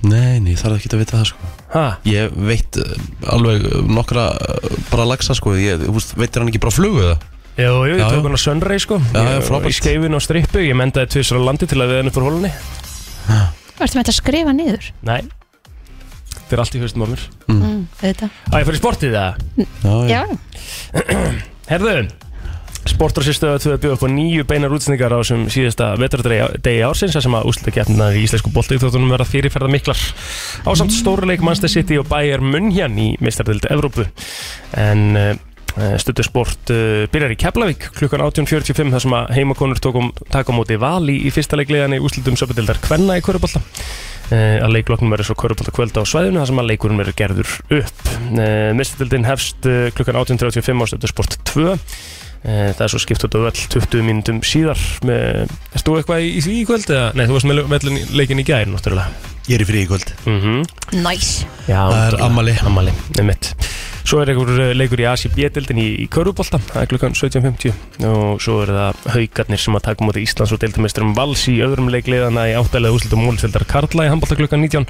[SPEAKER 2] Nei, nei, ég þarf ekki að vita það sko
[SPEAKER 4] Ha?
[SPEAKER 2] Ég veit uh, alveg uh, nokkra uh, bara lagsa sko Ég þú veist, veitir hann ekki bara flugu það
[SPEAKER 4] Jú, jú, ég
[SPEAKER 2] Já, já.
[SPEAKER 4] tók hann á Sunray sko
[SPEAKER 2] Já, já,
[SPEAKER 4] Ég-
[SPEAKER 2] frábært.
[SPEAKER 4] Í skeifinu og strippu, ég mendaði tvisar á landi til að við henni fór hólunni
[SPEAKER 3] Varstu með þetta að skrifa niður?
[SPEAKER 4] Nei, þetta er allt í höstum á mér
[SPEAKER 3] Mm, auðvitað.
[SPEAKER 4] Á, ég fyrir sportið það?
[SPEAKER 3] Já,
[SPEAKER 4] Herðu, Sportrasistöðu 2 bjóð upp á nýju beinar útsendingar á þessum síðasta vetardegi ársins þar sem að úslita í íslensku boltiðþóttunum verða fyrirferða miklar á samt stóruleik Manchester City og Bayern München í mistardildi Evrópu en uh, stöttu sport uh, byrjar í Keflavík klukkan 18.45 þar sem að heimakonur tókum taka á móti vali í fyrsta leiklegan í úslitum söpudildar Kvenna í Körubolla Eh, að leiklokknum verður svo körubólta kvölda á svæðinu þar sem að leikurinn verður gerður upp mistildin hefst eh, klukkan 18.35 á stöðu sport 2 eh, það er svo skipt út á öll 20 mínútum síðar með, erst þú eitthvað í, í því í kvöld? Eða? Nei, þú varst með, með leikin í gæri náttúrulega
[SPEAKER 2] Ég er í frí í kvöld
[SPEAKER 4] mm
[SPEAKER 3] næs.
[SPEAKER 4] Já,
[SPEAKER 2] Það er ammali
[SPEAKER 4] ammali, nefnitt Svo er einhver eh, leikur í Asi B-dildin í, í Körubólta, það er klukkan 17.50 og svo eru það haugarnir sem að taka múti Íslands og deildumesturum Vals í öðrum leikliðana í áttalega úslutum múlfjöldar Karla í handbólta klukkan 19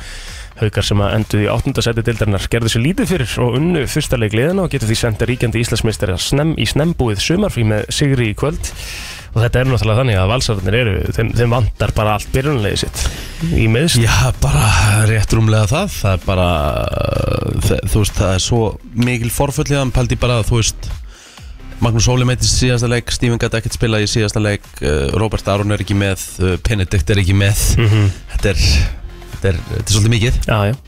[SPEAKER 4] haugar sem að enduðu í 8. seti deildarinnar gerðu svo lítið fyrir og unnu fyrsta leikliðana og getur því senda ríkjandi Íslandsmeistari snem, í snembúið sumarfrí með Sigri í kvöld og þetta er náttúrulega þannig að valsararnir eru, þeim, þeim vantar bara allt byrjunlegið sitt í meðsl
[SPEAKER 2] Já, bara rétt rúmlega það Það er bara, uh, þe- þú veist, það er svo mikil forföllið Hann pældi bara að, þú veist Magnús Óli meitist í síðasta leik Stephen gæti ekkert spila í síðasta leik uh, Robert Aron er ekki með uh, Benedikt er ekki með Þetta er, þetta er, þetta er svolítið mikið
[SPEAKER 4] Mhm. Já, já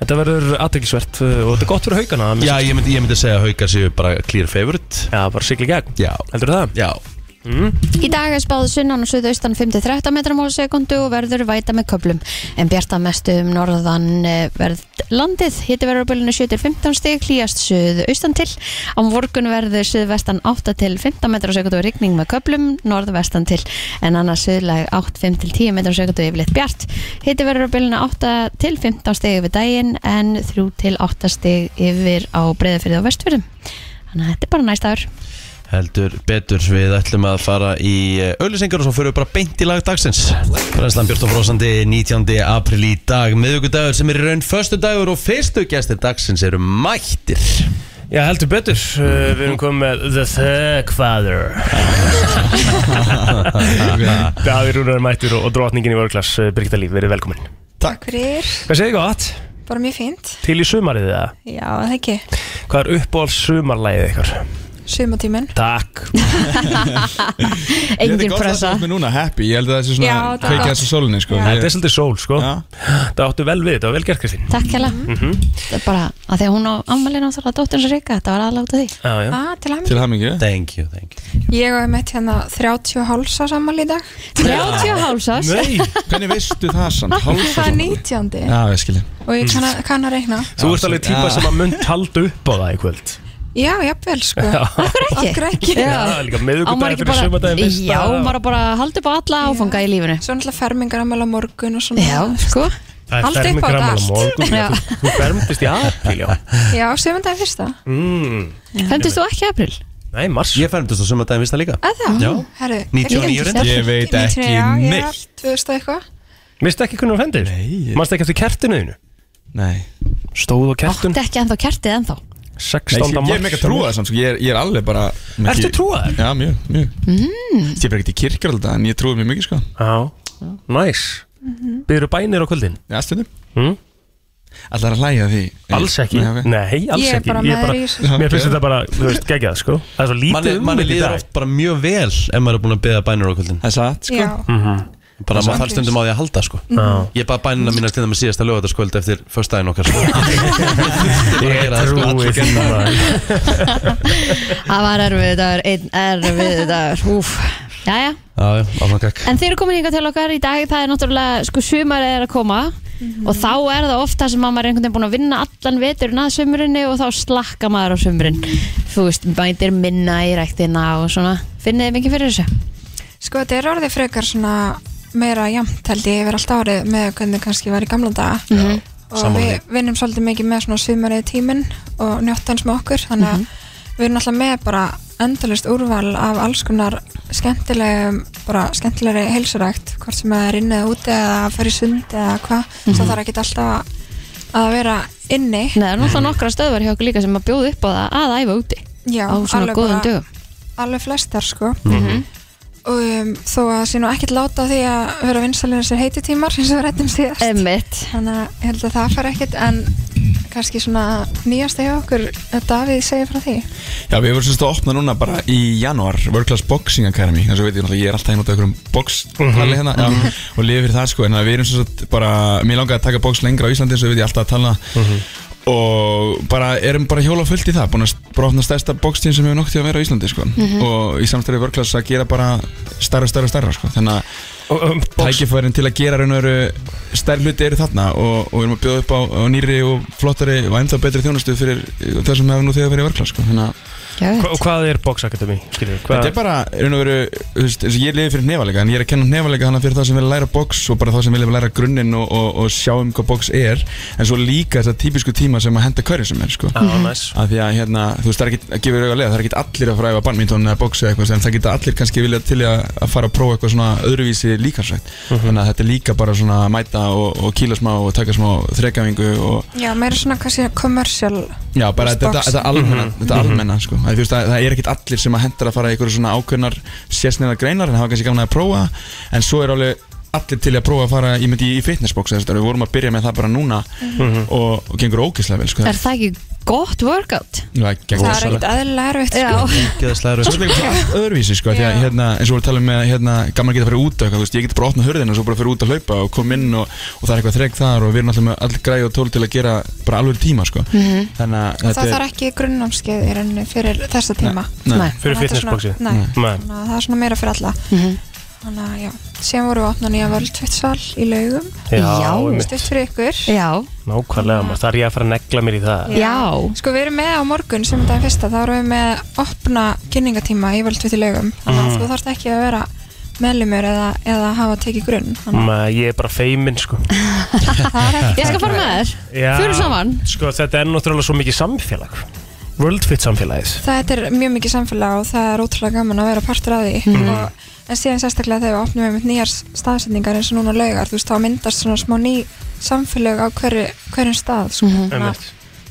[SPEAKER 4] Þetta verður aðdeglisvert og þetta er gott fyrir haugana að
[SPEAKER 2] Já,
[SPEAKER 4] minnsta-
[SPEAKER 2] ég myndi, ég myndi segja að haukar séu bara clear favorite
[SPEAKER 4] já, bara sigli í gegn
[SPEAKER 2] Já,
[SPEAKER 4] Heldur það?
[SPEAKER 2] já
[SPEAKER 3] Í dag er spáð sunnan og suðaustan 5-13 metrum á sekundu og verður væta með köplum. En bjarta mestu um norðan eh, verð landið. Hitti verður á bylunni 7-15 stig, klíast suðaustan til. Á morgun verður suðvestan 8-15 metrum á sekundu og rigning með köplum, norðvestan til. En annars suðlæg 8-5-10 metrum á sekundu yfirleitt bjart. Hitti verður á bylunni 8-15 stig yfir daginn en 3-8 stig yfir á breyðafyrði og vestfyrðum. Þannig að þetta er bara næsta ár.
[SPEAKER 2] Heldur betur, við ætlum að fara í auðlýsingar og svo fyrir við bara beint í lag dagsins. Brænslan Björn og Frósandi, 19. april í dag, miðvíkudagur sem er í raun förstu dagur og fyrstu gæstir dagsins eru mættir.
[SPEAKER 4] Já, heldur betur uh, Við erum komið með The Thug Father
[SPEAKER 6] [LAUGHS]
[SPEAKER 4] Davíð Rúnar Mættur og, og drotningin í vörglas uh, Birgitta Líf, verið velkomin
[SPEAKER 7] Takk fyrir,
[SPEAKER 4] Hvað segir gott?
[SPEAKER 7] bara mjög fínt
[SPEAKER 4] Til í sumarið það?
[SPEAKER 7] Já, það ekki,
[SPEAKER 4] Hvað er uppáhalds sumarlægið ykkar?
[SPEAKER 7] sumatíminn
[SPEAKER 4] Takk
[SPEAKER 3] Engin pressa.
[SPEAKER 6] Ég veit ekki hvað það er núna, happy Ég held að það sé svona
[SPEAKER 7] Já, það er
[SPEAKER 6] kveikja
[SPEAKER 7] gott.
[SPEAKER 6] þessu sólinni sko.
[SPEAKER 4] Þetta er
[SPEAKER 6] Ég-
[SPEAKER 4] svolítið sól, sko
[SPEAKER 6] Já.
[SPEAKER 4] Það áttu vel við, þetta var vel gert Kristín Mhm.
[SPEAKER 3] Takk hella Það er bara að því að hún á ammali náttúrulega dótturins reyka, þetta var aðláta því
[SPEAKER 4] Já, já
[SPEAKER 7] ah, Til hann,
[SPEAKER 6] Til hamingju
[SPEAKER 2] Thank you, thank you.
[SPEAKER 7] ég hef meitt hérna 30 hálsa sammál í dag
[SPEAKER 3] 30 hálsás
[SPEAKER 4] Nei,
[SPEAKER 6] Hvernig veistu það sann?
[SPEAKER 7] Það er 19.
[SPEAKER 6] Já, ég skilji
[SPEAKER 4] Mm.
[SPEAKER 7] og ég kann að, kann að reikna
[SPEAKER 4] þú ert alveg típa
[SPEAKER 6] Já.
[SPEAKER 4] sem að mynd halda upp á það í kvöld
[SPEAKER 7] Já, jafnvel sko Akkur ekki
[SPEAKER 4] Það er
[SPEAKER 3] Já,
[SPEAKER 4] líka
[SPEAKER 3] á maður
[SPEAKER 4] miðvikudaginn
[SPEAKER 3] ekki
[SPEAKER 4] fyrir
[SPEAKER 3] bara
[SPEAKER 4] sumardaginn fyrsta.
[SPEAKER 3] Já, maður á bara að halda upp á alla áfanga í lífinu
[SPEAKER 7] Svo náttúrulega fermingar ammál á morgun og svona
[SPEAKER 3] Já, sko
[SPEAKER 4] Það
[SPEAKER 7] Halda upp á
[SPEAKER 4] fermingar
[SPEAKER 7] þetta
[SPEAKER 4] afmæli á
[SPEAKER 7] allt.
[SPEAKER 4] morgun,
[SPEAKER 3] Já.
[SPEAKER 4] þú- Þú fermdist í apríl, já
[SPEAKER 7] Já, sömundaginn fyrsta
[SPEAKER 4] mm.
[SPEAKER 3] Femtist þú ekki april?
[SPEAKER 4] Nei, mars
[SPEAKER 2] Ég fermdist á sumardaginn vista líka.
[SPEAKER 7] Að það?
[SPEAKER 2] Já.
[SPEAKER 7] Herru,
[SPEAKER 2] 99 reyndar.
[SPEAKER 6] Ég veit ekki neitt
[SPEAKER 7] 2000 eitthvað
[SPEAKER 4] Mistu ekki hvernig hún fendir?
[SPEAKER 6] Nei.
[SPEAKER 4] Manstu ekki eftir kertinu þínu?
[SPEAKER 6] Nei
[SPEAKER 4] Stóð á kertun
[SPEAKER 3] Átti ekki ennþá kertið ennþá
[SPEAKER 6] Nei,
[SPEAKER 4] 16.
[SPEAKER 6] ég,
[SPEAKER 4] mars
[SPEAKER 6] ég er mega trúa það samt, sko. ég, er- ég er alveg bara
[SPEAKER 4] Ertu trúaður? Mm.
[SPEAKER 6] Já, mjög, mjög Ég er bara ekkert í kirkjur alltaf, en ég trúi mjög mikið sko Mhm.
[SPEAKER 4] Já næs Byrðu bænir á kvöldin?
[SPEAKER 6] Já, stundum
[SPEAKER 4] Mm?
[SPEAKER 6] Allar að hlæja að því
[SPEAKER 4] Alls ekki
[SPEAKER 6] Nei, ok.
[SPEAKER 4] Nei, alls
[SPEAKER 7] Ég er
[SPEAKER 4] ekki
[SPEAKER 7] bara með þér í þessu.
[SPEAKER 4] Mér finnst þetta bara, þú veist, geggjað sko Það er svo
[SPEAKER 2] Manni,
[SPEAKER 4] lítið um
[SPEAKER 2] manni
[SPEAKER 4] þetta í
[SPEAKER 2] líður
[SPEAKER 4] dag
[SPEAKER 2] oft bara mjög vel ef maður er búin að beða bænir á kvöldin
[SPEAKER 6] Það er satt, sko
[SPEAKER 7] Já,
[SPEAKER 2] bara maður þarf stundum á því að halda sko
[SPEAKER 4] Mhm. Já.
[SPEAKER 2] ég baði bænina mína stundum með síðasta lögataskvöld eftir föstudaginn okkar
[SPEAKER 4] [LAUGHS]
[SPEAKER 2] sko.
[SPEAKER 4] Ég
[SPEAKER 2] gera það, sko,
[SPEAKER 4] trúi
[SPEAKER 2] allir
[SPEAKER 4] því maður.
[SPEAKER 3] Það var erfið dagur, einn erfið dagur Úf,
[SPEAKER 2] já,
[SPEAKER 3] jæja
[SPEAKER 2] já, áfram gekk
[SPEAKER 3] En þeir eru komin hingað til okkar í dag Það er náttúrulega, sko, sumar er að koma Og þá er það ofta sem að maður er einhvern veginn búin að vinna allan veturinn að sumrinni og þá slakka maður á sumrin Þú veist, bændir minna í ræktina og svona Finnið þið mikið fyrir þessu?
[SPEAKER 7] sko þetta er orðið frekar svona meira jæmt held ég yfir allt árið með hvernig kannski var í gamla daga og
[SPEAKER 2] sammála
[SPEAKER 7] við vinnum svolítið mikið með svona svimarið tíminn og njótt hans með okkur þannig
[SPEAKER 6] Mhm.
[SPEAKER 7] að við erum alltaf með bara endalist úrval af alls konar skemmtilegum, bara skemmtilegri heilsurækt, hvort sem það er inni eða úti eða að fara í sund eða hvað
[SPEAKER 6] Mhm.
[SPEAKER 7] svo þarf ekki alltaf að- að vera inni
[SPEAKER 3] Nei, það er náttúrulega nokkra stöðvar hjá okkur líka sem að bjóða upp á það að æfa úti
[SPEAKER 7] Já,
[SPEAKER 3] á svona
[SPEAKER 7] alveg
[SPEAKER 3] góðum
[SPEAKER 7] bara-
[SPEAKER 3] dögum
[SPEAKER 7] alveg flestar sko
[SPEAKER 3] Mhm.
[SPEAKER 7] og um, þó að það sé nú ekkert láta á því að vera vinsalega sér heititímar [LAUGHS] eins og við rættum síðast
[SPEAKER 3] Emmitt
[SPEAKER 7] þannig að ég held að það fari ekkert en kannski svona nýjasta hjá okkur að Davíð segir frá því
[SPEAKER 6] Já, við vorum semst að opna núna bara í janúar World Class Boxing Academy eins og veitir, náttúrulega, ég er alltaf hérna út af einhverjum boxtali
[SPEAKER 4] Mhm.
[SPEAKER 6] hérna já, og lifi fyrir það sko en að við erum semst bara, mér langaði að taka box lengra á Íslandi eins og við ég alltaf að tala
[SPEAKER 4] Mhm.
[SPEAKER 6] og bara erum bara hjóla fullt í það búin að brotna stærsta boxtíðin sem hefur nokt í að vera á Íslandi sko og í samstæri World Class að gera bara stærra, stærra, stærra sko þannig að
[SPEAKER 4] Og, um, box-
[SPEAKER 6] tækifærin til að gera raun og veru stærri hluti eru þarna og, og við erum að bjóða upp á, á nýri og flottari og enda betri þjónustu fyrir það sem hefur nú þegar verið verklað sko. þannig að
[SPEAKER 4] Hva- Hvað er Box Academy? Skilur, hvað,
[SPEAKER 6] þetta er bara raun og veru, þú veist, eins og ég lifi fyrir nefalega en ég er að kenna nefalega þannig að fyrir það sem vilja læra box og bara það sem vilja læra grunninn og, og, og sjá um hvað box er en svo líka þessa típisku tíma sem að henda hverju sem er sko.
[SPEAKER 4] Á, næs
[SPEAKER 6] af því að hérna, þú veist, það er ekki að gefa þér auga leið, það er ekki allir að fara að æfa badminton eða boxi eða eitthvað, en það geta allir kannski vilja til í að, að fara að prófa eitthvað svona öðruvísi líkansvægt,
[SPEAKER 4] Mhm.
[SPEAKER 6] þannig að þetta er líka bara svona að mæta og, og kýla smá og taka smá þrekafingu og
[SPEAKER 7] Já, meira svona kannski kommersjál
[SPEAKER 6] já, bara þetta, þetta,
[SPEAKER 7] Boxing.
[SPEAKER 6] þetta almenna, þetta almenna sko, að, þú veist, það, það er ekki allir sem að hendur að fara í eitthvað svona ákveðnar sérsneiðar greinar, en það var kannski gaman að prófa en svo er alveg allir til í að prófa að fara í, myndi, í fitnessbox, þess að við vorum að byrja með það bara núna og, og gengur ógislega vel sko,
[SPEAKER 3] Er það ekki gott workout?
[SPEAKER 6] það, það,
[SPEAKER 7] það er ekkert aðlilega erfitt sko.
[SPEAKER 2] Geðslega
[SPEAKER 6] Svo er
[SPEAKER 2] erfitt.
[SPEAKER 6] þetta eitthvað allt öðruvísi sko Því að
[SPEAKER 7] Já.
[SPEAKER 6] hérna, eins og við talum með hérna Gaman að geta að fara út og eitthvað, þú veist Ég get bara að opna hörðina og svo bara að fara út að hlaupa og koma inn og, og það er eitthvað þreg þar og við erum alltaf með all græði og tól til að gera bara alveg tíma sko Þannig að
[SPEAKER 7] Mhm. og það þarf ekki grunnámskeið í rauninni fyrir þessa tíma
[SPEAKER 3] Nei.
[SPEAKER 4] Fyrir
[SPEAKER 7] Þannig að þetta er svona-
[SPEAKER 4] fitnessboxi
[SPEAKER 7] Nei,
[SPEAKER 4] Nei.
[SPEAKER 7] þannig að það er svona meira fyrir alla
[SPEAKER 3] Mhm.
[SPEAKER 7] þannig að já, síðan vorum við að opna nýja völdfittsal í laugum
[SPEAKER 3] Já.
[SPEAKER 4] einmitt.
[SPEAKER 7] stutt fyrir ykkur
[SPEAKER 3] Já,
[SPEAKER 4] Nákvæmlega maður, það er ég að fara að negla mér í það
[SPEAKER 3] já
[SPEAKER 7] Sko við erum með á morgun sem þetta er fyrsta þá erum við með opna kynningatíma í völdviti lögum þannig
[SPEAKER 3] Mhm.
[SPEAKER 7] að þú þarft ekki að vera meðlumur eða, eða hafa tekið grunn þannig
[SPEAKER 4] Ma, Ég er bara feiminn sko
[SPEAKER 7] að það er ekki
[SPEAKER 3] Ég skal fara með þér
[SPEAKER 4] Já.
[SPEAKER 3] Förum saman.
[SPEAKER 4] Sko þetta er náttúrulega svo mikið samfélag Worldfit samfélagið
[SPEAKER 7] Það er mjög mikið samfélag og það er ótrúlega gaman að vera partur af því
[SPEAKER 3] Mhm.
[SPEAKER 7] og, en síðan sérstaklega þegar við opnum með nýjar staðsendingar eins og núna laugar þú veist þá myndast svona smá ný samfélag á hverju, hverjum stað sko.
[SPEAKER 3] Mhm.
[SPEAKER 7] mm -hmm.
[SPEAKER 4] Einmitt.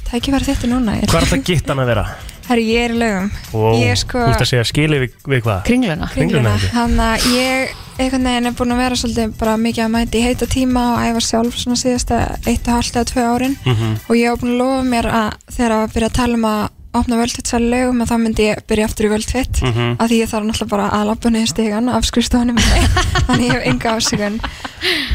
[SPEAKER 7] Það ekki verið þetta núna
[SPEAKER 4] Hvað er þetta gittan að vera?
[SPEAKER 7] Herri, ég er í lögum
[SPEAKER 4] Wow.
[SPEAKER 7] Ég er sko
[SPEAKER 4] Þú ert að segja skilið við, við hvað?
[SPEAKER 7] kringluna
[SPEAKER 3] Kringluna
[SPEAKER 4] Kringluna, ekki?
[SPEAKER 7] þannig að ég einhvern veginn er búin að vera svolítið bara mikið að mæta í heita tíma og æfa sjálf svona síðasta eitt og halvt eða tvö árin
[SPEAKER 2] Mhm.
[SPEAKER 4] Mm.
[SPEAKER 7] og ég var búin að lofa mér að þegar að byrja að tala um að opna völdfittsal lögum að þá myndi ég byrja aftur í völdfitt mm
[SPEAKER 4] Mhm.
[SPEAKER 7] að því ég þarf náttúrulega bara að labba niður stegan af skrifstofunum
[SPEAKER 3] [LAUGHS]
[SPEAKER 7] minni þannig ég hef enga ásökun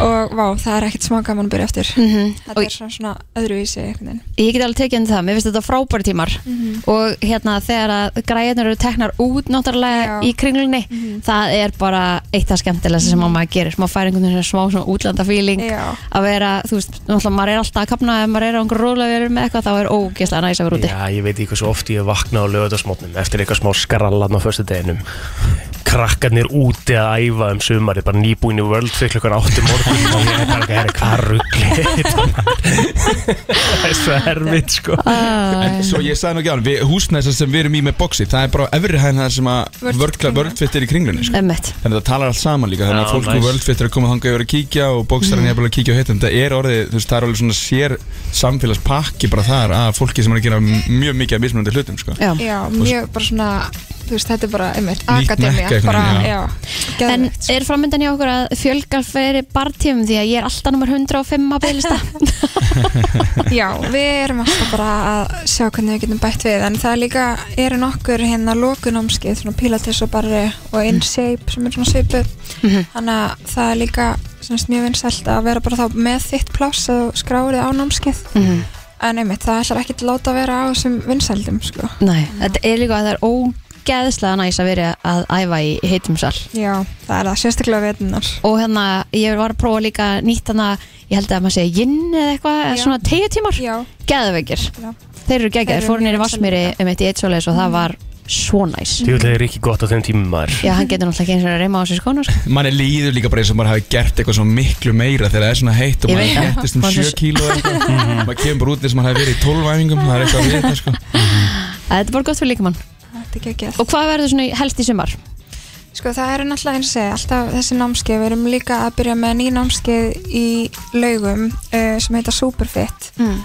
[SPEAKER 7] og vá, það er ekkert smá gaman að byrja aftur þetta
[SPEAKER 3] Mhm. Og-
[SPEAKER 7] er svona, svona öðruvísi einhvern veginn
[SPEAKER 3] Ég get alveg tekið undir það, mér finnst þetta frábæri tímar
[SPEAKER 7] Mhm.
[SPEAKER 3] og hérna þegar að græðunar eru teknar út náttúrulega
[SPEAKER 7] Já. Mhm.
[SPEAKER 3] í kringlunni það er bara eitt af skemmtilegast sem maður gerir, maður fær einhvern veginn smá svona útlandafíling
[SPEAKER 7] Já.
[SPEAKER 3] að vera, þú veist, náttúrulega maður er alltaf að kapna ef maður er á einhver rólega með eitthvað þá er ógeðslega næs að vera úti
[SPEAKER 4] Já, ég veit ekki hversu oft ég vakna á lögðarsmótnum eftir eitthvað smá skrallan á föstu deginum krakkarnir úti að æfa um sumari, bara nýbúin í World Fit klukkan 8 morgun og ég er bara ekki að herra hvað ruggli það
[SPEAKER 3] [LAUGHS]
[SPEAKER 4] er svo erfitt sko
[SPEAKER 3] Ah.
[SPEAKER 6] En svo ég sagði nú ekki á hann, húsnæðisar sem við erum í með boxi, það er bara á efri hæðin það sem að
[SPEAKER 7] World-
[SPEAKER 6] vörkla vörðfitt er í kringlunni sko.
[SPEAKER 3] Ömmett,
[SPEAKER 6] Þannig að það talar allt saman líka, þannig
[SPEAKER 4] Já,
[SPEAKER 6] að fólk
[SPEAKER 4] nice.
[SPEAKER 6] úr vörðfitt er að koma þangað yfir að kíkja og
[SPEAKER 3] Mm.
[SPEAKER 6] bókstarinn er bara að kíkja og heitum, það er orðið, þú veist, það er alveg svona sér samfélagspakki bara þar að fólki sem er að gera mjög mikið af mismunandi hlutum sko.
[SPEAKER 3] já,
[SPEAKER 7] Já, mjög bara svona þú veist, þetta er bara, einmitt,
[SPEAKER 6] Nýtt
[SPEAKER 7] akademía
[SPEAKER 6] mekka einhvern
[SPEAKER 7] bara,
[SPEAKER 6] veginn,
[SPEAKER 7] já, sko.
[SPEAKER 6] já.
[SPEAKER 3] En
[SPEAKER 7] geðvegt
[SPEAKER 3] er framöndan hjá okkur að fjölga fyrir bartíum því að ég er alltaf nummer 105 á bygglista
[SPEAKER 7] Já, við erum alltaf bara að sjá hvernig við getum bætt við en það líka eru nokkur hérna lokunámskið, svona Pilates og barri og
[SPEAKER 3] Mm.
[SPEAKER 7] InShape sem er svona svipu þannig að það er líka semst, mjög vinsælt að vera bara þá með þitt pláss að skráður þið á námskið en einmitt, það ætlar ekki að láta að vera á þessum vinsældum, sko
[SPEAKER 3] Nei, þetta er líka að það er ógeðslega næs að vera að æfa í heitum sal
[SPEAKER 7] Já, það er það, sérstaklega vetunar
[SPEAKER 3] og hérna, ég var að prófa líka nýtt hana, ég held að maður segja yin eða eitthvað, eða
[SPEAKER 7] Já.
[SPEAKER 3] svona tegjutímar
[SPEAKER 7] Já,
[SPEAKER 3] geðveikir,
[SPEAKER 7] já,
[SPEAKER 3] þeir eru
[SPEAKER 7] Þeir
[SPEAKER 3] geggjaðir
[SPEAKER 7] eru
[SPEAKER 3] fóru nýri
[SPEAKER 7] mjög Mm.
[SPEAKER 3] vassmýri
[SPEAKER 7] vinsælir.
[SPEAKER 3] um eitt í eitt svoleiðis og það var svo næs
[SPEAKER 4] Þjóðlega er ekki gott á þeim tímum maður
[SPEAKER 3] Já, hann getur náttúrulega ekki eins og að reyma á sér
[SPEAKER 7] [LAUGHS]
[SPEAKER 3] skóna sko.
[SPEAKER 6] manni líður líka bara eins og maður hafi gert eitthvað svo miklu meira þegar það er svona heitt og
[SPEAKER 3] Ég
[SPEAKER 6] maður
[SPEAKER 3] veit það.
[SPEAKER 6] hættist um
[SPEAKER 3] Maður
[SPEAKER 6] 7
[SPEAKER 3] svo-
[SPEAKER 6] kíló eða eitthvað.
[SPEAKER 4] Mhm.
[SPEAKER 6] maður kemur bara út eins og maður hafi verið í 12 æfingum það er eitthvað við þetta sko
[SPEAKER 3] Þetta er bara gott fyrir líkamann
[SPEAKER 7] þetta er ekki ekki
[SPEAKER 3] Og hvað verður svona í- helst í sumar?
[SPEAKER 7] Sko það eru náttúrulega eins og segja, alltaf þessi námskeið, við erum líka að byrja með ný námskeið í laugum uh, sem heita Superfit
[SPEAKER 3] Mm.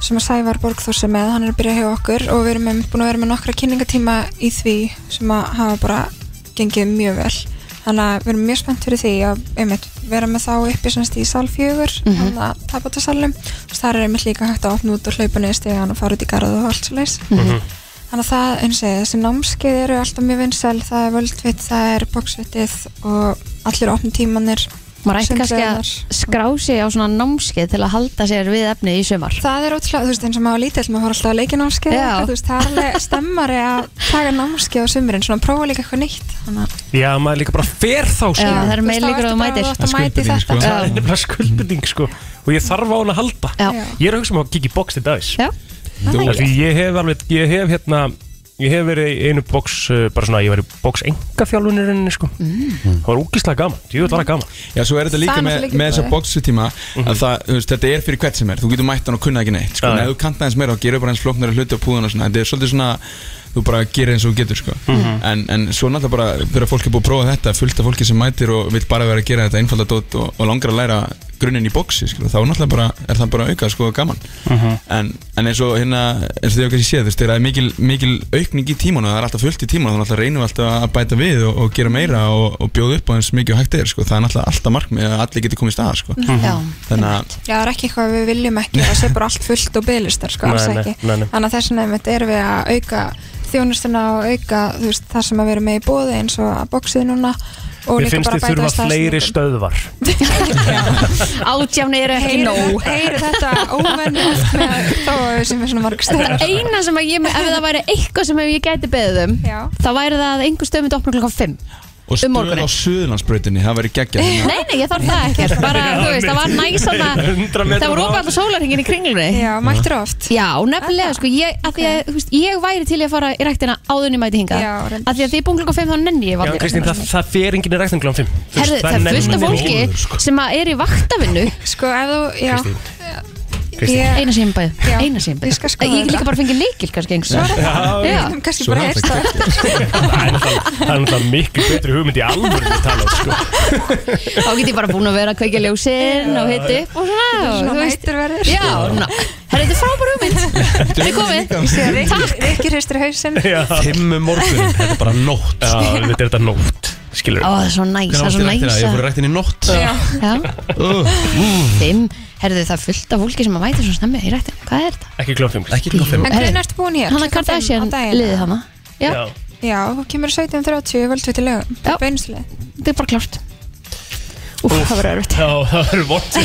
[SPEAKER 7] sem að Sævar Borgþórsi með, hann er að byrja hjá okkur og við erum einmitt búin að vera með nokkra kynningatíma í því sem að hafa bara gengið mjög vel þannig að við erum mjög spennt fyrir því að einmitt, vera með þá uppi semst í sal fjögur mm -hmm. þannig að tapatasalum þar er einmitt líka hægt að opna út og hlaupa niður stegan og fara út í garð og allt svo leis
[SPEAKER 1] Mhm.
[SPEAKER 7] Þannig að það, eins og ég, þessi námskeið eru alltaf mjög vinsæl, það er völdvitt, það er boksvitið og allir opnum tímanir.
[SPEAKER 3] Maður ætti kannski að
[SPEAKER 7] sundlaugarnar.
[SPEAKER 3] skrá sig á svona námskeið til að halda sér við efnið í sumar
[SPEAKER 7] Það er ótrúlega, þú veist, eins og maður var lítill, maður fór alltaf að leikja námskeið,
[SPEAKER 3] Já.
[SPEAKER 7] þú veist, það er alveg stemmari að taka námskeið á sumurinn, svona að prófa líka eitthvað nýtt. Þannig að
[SPEAKER 4] [LAUGHS] Já, maður er líka bara fer þá sko
[SPEAKER 3] Já, það
[SPEAKER 7] Þú
[SPEAKER 3] eru
[SPEAKER 7] veist,
[SPEAKER 3] meir
[SPEAKER 7] þá
[SPEAKER 3] líkur
[SPEAKER 7] ertu
[SPEAKER 3] að þú
[SPEAKER 7] bara
[SPEAKER 3] mætir
[SPEAKER 7] að láta
[SPEAKER 6] Það
[SPEAKER 7] mæta í þetta.
[SPEAKER 6] skuldbinding, sko.
[SPEAKER 3] Já.
[SPEAKER 4] Það er nefnilega skuldbinding sko Og ég þarf á hún að halda
[SPEAKER 3] Já,
[SPEAKER 7] Já.
[SPEAKER 4] Ég er að hugsa um að kikið box til dags
[SPEAKER 3] já,
[SPEAKER 6] Þú-
[SPEAKER 4] Af Því ég hef alveg, ég hef hérna Ég hef verið í einu box, uh, bara svona, ég var í box engaþjálfunirinn, sko.
[SPEAKER 3] Mm.
[SPEAKER 4] Það var úkislega gaman, ég veit var það gaman. Mhm.
[SPEAKER 6] Já, svo er þetta líka
[SPEAKER 7] Það er
[SPEAKER 6] með,
[SPEAKER 7] náttúrulega
[SPEAKER 6] með þessa
[SPEAKER 7] líka
[SPEAKER 6] boxutíma að það, þú veist, þetta er fyrir hvert sem er þú getur mætt hann og kunnað ekki neitt sko.
[SPEAKER 4] Já,
[SPEAKER 6] en
[SPEAKER 4] já.
[SPEAKER 6] ef þú kannt aðeins meira og gerir bara eins flóknari hluti á púðan og svona, þetta er svolítið svona þú bara gerir eins og þú getur sko.
[SPEAKER 4] Mhm.
[SPEAKER 6] en, en svo náttúrulega bara, þegar fólk er búið að prófa þetta fullt af fólki sem mætir og vill bara vera að gera þetta einfaldadót og, og langar að læra grunninn í boxi, sko. þá náttúrulega bara er það bara auka, sko, og gaman
[SPEAKER 2] Mhm.
[SPEAKER 6] en, en eins og hérna, eins og þið hefur kannski séð þú veist, þegar það er mikil, mikil aukning í tímanu það er alltaf fullt í tímanu, þá náttúrulega reynum við alltaf að bæta við og, og gera meira
[SPEAKER 3] Mhm.
[SPEAKER 6] og, og bjóða upp á eins mikið og hægt er, sko, það er náttúrulega alltaf markmið að allir geti komið í staða, sko
[SPEAKER 3] Mhm. já
[SPEAKER 6] þannig að
[SPEAKER 7] Já, það er ekki eitthvað við viljum ekki, það sé bara allt fullt og bygglistar, sko,
[SPEAKER 4] Nei,
[SPEAKER 7] alls
[SPEAKER 4] nei,
[SPEAKER 7] ekki.
[SPEAKER 4] nei, nei.
[SPEAKER 7] Þannig að þess vegna einmitt erum við að auka þjónustuna og auka, þú veist, það sem að vera með í bóði eins og að boxið núna og
[SPEAKER 4] Mér
[SPEAKER 7] líka
[SPEAKER 4] finnst
[SPEAKER 7] bara
[SPEAKER 4] þið
[SPEAKER 7] að bæta
[SPEAKER 4] þurfa fleiri stöðvar.
[SPEAKER 3] Átjáni eru ekki nóg
[SPEAKER 7] Heyri þetta
[SPEAKER 3] [LAUGHS]
[SPEAKER 7] óvenni oft með þá sem er svona marg stöðar.
[SPEAKER 3] Eina sem að ég, ef það væri eitthvað sem ég gæti beðið um
[SPEAKER 7] Já.
[SPEAKER 3] þá væri það að einhver stöð myndi opna klokkan 5
[SPEAKER 6] og
[SPEAKER 3] Um
[SPEAKER 6] stöð
[SPEAKER 3] morguninn.
[SPEAKER 6] á Suðurlandsbrautinni, það væri geggjað hérna.
[SPEAKER 3] [LAUGHS] Nei, nei, ég þarf það ekkert
[SPEAKER 4] [LAUGHS]
[SPEAKER 3] Bara, þú veist, það var næsan að
[SPEAKER 4] 100 metra
[SPEAKER 3] Það voru opað allar sólarhengin í kringlunni
[SPEAKER 7] Já, mættur oft.
[SPEAKER 3] Já, nefnilega, sko, ég, að því að, þú veist, ég væri til í að fara í ræktina áðunni mæti hingað
[SPEAKER 7] Já, reyndar.
[SPEAKER 3] Af því að því búin klokkan 5 þá nenni ég
[SPEAKER 4] Já,
[SPEAKER 3] valdi
[SPEAKER 4] Kristín, það, það fer enginn í ræktinglum 5
[SPEAKER 3] Herðu, það er fullt af
[SPEAKER 6] óður, sko.
[SPEAKER 3] fólki sem að er í vaktavinnu
[SPEAKER 7] Sko, ef þú, já.
[SPEAKER 4] Kristín.
[SPEAKER 7] Ég-
[SPEAKER 3] Eina sem ég bæði,
[SPEAKER 7] Já.
[SPEAKER 3] eina sem ég
[SPEAKER 7] Ég skal
[SPEAKER 3] bæði
[SPEAKER 7] skoða
[SPEAKER 3] Ég get líka
[SPEAKER 7] þetta.
[SPEAKER 3] bara fengið leikil, kannski einhvers staðar. Já,
[SPEAKER 7] Ég hef kannski
[SPEAKER 6] Svo
[SPEAKER 7] bara
[SPEAKER 6] er
[SPEAKER 7] heyrst það.
[SPEAKER 6] þetta
[SPEAKER 4] Það er náttúrulega- það er náttúrulega miklu betri hugmynd í alvöru að tala um,
[SPEAKER 3] [LAUGHS]
[SPEAKER 4] sko.
[SPEAKER 3] þá get ég bara búin að vera að kveikja ljósin og hitt upp og svona,
[SPEAKER 7] Svona
[SPEAKER 3] þú veist
[SPEAKER 7] mættur verður.
[SPEAKER 3] Já, ná, herru, þetta er frábær hugmynd Þetta er komið
[SPEAKER 7] Sér, Rikki Rikki hristir hausinn.
[SPEAKER 4] Já,
[SPEAKER 2] Fimm um morgunin, þetta er bara nótt
[SPEAKER 4] Já, þetta er þetta nótt, skilur
[SPEAKER 3] Ó, það er svo næs, það er svo
[SPEAKER 2] Hvernig átti ræktina? Ég fór
[SPEAKER 3] næs
[SPEAKER 2] í ræktina í nótt
[SPEAKER 7] Já.
[SPEAKER 3] Já,
[SPEAKER 2] Uh,
[SPEAKER 3] fimm, herru, það er fullt af fólki sem að mæta svo snemmi í rættin Hvað er þetta?
[SPEAKER 4] Ekki klokkum fimm
[SPEAKER 2] Ekki klokkan fimm
[SPEAKER 7] En hvernig ertu búin hér?
[SPEAKER 3] Hanna
[SPEAKER 7] Klukkan fimm á
[SPEAKER 3] Kardashian
[SPEAKER 7] daginn?
[SPEAKER 3] liði hana Já,
[SPEAKER 4] Já,
[SPEAKER 7] Já, þú kemur 17.30 völdvið til lögum
[SPEAKER 3] Já.
[SPEAKER 7] Beinslega
[SPEAKER 3] þetta er bara klárt Úf, það verður örfitt
[SPEAKER 4] Já, [LAUGHS] það verður vort
[SPEAKER 3] [LAUGHS]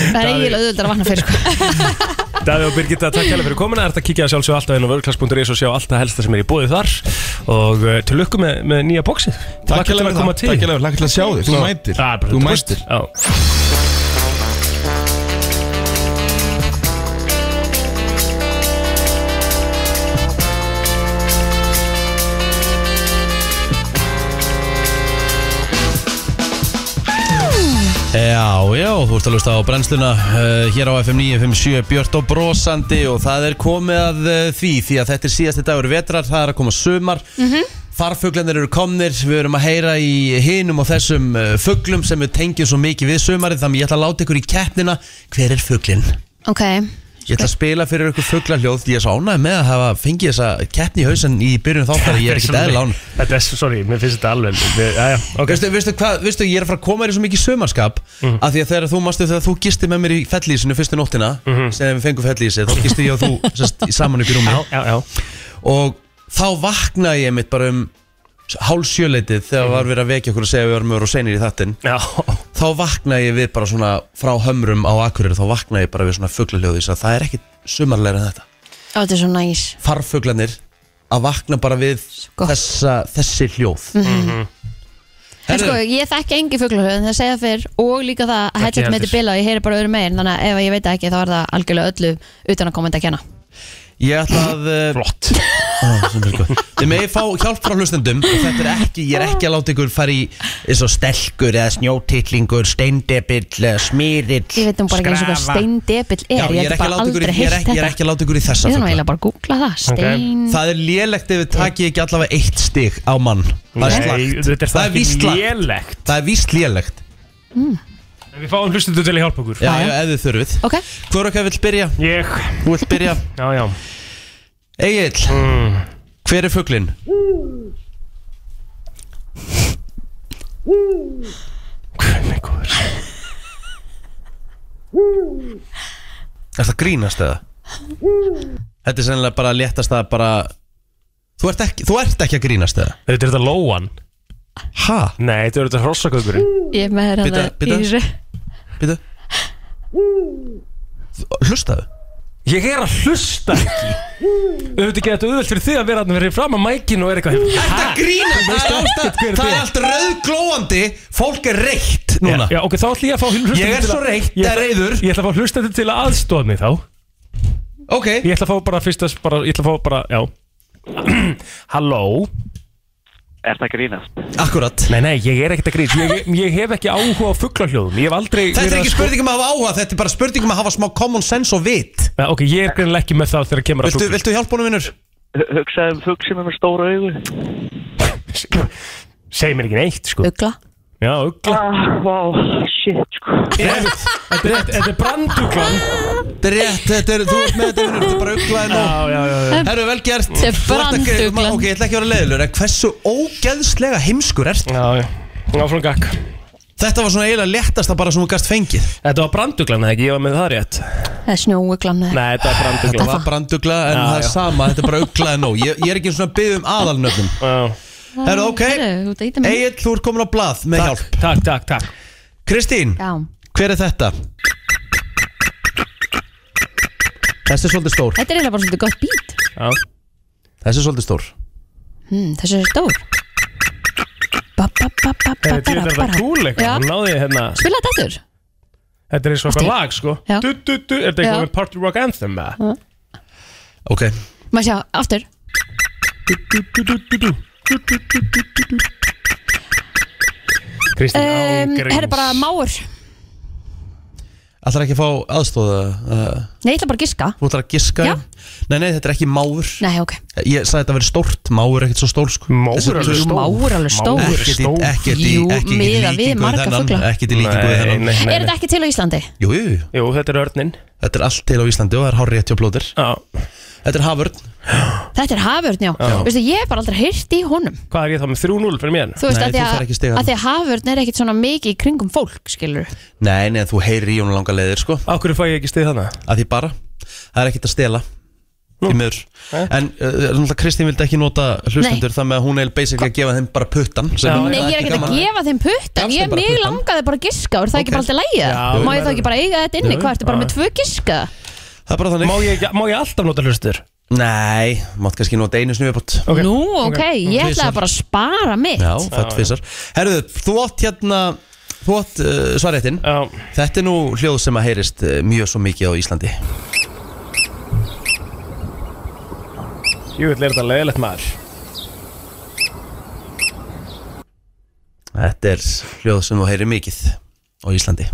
[SPEAKER 3] Það er
[SPEAKER 4] Daði-
[SPEAKER 3] eiginlega auðvöldar að vakna fyrir sko
[SPEAKER 4] Daði og Birgitta, takk hérlega fyrir komuna Það ert að kíkja að sjálfsög alltaf inn á vörglas.is og sjá alltaf helsta sem er í bóði þar og uh, til lukku með, með nýja bóksið
[SPEAKER 6] Takk hérlega fyrir það, takk hérlega, lakka til að sjá þig Þú mætir, þú mætir
[SPEAKER 4] Já,
[SPEAKER 1] Mm-hmm.
[SPEAKER 2] Já, já, þú ert að lusta á brennsluna uh, hér á FM 957 Björn og brosandi og það er komið að uh, því því að þetta er síðasti dagur vetrar, það er að koma sumar mm -hmm. Þarfuglandir eru komnir, við erum að heyra í hinum og þessum uh, fuglum sem við tengjum svo mikið við sumarið þannig ég ætla að láta ykkur í keppnina, hver er fuglinn?
[SPEAKER 3] Ok,
[SPEAKER 2] Ég ætla að spila fyrir ykkur fuglarhljóð Ég er svo ánægð með að hafa fengið þessa keppni í hausin í byrjun þáttar Ég er ekki eðla án
[SPEAKER 4] Þetta er, sorry, mér finnst þetta alveg við- Jæja, ok
[SPEAKER 2] Veistu, veistu, hvað, veistu, ég er að fara að koma þér í svo mikið sömarskap
[SPEAKER 4] Mhm.
[SPEAKER 2] mm að því að þegar þú mástu þegar þú gisti með mér í fellísinu fyrstu nóttina sem við fengum fellísi, þá gisti ég og
[SPEAKER 4] [LAUGHS]
[SPEAKER 2] þú sest, í- saman upp í rúmi
[SPEAKER 4] Mhm. Já, já, já
[SPEAKER 2] og þá vaknaði ég mitt bara um hálsjöleitið þegar var verið að vekja okkur að segja að við varum öru og senir í þattin
[SPEAKER 4] Mhm. Já,
[SPEAKER 2] þá vaknaði ég við bara svona frá hömrum á akkurir, þá vaknaði ég bara við svona fuglaljóði þess að það er ekki sumarlegra en þetta
[SPEAKER 3] Ó, þetta er svo næs
[SPEAKER 2] farfuglanir að vakna bara við
[SPEAKER 3] gott.
[SPEAKER 2] þessa, þessi hljóð
[SPEAKER 4] Mhm.
[SPEAKER 3] En sko, ég þekki engi fuglarhauð en það segja fyrr og líka það að
[SPEAKER 4] Ekki
[SPEAKER 3] headset mitt er
[SPEAKER 4] heldur.
[SPEAKER 3] bila og ég heyri bara öðru megin þannig að ef ég veit það ekki þá er það algjörlega öllu utan að koma þetta að kenna
[SPEAKER 2] Ég ætla að uh, [LAUGHS]
[SPEAKER 4] flott
[SPEAKER 2] Þið megi fá hjálp frá hlustendum og þetta er ekki, ég er ekki að láta ykkur fara í eins og stelkur eða snjótittlingur steindebill, eh, smyrill
[SPEAKER 3] Ég veit um bara ekki eins og hvað steindebill er
[SPEAKER 2] Já, ég er
[SPEAKER 3] hef
[SPEAKER 2] ekki að
[SPEAKER 3] bara
[SPEAKER 2] láta ykkur
[SPEAKER 3] aldrei
[SPEAKER 2] í- ég er
[SPEAKER 3] heyrt
[SPEAKER 2] ekki- ég er
[SPEAKER 3] þetta
[SPEAKER 2] ekki að láta ykkur í þessa
[SPEAKER 3] Ég þarf nú
[SPEAKER 2] fugla.
[SPEAKER 3] eiginlega bara að googla það Stein
[SPEAKER 2] Það er lélegt ef við takið ekki allavega eitt stig á mann Það er
[SPEAKER 4] Nei,
[SPEAKER 2] slagt
[SPEAKER 4] þetta er
[SPEAKER 2] Það er
[SPEAKER 4] það
[SPEAKER 2] víst
[SPEAKER 4] ekki
[SPEAKER 2] slagt.
[SPEAKER 4] lélegt
[SPEAKER 2] Það er víst lélegt
[SPEAKER 4] Við fáum hlustendur til að hjálpa okkur
[SPEAKER 2] Já,
[SPEAKER 3] Já, já.
[SPEAKER 2] já, ef þið þurfið
[SPEAKER 3] Ok,
[SPEAKER 2] Hvor okkar vill byrja?
[SPEAKER 4] Ég,
[SPEAKER 2] Þú vill byrja
[SPEAKER 4] já, já Mm.
[SPEAKER 2] Egil, hver er fugglinn?
[SPEAKER 4] Hvernig góður
[SPEAKER 2] Er það grínast eða? Þetta er sennilega bara léttast að bara Þú ert ekki, þú ert ekki að grínast eða?
[SPEAKER 4] Þetta er þetta lóan
[SPEAKER 2] Ha?
[SPEAKER 4] Nei, þetta er þetta hrossakaukurinn
[SPEAKER 3] ég er með
[SPEAKER 2] Bíddu,
[SPEAKER 3] hérna í
[SPEAKER 2] bíddu.
[SPEAKER 3] þessu
[SPEAKER 2] Býtu Hlustaðu
[SPEAKER 4] Ég er að hlusta ekki Auðvitað ekki þetta auðvelt fyrir þig að vera hann verið fram að mækinu og er eitthvað hérna.
[SPEAKER 2] Þetta grínast Það er alltaf-
[SPEAKER 4] hver
[SPEAKER 2] það
[SPEAKER 4] þetta
[SPEAKER 2] er
[SPEAKER 4] er.
[SPEAKER 2] allt rauðglóandi Fólk er reykt núna
[SPEAKER 4] Já, ok, þá ætlum ég að fá hlustendur
[SPEAKER 2] Ég er svo reykt,
[SPEAKER 4] Ég
[SPEAKER 2] það er
[SPEAKER 4] ætla-
[SPEAKER 2] reyður
[SPEAKER 4] Ég ætla að fá hlustendur til að aðstóða mig þá Ég
[SPEAKER 2] Ok,
[SPEAKER 4] ætla að fá bara fyrst að bara, Ég ætla að fá bara, já [CLEARS THROAT] Halló
[SPEAKER 8] Er það grínast?
[SPEAKER 2] akkurat
[SPEAKER 4] Nei, nei, ég er ekkert að grís ég, ég hef ekki áhuga á fuglarhljóðum Ég hef aldrei
[SPEAKER 2] Þetta er
[SPEAKER 4] verið að
[SPEAKER 2] ekki
[SPEAKER 4] sko-
[SPEAKER 2] spurning um að hafa áhuga, þetta er bara spurning um að hafa smá common sense og vit
[SPEAKER 4] Já, Ok, ég er greinilega ekki með það þegar kemur að
[SPEAKER 2] um- Viltu, viltu hjálpa honum vinnur?
[SPEAKER 8] H- Hugsaðu um fugsinu með stóra augu.
[SPEAKER 4] fugl Segir mér ekki neitt, sko
[SPEAKER 3] Ugla
[SPEAKER 4] Já, ugla
[SPEAKER 8] Ah, vá, shit, sko.
[SPEAKER 4] Þetta er- þetta er branduglan
[SPEAKER 2] Þetta er rétt, þetta er, þú ert með þetta vinnur, þetta er bara uglaðið nú
[SPEAKER 4] Já, já, já, já
[SPEAKER 2] Herru, vel gert
[SPEAKER 3] Þetta er
[SPEAKER 2] Þú ert að gera-
[SPEAKER 3] branduglan.
[SPEAKER 2] ma- Ok, ég ætla ekki að vera leiðilur, en hversu ógeðslega heimskur ert?
[SPEAKER 4] Já, já Áfram gakk
[SPEAKER 2] Þetta var svona eiginlega léttasta bara sem þú gast fengið
[SPEAKER 4] Þetta var branduglan, eða ekki? Ég var með það rétt
[SPEAKER 3] Það er snjóuglan eða-
[SPEAKER 4] Nei, þetta var
[SPEAKER 2] Þetta
[SPEAKER 4] branduglan
[SPEAKER 2] var brandugla, en
[SPEAKER 4] Já,
[SPEAKER 2] það er
[SPEAKER 4] já.
[SPEAKER 2] sama, þetta er bara uglaðið nú ég, ég er ekki einu svona að byggja um aðalnöfnum
[SPEAKER 4] Já.
[SPEAKER 2] Herru, ok,
[SPEAKER 3] Heyrðu, þú ert að ýta mér.
[SPEAKER 2] Egil, þú ert komin á blað með hjálp
[SPEAKER 4] Takk, takk, takk
[SPEAKER 2] Kristín,
[SPEAKER 3] Já,
[SPEAKER 2] hver er þetta? Þessi er svolítið stór
[SPEAKER 3] þetta er eiginlega bara svolítið gott bít
[SPEAKER 4] Já,
[SPEAKER 2] Þessi er svolítið stór
[SPEAKER 3] Hmm, Þessi er stór Ba, ba, ba, ba, ba,
[SPEAKER 4] þetta
[SPEAKER 3] bara,
[SPEAKER 4] er þetta
[SPEAKER 3] bara.
[SPEAKER 4] cool eitthvað
[SPEAKER 3] Já.
[SPEAKER 4] Hún náði hérna
[SPEAKER 3] Spila þetta aftur
[SPEAKER 4] Þetta er eins og eitthvað
[SPEAKER 3] Aftur.
[SPEAKER 4] lag, sko
[SPEAKER 3] Já.
[SPEAKER 4] Du, du, du Er þetta
[SPEAKER 3] Já.
[SPEAKER 4] eitthvað með Party Rock Anthem, eða?
[SPEAKER 2] Ok,
[SPEAKER 3] Má sjá, aftur
[SPEAKER 4] Du, du, du, du, du, du Du, du, du, du, du, du. Kristín
[SPEAKER 3] um,
[SPEAKER 4] ágreins
[SPEAKER 3] Herri bara máur
[SPEAKER 2] ætlar ekki að fá aðstóða uh,
[SPEAKER 3] Nei, ég ætla bara að giska
[SPEAKER 2] Þú ætlar að giska
[SPEAKER 3] Já.
[SPEAKER 2] Nei, nei, þetta er ekki máður
[SPEAKER 3] Nei, ok
[SPEAKER 2] Ég sagði þetta að vera stórt, máur er ekkert svo stór sko.
[SPEAKER 4] Máur
[SPEAKER 2] Þessi-
[SPEAKER 4] er alveg stór
[SPEAKER 3] Máur er alveg stór.
[SPEAKER 4] Máur er
[SPEAKER 2] Ekkert í-
[SPEAKER 4] stór
[SPEAKER 2] ekkert í-
[SPEAKER 3] Jú,
[SPEAKER 2] ekkert í
[SPEAKER 3] miðað við
[SPEAKER 2] líkingu við
[SPEAKER 3] marga
[SPEAKER 2] þennan,
[SPEAKER 3] fugla.
[SPEAKER 2] Ekkert í líkingu við
[SPEAKER 4] Nei, nei,
[SPEAKER 2] þennan
[SPEAKER 4] nei
[SPEAKER 3] Er þetta ekki til á Íslandi?
[SPEAKER 2] Jú, jú, jú.
[SPEAKER 4] Jú, þetta er örninn
[SPEAKER 2] þetta er allt til á Íslandi og það er hár rétt hjá blóðir
[SPEAKER 4] Já
[SPEAKER 2] Þetta er hafurð
[SPEAKER 3] Þetta er hafurn, já, Veistu, Ég hef bara aldrei heyrt í honum
[SPEAKER 4] Hvað er ég þá með 3-0 fyrir mér?
[SPEAKER 3] Þú veist
[SPEAKER 2] Nei,
[SPEAKER 3] að því
[SPEAKER 2] þú færð ekki stig
[SPEAKER 3] að,
[SPEAKER 2] þarna.
[SPEAKER 3] að því að hafurn er ekkit svona mikið í kringum fólk skilur
[SPEAKER 2] Nei, nei, þú heyrir í honum langa leiðir sko
[SPEAKER 4] Akkur fæ ég ekki stið þannig?
[SPEAKER 2] að því bara, það er ekkert að stela í miður en uh, Kristín vildi ekki nota hlustendur þannig að hún er basically að gefa þeim bara puttan sem er
[SPEAKER 4] Já,
[SPEAKER 3] Nei,
[SPEAKER 2] ekki
[SPEAKER 3] ég er ekkert að
[SPEAKER 2] gaman.
[SPEAKER 3] gefa þeim puttan
[SPEAKER 2] Gafst
[SPEAKER 3] Ég
[SPEAKER 2] þeim bara
[SPEAKER 3] mig
[SPEAKER 2] puttann.
[SPEAKER 3] langaði bara að giska og er það
[SPEAKER 2] Ok.
[SPEAKER 3] ekki bara alltaf lægið? Má ég
[SPEAKER 4] Já,
[SPEAKER 3] þá
[SPEAKER 4] verður-
[SPEAKER 3] ekki bara eiga þetta inni?
[SPEAKER 2] Jú,
[SPEAKER 3] Hvað ertu bara
[SPEAKER 4] já.
[SPEAKER 3] með tvö giska?
[SPEAKER 2] það er bara þannig
[SPEAKER 4] Má ég, ekki- má ég alltaf nota hlustur?
[SPEAKER 2] nei, mátt kannski nota einu snið viðbútt
[SPEAKER 4] Ok.
[SPEAKER 3] Nú, ok, ég ætlaði
[SPEAKER 2] Tvisvar.
[SPEAKER 3] bara að spara mitt
[SPEAKER 2] já, fætt fissar herruðu, þú átt hérna þú átt uh, svaréttin
[SPEAKER 4] Já
[SPEAKER 2] þetta er nú hljóð sem að heyrist uh, mjög svo mikið á Íslandi
[SPEAKER 4] Jú, þetta er þetta leiðilegt maður
[SPEAKER 2] þetta er hljóð sem þú heyrir mikið á Íslandi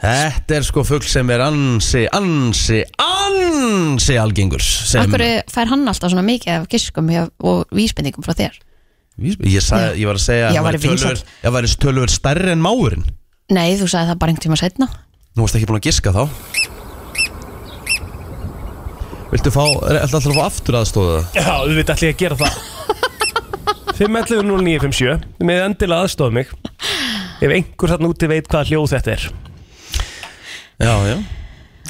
[SPEAKER 2] Þetta er sko fugl sem er ansi, ansi, ansi algengur sem-
[SPEAKER 3] Akkur fær hann alltaf svona mikið af giskum hjá- og vísbendingum frá þér?
[SPEAKER 2] Vísbe- Ég, sag, ég var að segja að
[SPEAKER 3] Já,
[SPEAKER 2] hann
[SPEAKER 3] væri
[SPEAKER 2] væri töluvert- ég var tölvöld stærri en máurinn
[SPEAKER 3] Nei, þú sagði það bara einhvern tíma setna
[SPEAKER 2] Nú varst ekki búin að giska þá Viltu fá, er alltaf að fá aftur aðstóða það?
[SPEAKER 4] Já, þú veit allir að gera
[SPEAKER 3] [LAUGHS]
[SPEAKER 4] það 511-0957 Þið með endilega aðstofa mig Ef einhver þarna úti veit hvað hljóð þetta er
[SPEAKER 2] Já, já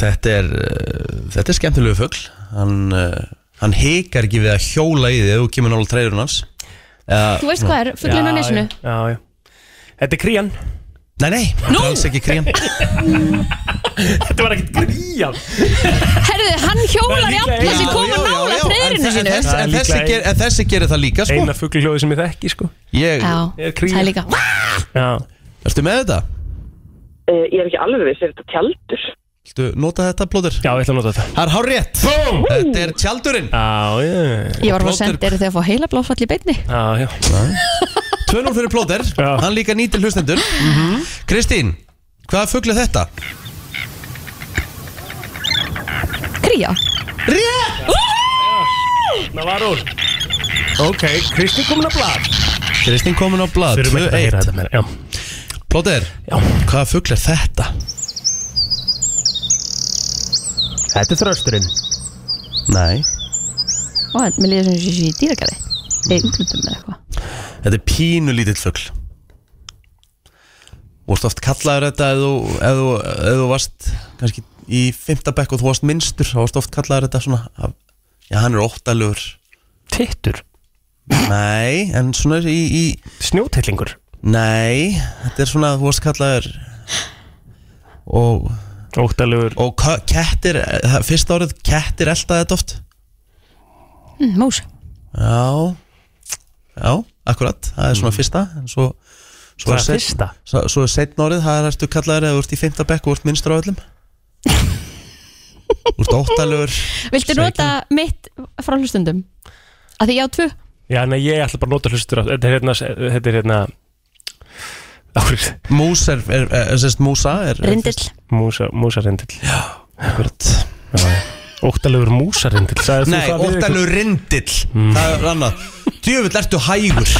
[SPEAKER 2] Þetta er, uh, þetta er skemmtilegu fugl Hann, uh, hann hikar ekki við að hjóla í því Ef þú kemur nála treyðurinn hans uh,
[SPEAKER 3] Þú veist hvað er, fuglinn á
[SPEAKER 4] Já,
[SPEAKER 3] nesinu
[SPEAKER 4] Já, já Þetta er krían
[SPEAKER 2] Nei, nei, þetta er alls ekki krían
[SPEAKER 4] Þetta var ekkert krían
[SPEAKER 3] Herðu, hann hjólar í alla
[SPEAKER 4] Já,
[SPEAKER 3] sem koma
[SPEAKER 2] Já, já, já,
[SPEAKER 3] nála
[SPEAKER 2] en
[SPEAKER 3] treyðinu
[SPEAKER 2] þessi-
[SPEAKER 3] sinu
[SPEAKER 2] þessi- En þessi ger- en þessi gerir það líka sko
[SPEAKER 4] Eina fuggljóði sem ég þekki sko
[SPEAKER 2] Ég,
[SPEAKER 3] Já,
[SPEAKER 4] Er krían.
[SPEAKER 3] það er líka
[SPEAKER 4] Já
[SPEAKER 2] ertu með þetta?
[SPEAKER 9] Eh, Ég er ekki alveg viss, er þetta tjaldur?
[SPEAKER 2] Viltu nota þetta plóður?
[SPEAKER 4] Já, ég ætla að nota þetta
[SPEAKER 2] Það er hár rétt
[SPEAKER 4] Búm
[SPEAKER 2] Þetta er tjaldurinn
[SPEAKER 4] Já, já
[SPEAKER 3] Ég var bara
[SPEAKER 2] Plóter-
[SPEAKER 3] sendið þegar að fá heila blóðfall í beinni
[SPEAKER 4] Já, já
[SPEAKER 2] 2-0 fyrir plóður
[SPEAKER 4] Já. Mhm.
[SPEAKER 2] Hann líka nýtir hlustendur Kristín, hvaða fugl er þetta?
[SPEAKER 3] Kría
[SPEAKER 2] Rétt!
[SPEAKER 4] Það var úr Ok, Kristi komin að blad
[SPEAKER 2] Kristín komin á blad
[SPEAKER 4] Þurfum ekki að
[SPEAKER 2] 2-1
[SPEAKER 4] heyra þetta meira Já,
[SPEAKER 2] Plóður,
[SPEAKER 4] já
[SPEAKER 2] hvaða fugl er þetta?
[SPEAKER 4] Þetta er þrösturinn
[SPEAKER 2] Nei
[SPEAKER 3] Og mér líður sem ég sé í dýragarði Eða útlutum með eitthvað
[SPEAKER 2] Þetta er pínu lítill fugl Vorst oft kallaður þetta ef þú, ef þú, ef þú varst kannski í fymta bekk og þú varst minnstur þá varst oft kallaður þetta svona af, Já, hann er óttalur
[SPEAKER 4] Tittur
[SPEAKER 2] Nei, en svona í, í
[SPEAKER 4] Snjótillingur
[SPEAKER 2] Nei, þetta er svona, þú varst kallaður Og,
[SPEAKER 4] Óttalegur
[SPEAKER 2] og kö- kettir, það- fyrsta árið kettir eldaði þetta oft
[SPEAKER 3] Mm, Mús
[SPEAKER 2] Já, já, akkurat, það er svona fyrsta En svo, svo
[SPEAKER 4] Það
[SPEAKER 2] er
[SPEAKER 4] er
[SPEAKER 2] set-
[SPEAKER 4] fyrsta
[SPEAKER 2] Svo, svo setn árið, það ertu kallaður eða þú ert í 5. bekk og ert minnstur á öllum Þú ert óttalögur
[SPEAKER 3] Viltu nota mitt frá hlustundum? Að því ég á tvö
[SPEAKER 4] Já, nei, ég ætla bara að nota hlustur á Þetta er hérna Þetta er hérna Áhrif
[SPEAKER 2] Mús er, er, er, er sérst músa er,
[SPEAKER 3] Rindill
[SPEAKER 4] Músa, músarindill
[SPEAKER 2] Akkurat.
[SPEAKER 4] Óttalegur músarindill Sagði
[SPEAKER 2] Nei,
[SPEAKER 4] þú það við
[SPEAKER 2] óttalögur rindill Það er annað Djöfull ertu hægur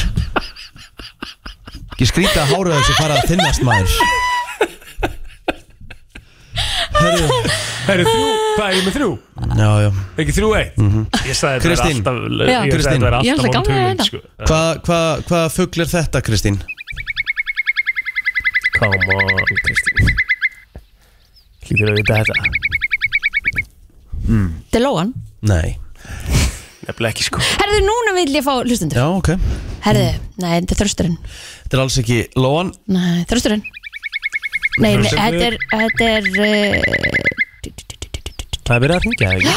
[SPEAKER 2] Ég skrýta að hára þessu fara að þinnast maður
[SPEAKER 4] Það eru þrjú Hvað er ég með þrjú?
[SPEAKER 2] Já, já
[SPEAKER 4] Ekki þrjú eitt? Ég sagði þetta
[SPEAKER 2] Mhm. Kristín.
[SPEAKER 3] Já.
[SPEAKER 4] alltaf Ég sagði
[SPEAKER 2] Kristín.
[SPEAKER 4] þetta
[SPEAKER 3] Ég ætla
[SPEAKER 4] alltaf
[SPEAKER 3] gamla þetta.
[SPEAKER 4] sko.
[SPEAKER 2] Hvað hva, hva fugl er þetta, Kristín?
[SPEAKER 4] Come on, Kristín Hlýtur að vita þetta
[SPEAKER 3] Delóan
[SPEAKER 2] Nei
[SPEAKER 4] Nefnilega ekki sko
[SPEAKER 3] Herðu, núna vil ég fá hlustundur
[SPEAKER 2] Já, ok
[SPEAKER 3] Herðu, nei, þetta er þrösturinn
[SPEAKER 2] Þetta er alls ekki lóan
[SPEAKER 3] Nei, þrösturinn Nei, nei, þetta er Þetta er
[SPEAKER 4] Það er verið að hringja það ekki?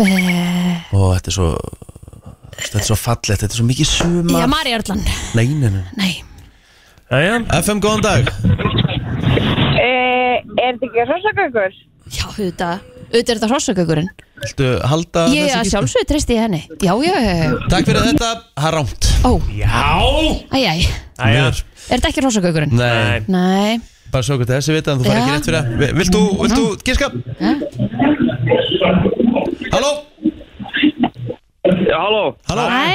[SPEAKER 3] eh, eh,
[SPEAKER 2] [GASPS] Ó, þetta er svo Þetta er svo fallegt, þetta er svo mikið sumar
[SPEAKER 3] Já, Mari Örlan
[SPEAKER 2] Nei, nei, nei
[SPEAKER 3] Nei,
[SPEAKER 4] Jæja
[SPEAKER 2] FM, góðan dag
[SPEAKER 5] Eh, Er þetta ekki hrossagöngur?
[SPEAKER 3] já, auðvitað Auðvitað er þetta hrossagögurinn
[SPEAKER 2] Viltu halda
[SPEAKER 3] Ég að
[SPEAKER 2] gísla?
[SPEAKER 3] sjálfsögðu treysti ég henni Já, já, já, já
[SPEAKER 2] Takk fyrir þetta, það er rámt
[SPEAKER 3] Ó,
[SPEAKER 4] Já
[SPEAKER 3] æj, æj
[SPEAKER 4] Jæja
[SPEAKER 2] Miður.
[SPEAKER 3] Er þetta ekki hrossagögurinn?
[SPEAKER 2] Nei,
[SPEAKER 3] Nei
[SPEAKER 2] bara svo okkur til þessi vita en þú fari ekki
[SPEAKER 3] Já.
[SPEAKER 2] rétt fyrir það Vi- Viltu, viltu, gíska? Halló,
[SPEAKER 8] Já, Eh, halló
[SPEAKER 2] halló
[SPEAKER 3] Nei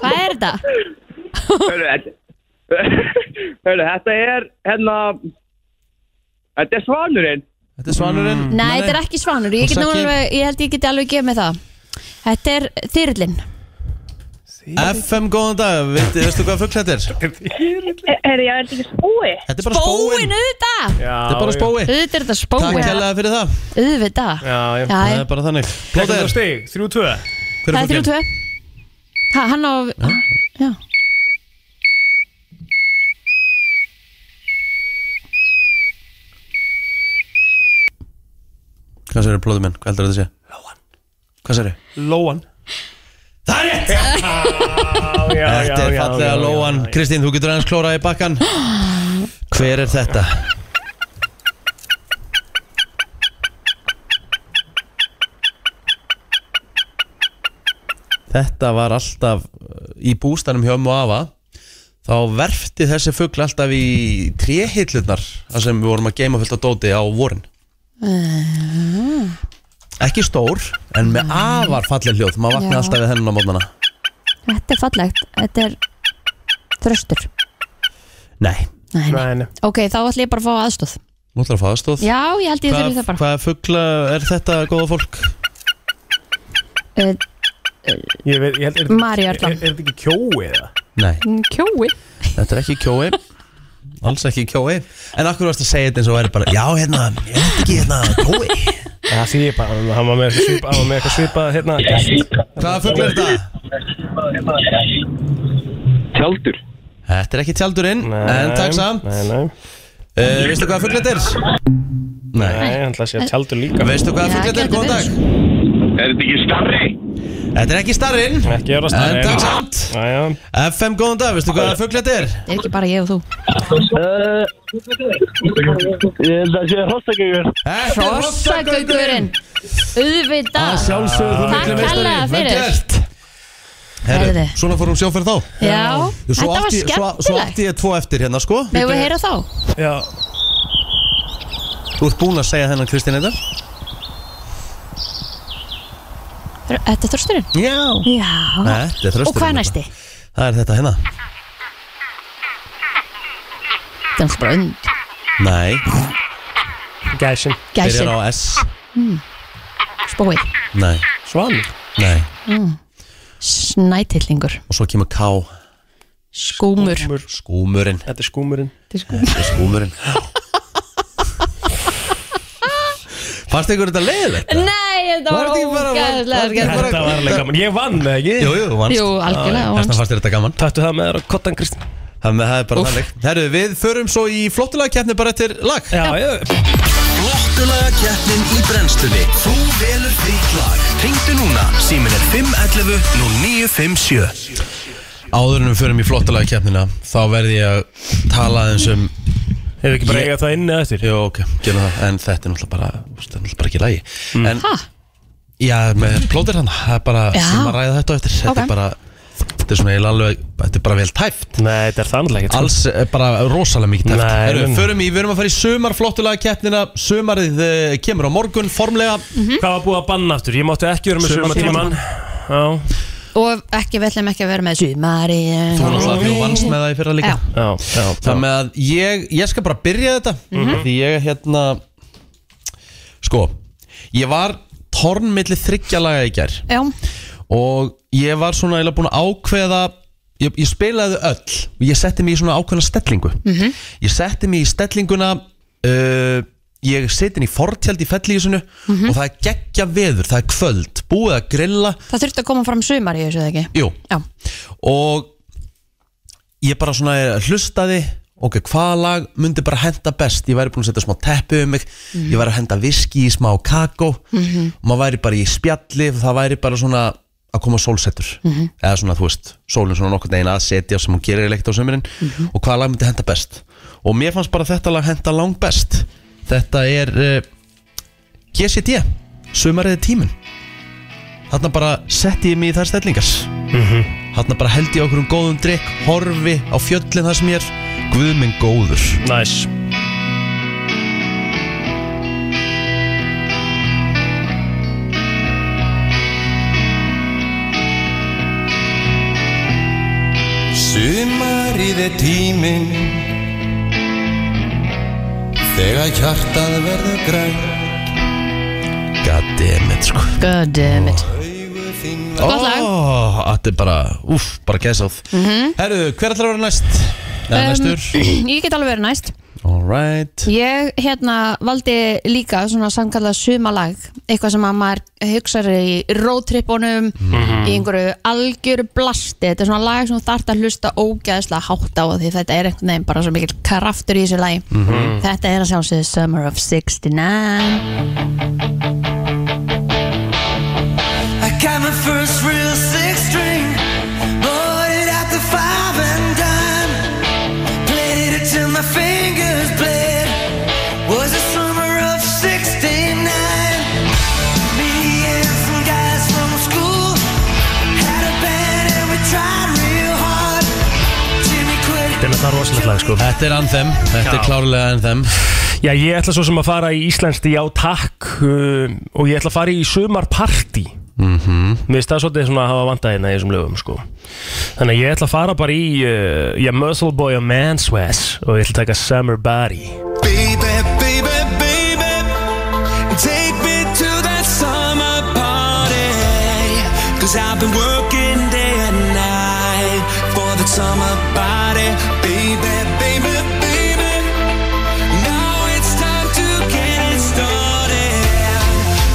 [SPEAKER 3] Hvað er þetta?
[SPEAKER 8] Hörru, þetta- [LAUGHS] hörru, þetta er hérna Þetta er svanurinn
[SPEAKER 2] Þetta er svanurinn
[SPEAKER 3] Nei, þetta er ekki svanur Ég,
[SPEAKER 2] Hún
[SPEAKER 3] get nú
[SPEAKER 2] sagði ekki-
[SPEAKER 3] alveg, ég held ég geti alveg gefið mig það Þetta er þyrlinn
[SPEAKER 2] FM, góðan dag, Veit, veistu hvað fugl þetta er?
[SPEAKER 4] [LAUGHS]
[SPEAKER 5] Er þetta ekki spói?
[SPEAKER 2] Þetta er bara spóin
[SPEAKER 3] Bóin,
[SPEAKER 2] Þetta
[SPEAKER 3] auðvitað
[SPEAKER 2] er bara spói
[SPEAKER 3] Auðvitað er þetta
[SPEAKER 2] Takk
[SPEAKER 3] spóin
[SPEAKER 2] hérlega fyrir það
[SPEAKER 3] Auðvitað
[SPEAKER 4] Já, já
[SPEAKER 3] Já,
[SPEAKER 2] Það
[SPEAKER 3] já.
[SPEAKER 2] er bara þannig
[SPEAKER 4] Þetta er
[SPEAKER 2] Plóter,
[SPEAKER 4] stig, þrjú tvö
[SPEAKER 2] hver er
[SPEAKER 3] það er þrjú
[SPEAKER 2] fuglinn?
[SPEAKER 3] tvö Ha, hann á Já
[SPEAKER 2] Hvað sér er plóter minn? Hvað heldur þetta sé? Lóan Hvað sér er?
[SPEAKER 4] Lóan
[SPEAKER 2] Það er rétt! Þetta er fallega lóan Kristín, þú getur aðeins klórað í bakkan Hver er þetta? Þetta var alltaf uh, í bústanum hjá ömmu og afa Þá verfti þessi fugl alltaf í tréhillurnar þar sem við vorum að geima fullt á dóti á vorin
[SPEAKER 3] Eh,
[SPEAKER 2] Ekki stór, en með afar falleg hljóð Maður vaknaði
[SPEAKER 3] Já.
[SPEAKER 2] alltaf við hennan á mótnana
[SPEAKER 3] Þetta er fallegt Þetta er þröstur
[SPEAKER 2] Nei,
[SPEAKER 3] Nei, nei.
[SPEAKER 4] Nei, nei
[SPEAKER 3] Ok, þá ætlum ég bara að fá aðstóð
[SPEAKER 2] Nú ætlar að fá aðstóð
[SPEAKER 3] Já, ég held ég þurfi það bara
[SPEAKER 2] Hvaða fuggla er þetta góða fólk?
[SPEAKER 3] uh,
[SPEAKER 4] Ég, veit, ég held, er,
[SPEAKER 3] María
[SPEAKER 4] er,
[SPEAKER 3] Erla.
[SPEAKER 4] er, er þetta ekki kjói eða?
[SPEAKER 2] Nei,
[SPEAKER 3] kjói
[SPEAKER 2] þetta er ekki kjói Alls ekki kjói En akkur varst að segja þetta eins og væri bara Já, hérna, ég veit ekki hérna kjói
[SPEAKER 4] Það sé ég bara, hann var með eitthvað svipað, hann var með eitthvað svipað hérna gest.
[SPEAKER 2] Hvaða fugl er þetta?
[SPEAKER 8] Tjaldur
[SPEAKER 2] Þetta er ekki tjaldurinn, en takk samt
[SPEAKER 4] Nei, nei,
[SPEAKER 2] uh, Veistu hvaða fugl þetta er? Nei
[SPEAKER 4] nei, hann ætla að segja tjaldur líka
[SPEAKER 2] Veistu hvaða
[SPEAKER 3] Já,
[SPEAKER 2] fugl þetta er?
[SPEAKER 3] gæti
[SPEAKER 2] Góðan dag
[SPEAKER 8] Er þetta ekki starri?
[SPEAKER 2] Þetta er ekki starrinn
[SPEAKER 4] Ekki örast
[SPEAKER 2] En takk samt
[SPEAKER 4] Næja,
[SPEAKER 2] FM, góðan dag, veistu hvaða fugl þetta er?
[SPEAKER 3] er ekki bara ég og þú
[SPEAKER 2] Eh,
[SPEAKER 8] Það sé hostakjögur
[SPEAKER 2] Þetta er hrossagaugurinn. Að
[SPEAKER 3] auðvitað
[SPEAKER 2] sjálfsögðu þú
[SPEAKER 3] Takk
[SPEAKER 2] miklu meistari.
[SPEAKER 3] kærlega
[SPEAKER 2] Vel
[SPEAKER 3] fyrir.
[SPEAKER 2] gert. Herru,
[SPEAKER 3] Herðu.
[SPEAKER 2] svona fór hún sjóferð þá
[SPEAKER 3] já,
[SPEAKER 2] Jú, svo
[SPEAKER 3] þetta var
[SPEAKER 2] átti- svo, svo
[SPEAKER 3] skemmtilegt
[SPEAKER 2] átti ég tvo eftir hérna sko
[SPEAKER 3] Megum við heyra þá?
[SPEAKER 4] já,
[SPEAKER 2] Þú ert búin að segja þennan Kristín Eidar
[SPEAKER 3] Er- Þetta er þrösturinn?
[SPEAKER 2] Já
[SPEAKER 3] Já
[SPEAKER 2] Nei, þetta er þrösturinn
[SPEAKER 3] Og hvað er næsti?
[SPEAKER 2] Það er þetta hérna
[SPEAKER 3] Þetta er náttúrulega bara und
[SPEAKER 2] Nei,
[SPEAKER 4] gæsin
[SPEAKER 2] byrjar
[SPEAKER 3] Gæsir,
[SPEAKER 2] á S
[SPEAKER 3] Hmm. spóið
[SPEAKER 2] Nei,
[SPEAKER 4] Svanur
[SPEAKER 2] nei
[SPEAKER 3] Hmm. Snætillingur
[SPEAKER 2] Og svo kemur K
[SPEAKER 3] Skúmur
[SPEAKER 2] Skúmurinn
[SPEAKER 4] Þetta er skúmurinn
[SPEAKER 2] Þetta er Skúmurinn
[SPEAKER 3] [LAUGHS]
[SPEAKER 2] Fannst ykkur þetta leiðilegt? eða?
[SPEAKER 3] Nei, þetta
[SPEAKER 2] Var
[SPEAKER 3] var
[SPEAKER 2] þetta ekki bara- var- var þetta
[SPEAKER 3] ógæðlega
[SPEAKER 2] ekki-
[SPEAKER 4] Þetta var alveg gaman, ég vann eða ekki
[SPEAKER 2] Jú, jú, þú vannst
[SPEAKER 3] Jú, algjörlega og
[SPEAKER 2] Þessna
[SPEAKER 3] vannst.
[SPEAKER 2] fannst þér þetta gaman
[SPEAKER 4] Tættu það með þér á kottan Kristinn
[SPEAKER 2] Það með- það er bara
[SPEAKER 3] Úff.
[SPEAKER 2] þannig Herru, við förum svo í flottulagakeppni bara eftir lag
[SPEAKER 4] Já, ég
[SPEAKER 1] Flottulaga keppnin í brennstunni Þú velur þitt lag Ringdu núna, símin er 511 0957
[SPEAKER 2] Áður en við förum í flottulagakeppnina Þá verði ég að tala aðeins um
[SPEAKER 4] Hefur ekki bara
[SPEAKER 2] Ég-
[SPEAKER 4] eigað það inni eða eftir
[SPEAKER 2] Jó, ok, gerum það En þetta er náttúrulega bara, þetta er náttúrulega bara ekki lægi mm. En,
[SPEAKER 3] Ha?
[SPEAKER 2] já, með plótir hann Það er bara,
[SPEAKER 3] Já.
[SPEAKER 2] sem að ræða þetta á eftir Þetta
[SPEAKER 3] Ok.
[SPEAKER 2] er bara, þetta er svona eiginlega alveg Þetta er bara vel tæft
[SPEAKER 4] Nei, þetta er þannig ekkert
[SPEAKER 2] Alls eh, bara rosalega mikið tæft
[SPEAKER 4] Nei, um.
[SPEAKER 2] Heru,
[SPEAKER 4] nei.
[SPEAKER 2] förum í, Við erum að fara í sumar flottulega keppnina Sumarið uh, kemur á morgun formlega
[SPEAKER 3] Mhm.
[SPEAKER 4] Hvað var búið að banna aftur? Ég mátti ekki vera með
[SPEAKER 2] Sumartímann.
[SPEAKER 4] sumartíman Já,
[SPEAKER 3] Og ekki, við ætlum ekki að vera með sumari
[SPEAKER 2] Þú náttúrulega þú vannst með það í fyrra líka
[SPEAKER 3] Já.
[SPEAKER 4] já, já
[SPEAKER 2] Það með að ég, ég skal bara byrja þetta Því ég hérna Sko Ég var torn milli þryggja laga í gær
[SPEAKER 3] Já,
[SPEAKER 2] og ég var svona eiginlega búin að ákveða ég, ég spilaði þau öll og ég setti mig í svona ákveðna stellingu -hmm. ég setti mig í stellinguna uh, ég setin í fortjald í fellíðisunu og það er geggja veður, það er kvöld búið að grilla,
[SPEAKER 3] það þurfti að koma fram sumari í þessu eða ekki
[SPEAKER 2] jú
[SPEAKER 3] Já,
[SPEAKER 2] og ég bara svona hlustaði ok, hvaða lag myndi bara henda best ég væri búin að setja smá teppi um mig ég væri að henda viski í smá kakó og maður væri bara í spjalli og það væri bara svona að koma sólsettur eða svona, þú veist, sólinn svona nokkur neginn að setja sem hún gerir leikt á sömurinn og hvaða lag myndi henda best og mér fannst bara þetta lag henda lang best þetta er uh, GCT sömariði tíminn þarna bara setti ég mig í þær stellingas Þarna bara held ég okkur um góðum drikk Horfi á fjöllin það sem ég er Guð minn góður
[SPEAKER 4] Næs
[SPEAKER 1] Sumarið er tímin Þegar hjartað verður græn
[SPEAKER 2] Goddammit sko
[SPEAKER 3] god [LAUGHS] damn it
[SPEAKER 1] Augu þín
[SPEAKER 3] Gott lag.
[SPEAKER 2] Ó,
[SPEAKER 3] Mhm.
[SPEAKER 2] Þetta er bara, úff, bara gæsáð Herru, hver ætlar að vera næst?
[SPEAKER 3] Um,
[SPEAKER 2] Eða næstur?
[SPEAKER 3] [CLEARS THROAT] Ég get alveg verið næst
[SPEAKER 2] Alright
[SPEAKER 3] Ég hérna valdi líka svona samkallað sumalag eitthvað sem að maður hugsar í roadtripunum í einhverju algjöru blasti þetta er svona lag sem þú þarft að hlusta ógæðslega hátt á því þetta er einhvern veginn bara svo mikil kraftur í þessu lagi Þetta er að sjálfsögðu Summer of 69
[SPEAKER 1] I got my first real six string Bought it at the five and dime Played it till my fingers bled Was the summer of 69 Me and some guys from school Had a band and we tried real hard Jimmy quit
[SPEAKER 4] Þetta er náttúrulega rosalegt lag sko
[SPEAKER 2] Þetta er anthem, þetta er klárlega anthem
[SPEAKER 4] Já, ég ætla svo sem að fara í íslenskt já takk um, og ég ætla að fara í sumarparti
[SPEAKER 2] Mhm.
[SPEAKER 4] -hmm. Mér finnst það svolítið svona að hafa vandað hérna í þessum lögum sko Þannig að ég ætla að fara bara í uh, Já, Muscle Boy og Manswass og ég ætla að taka Summer Body
[SPEAKER 1] Baby, baby, baby, take me to that summer party. Cause I've been working day and night for that summer body, baby, baby, baby. Now it's time to get it started.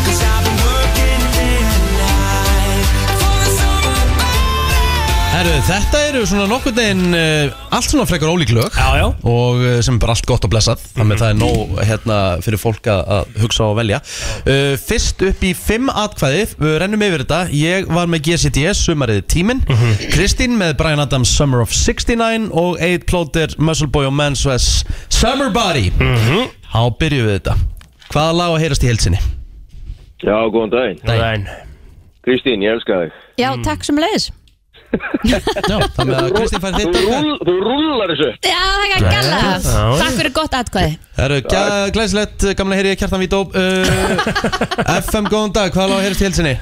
[SPEAKER 1] Cause I've been working day and night for the summer
[SPEAKER 2] Herru, þetta eru svona nokkur deginn uh, allt svona frekar ólík lög
[SPEAKER 4] Já, já. Mhm.
[SPEAKER 2] og uh, sem er bara allt gott og blessað þannig að það er nóg hérna, fyrir fólk að, að hugsa og velja uh, Fyrst upp í fimm atkvæði við rennum yfir þetta ég var með GCTS sumarið tíminn
[SPEAKER 4] Mhm.
[SPEAKER 2] Kristín með Brian Adams Summer of 69 og Eid Plóter Muscle Boy og Manswes Summer Body
[SPEAKER 4] Mhm.
[SPEAKER 2] Þá byrjum við þetta Hvaða lag á að heyrast í heilsinni?
[SPEAKER 8] Já, góðan daginn.
[SPEAKER 4] Dæn.
[SPEAKER 8] Kristín, ég elska þig.
[SPEAKER 3] Já, takk sem leiðis
[SPEAKER 2] Já, þannig að Kristín fær
[SPEAKER 8] Þú
[SPEAKER 2] þetta
[SPEAKER 8] rúll- Þú rullar þessu.
[SPEAKER 3] Já, það er gæla Takk fyrir gott atkvæði
[SPEAKER 2] Það eru gæ- glæsilegt, gamla heyri ég kjartan Vító uh, FM, góðan dag, hvað lág að heyrast í helsinni?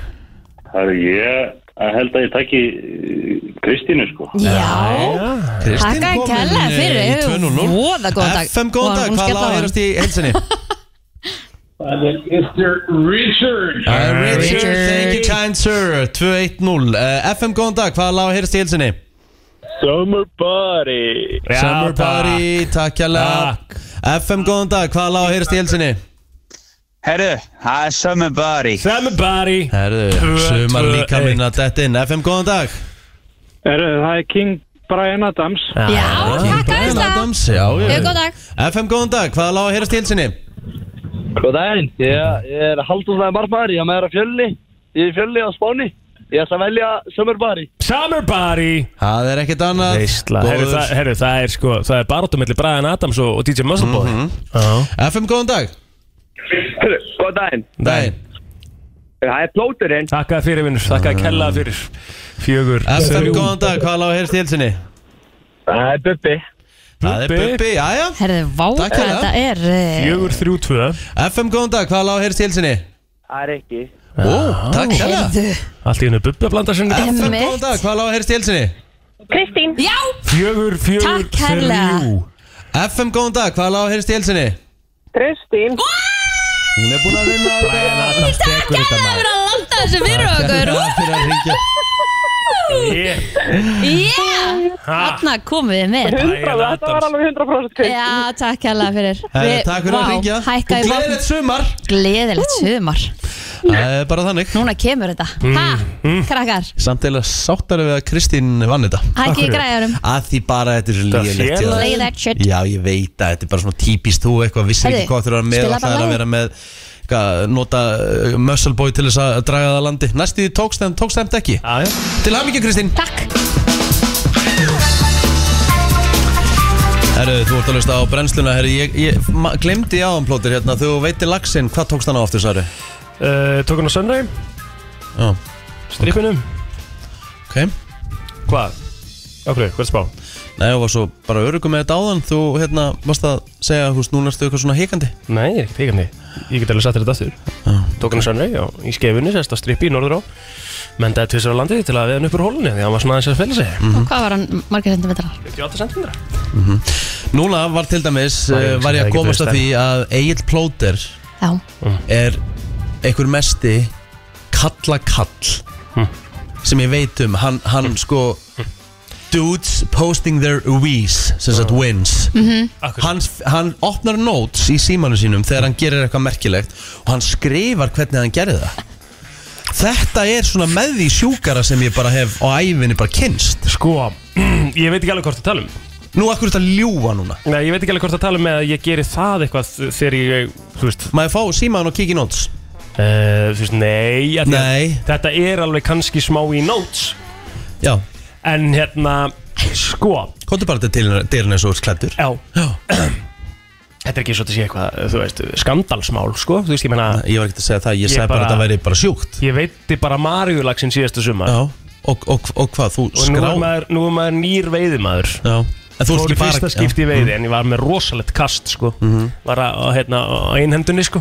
[SPEAKER 8] Það er ég að held að ég takki eh, Kristínu, sko.
[SPEAKER 3] Já,
[SPEAKER 2] Kristín
[SPEAKER 3] takk að
[SPEAKER 2] komin,
[SPEAKER 3] kæla
[SPEAKER 2] eh,
[SPEAKER 3] fyrir
[SPEAKER 2] í 2.0
[SPEAKER 3] Voða góðan dag
[SPEAKER 2] FM, góðan dag, hvað lág að heyrast í helsinni?
[SPEAKER 8] Það er Mr. Richard.
[SPEAKER 2] Richard, thank you kind sir 210 uh, FM, góðan dag, hvað lág að heyrast í helsinni?
[SPEAKER 8] Summer Body.
[SPEAKER 4] Já,
[SPEAKER 2] Summer
[SPEAKER 4] takk.
[SPEAKER 2] Party, takk kjærlega FM, góðan dag, hvað lág að heyrast í helsinni?
[SPEAKER 10] Herru, það er summer body
[SPEAKER 4] Somebody.
[SPEAKER 2] Herðu,
[SPEAKER 4] Tvö,
[SPEAKER 2] sumar
[SPEAKER 4] tvö,
[SPEAKER 2] líka
[SPEAKER 4] eitt.
[SPEAKER 2] minna dett inn FM, góðan dag
[SPEAKER 8] Það er King Brian Adams.
[SPEAKER 3] Já, takk að
[SPEAKER 2] Brian
[SPEAKER 3] þetta
[SPEAKER 2] Adams, já, já, já.
[SPEAKER 3] Góðan dag
[SPEAKER 2] FM, góðan dag, hvað lág að heyrast í helsinni?
[SPEAKER 8] Góð daginn, ég, ég er Halldórslæði Barbari, ég er með þér að fjölni, ég er í fjölni á Spáni, ég ætla að velja Summer Bari.
[SPEAKER 4] Summerbody.
[SPEAKER 2] Það er ekkert annað
[SPEAKER 4] Veistla.
[SPEAKER 2] Góður.
[SPEAKER 4] Herru, það, herru, það er sko, það er baróttum mellir Brian Adams og, og DJ Muscleboy. Mm -hmm.
[SPEAKER 2] FM, Mhm. góðan dag
[SPEAKER 8] Góð daginn,
[SPEAKER 2] Nei.
[SPEAKER 8] það er plóturinn.
[SPEAKER 4] Takk að fyrir vinnur, takk að kella fyrir fjögur.
[SPEAKER 2] FM,
[SPEAKER 4] þrjú.
[SPEAKER 2] góðan dag, hvað lág að heyrast í helsinni?
[SPEAKER 8] Það er Bubbi.
[SPEAKER 2] Það er
[SPEAKER 4] Bubbi.
[SPEAKER 2] Bubbi, jæja
[SPEAKER 3] Herðu, vá
[SPEAKER 2] Takk
[SPEAKER 3] hvað
[SPEAKER 2] fyrir
[SPEAKER 3] þetta er eh,
[SPEAKER 4] Fjögur, þrjú, tvö.
[SPEAKER 2] FM, góðan dag, hvað lág að heyrast í helsinni?
[SPEAKER 8] Það er ekki.
[SPEAKER 2] Ó, takk hérna
[SPEAKER 3] Heyrðu,
[SPEAKER 4] Allt í hennu bubbi að blanda sinni.
[SPEAKER 2] FM,
[SPEAKER 3] Einmitt.
[SPEAKER 2] góðan dag, hvað lág að heyrast í helsinni?
[SPEAKER 5] Kristín,
[SPEAKER 3] Já,
[SPEAKER 4] Fjögur, fjögur,
[SPEAKER 3] Takk kærlega.
[SPEAKER 4] þrjú.
[SPEAKER 2] FM, góðan dag, hvað lág að heyrast í helsinni?
[SPEAKER 9] Kristín
[SPEAKER 2] Hún er búin að vinna
[SPEAKER 4] Brian Adams tekur
[SPEAKER 3] það
[SPEAKER 4] þetta
[SPEAKER 3] er
[SPEAKER 4] maður.
[SPEAKER 3] verið að landa þessu fyrir okkur
[SPEAKER 2] Það er fyrir að hringja.
[SPEAKER 4] Yeah.
[SPEAKER 3] Yeah,
[SPEAKER 4] Ha,
[SPEAKER 3] þarna komum við með
[SPEAKER 4] Brian Adams.
[SPEAKER 9] alveg 100%
[SPEAKER 3] Já, takk hella fyrir
[SPEAKER 2] Herru,
[SPEAKER 3] Við-
[SPEAKER 2] Takk fyrir
[SPEAKER 3] vá,
[SPEAKER 2] að ringja
[SPEAKER 3] Hækka í
[SPEAKER 2] Og
[SPEAKER 3] vatn
[SPEAKER 2] gleðilegt sumar
[SPEAKER 3] Gleðilegt sumar
[SPEAKER 2] Það er bara þannig
[SPEAKER 3] Núna kemur þetta
[SPEAKER 2] Mm.
[SPEAKER 4] Mm,
[SPEAKER 3] Ha, krakkar
[SPEAKER 2] Samt eða sáttar við að Kristín vann þetta
[SPEAKER 3] Hækki í græðurum
[SPEAKER 2] Að því bara þetta er
[SPEAKER 4] Þetta
[SPEAKER 2] lélegt hjá
[SPEAKER 4] félag.
[SPEAKER 2] þér.
[SPEAKER 3] Play that shit
[SPEAKER 2] Já, ég veit að þetta er bara svona típist þú eitthvað vissir
[SPEAKER 3] Heyrðu,
[SPEAKER 2] ekki hvað þurfa með alltaf
[SPEAKER 3] spila
[SPEAKER 2] er
[SPEAKER 3] bara
[SPEAKER 2] að
[SPEAKER 3] lag.
[SPEAKER 2] vera með hvað, nota uh, muscle boy til þess að draga það að landi næstu því tókst en tókst þeim ekki
[SPEAKER 4] Já, já.
[SPEAKER 2] Til hamingju Kristín
[SPEAKER 3] Takk
[SPEAKER 2] Herru, þú ert að hlusta á brennsluna Herru, ég, ég ma- glemdi áðan plótir hérna þú veitir laxinn, hvað tókst hann á aftur Sari?
[SPEAKER 4] Uh, Tók hann á Sunray,
[SPEAKER 2] Já,
[SPEAKER 4] strippinum.
[SPEAKER 2] ok
[SPEAKER 4] Hvað? Okkur, hvað er spá?
[SPEAKER 2] Nei, og var svo bara örugum með þetta áðan þú hérna varst að segja, þú veist, núna erstu eitthvað svona hikandi
[SPEAKER 4] Nei, ég er ekkert heikandi Ég get alveg satt þér þetta
[SPEAKER 2] Ah.
[SPEAKER 4] aftur Tók hann sannrei á í skefunni, sérst að strippi í norður á Mendaði tvisar á landið til að við hann upp úr hólunni Því að hann var svona aðeins að fela sig
[SPEAKER 2] Mm-hmm. Mhm.
[SPEAKER 3] Og hvað var hann margir sentimetrar?
[SPEAKER 2] Mm.
[SPEAKER 4] 58 cm
[SPEAKER 2] Núna var til dæmis,
[SPEAKER 4] Æ,
[SPEAKER 2] uh,
[SPEAKER 4] ég
[SPEAKER 2] var ég að
[SPEAKER 4] hugsaði ekki
[SPEAKER 2] komast
[SPEAKER 4] fyrir
[SPEAKER 2] að því að Egil Plóter
[SPEAKER 3] Já,
[SPEAKER 4] Mm.
[SPEAKER 2] er einhver mesti kalla kall
[SPEAKER 4] Mm.
[SPEAKER 2] sem ég veit um hann, hann sko dudes posting their wees sem sagt
[SPEAKER 4] Mm.
[SPEAKER 2] wins
[SPEAKER 1] Mhm.
[SPEAKER 2] hann, hann opnar notes í símanu sínum þegar hann gerir eitthvað merkilegt og hann skrifar hvernig hann gerir það Þetta er svona með því sjúkara sem ég bara hef á æfinni bara kynst
[SPEAKER 4] Sko, [CLEARS THROAT] ég veit ekki alveg hvort að tala um
[SPEAKER 2] Nú akkur þetta ljúa núna
[SPEAKER 4] Nei, ég veit ekki alveg hvort að tala um með að ég geri það eitthvað Þegar ég, þú veist,
[SPEAKER 2] Maður fá síman og kíkja í notes
[SPEAKER 4] uh, þú veist Nei, af því að
[SPEAKER 2] Nei.
[SPEAKER 4] Þetta er alveg kannski smá í notes
[SPEAKER 2] Já,
[SPEAKER 4] En hérna, sko
[SPEAKER 2] komdu bara til dyrun eins og úr klættur
[SPEAKER 4] Já,
[SPEAKER 2] Já,
[SPEAKER 4] þetta er ekki svo að sé eitthvað, þú veist, skandalsmál, sko Þú veist, ég meina,
[SPEAKER 2] ég var ekkert að segja það, ég,
[SPEAKER 4] Ég
[SPEAKER 2] sagði bara
[SPEAKER 4] bara-
[SPEAKER 2] að það væri bara sjúkt
[SPEAKER 4] ég veitti bara Maríulagsin síðasta sumar
[SPEAKER 2] Já, og, og, og hvað, þú
[SPEAKER 4] Og nú
[SPEAKER 2] skrá
[SPEAKER 4] er maður, nú er maður nýr veiðimaður
[SPEAKER 2] Já, en þú ert
[SPEAKER 4] Fór í
[SPEAKER 2] ekki bara Mhm.
[SPEAKER 4] fyrsta skipti í veiði En ég var með rosalegt kast sko Var að, að, hérna, á einhendunni sko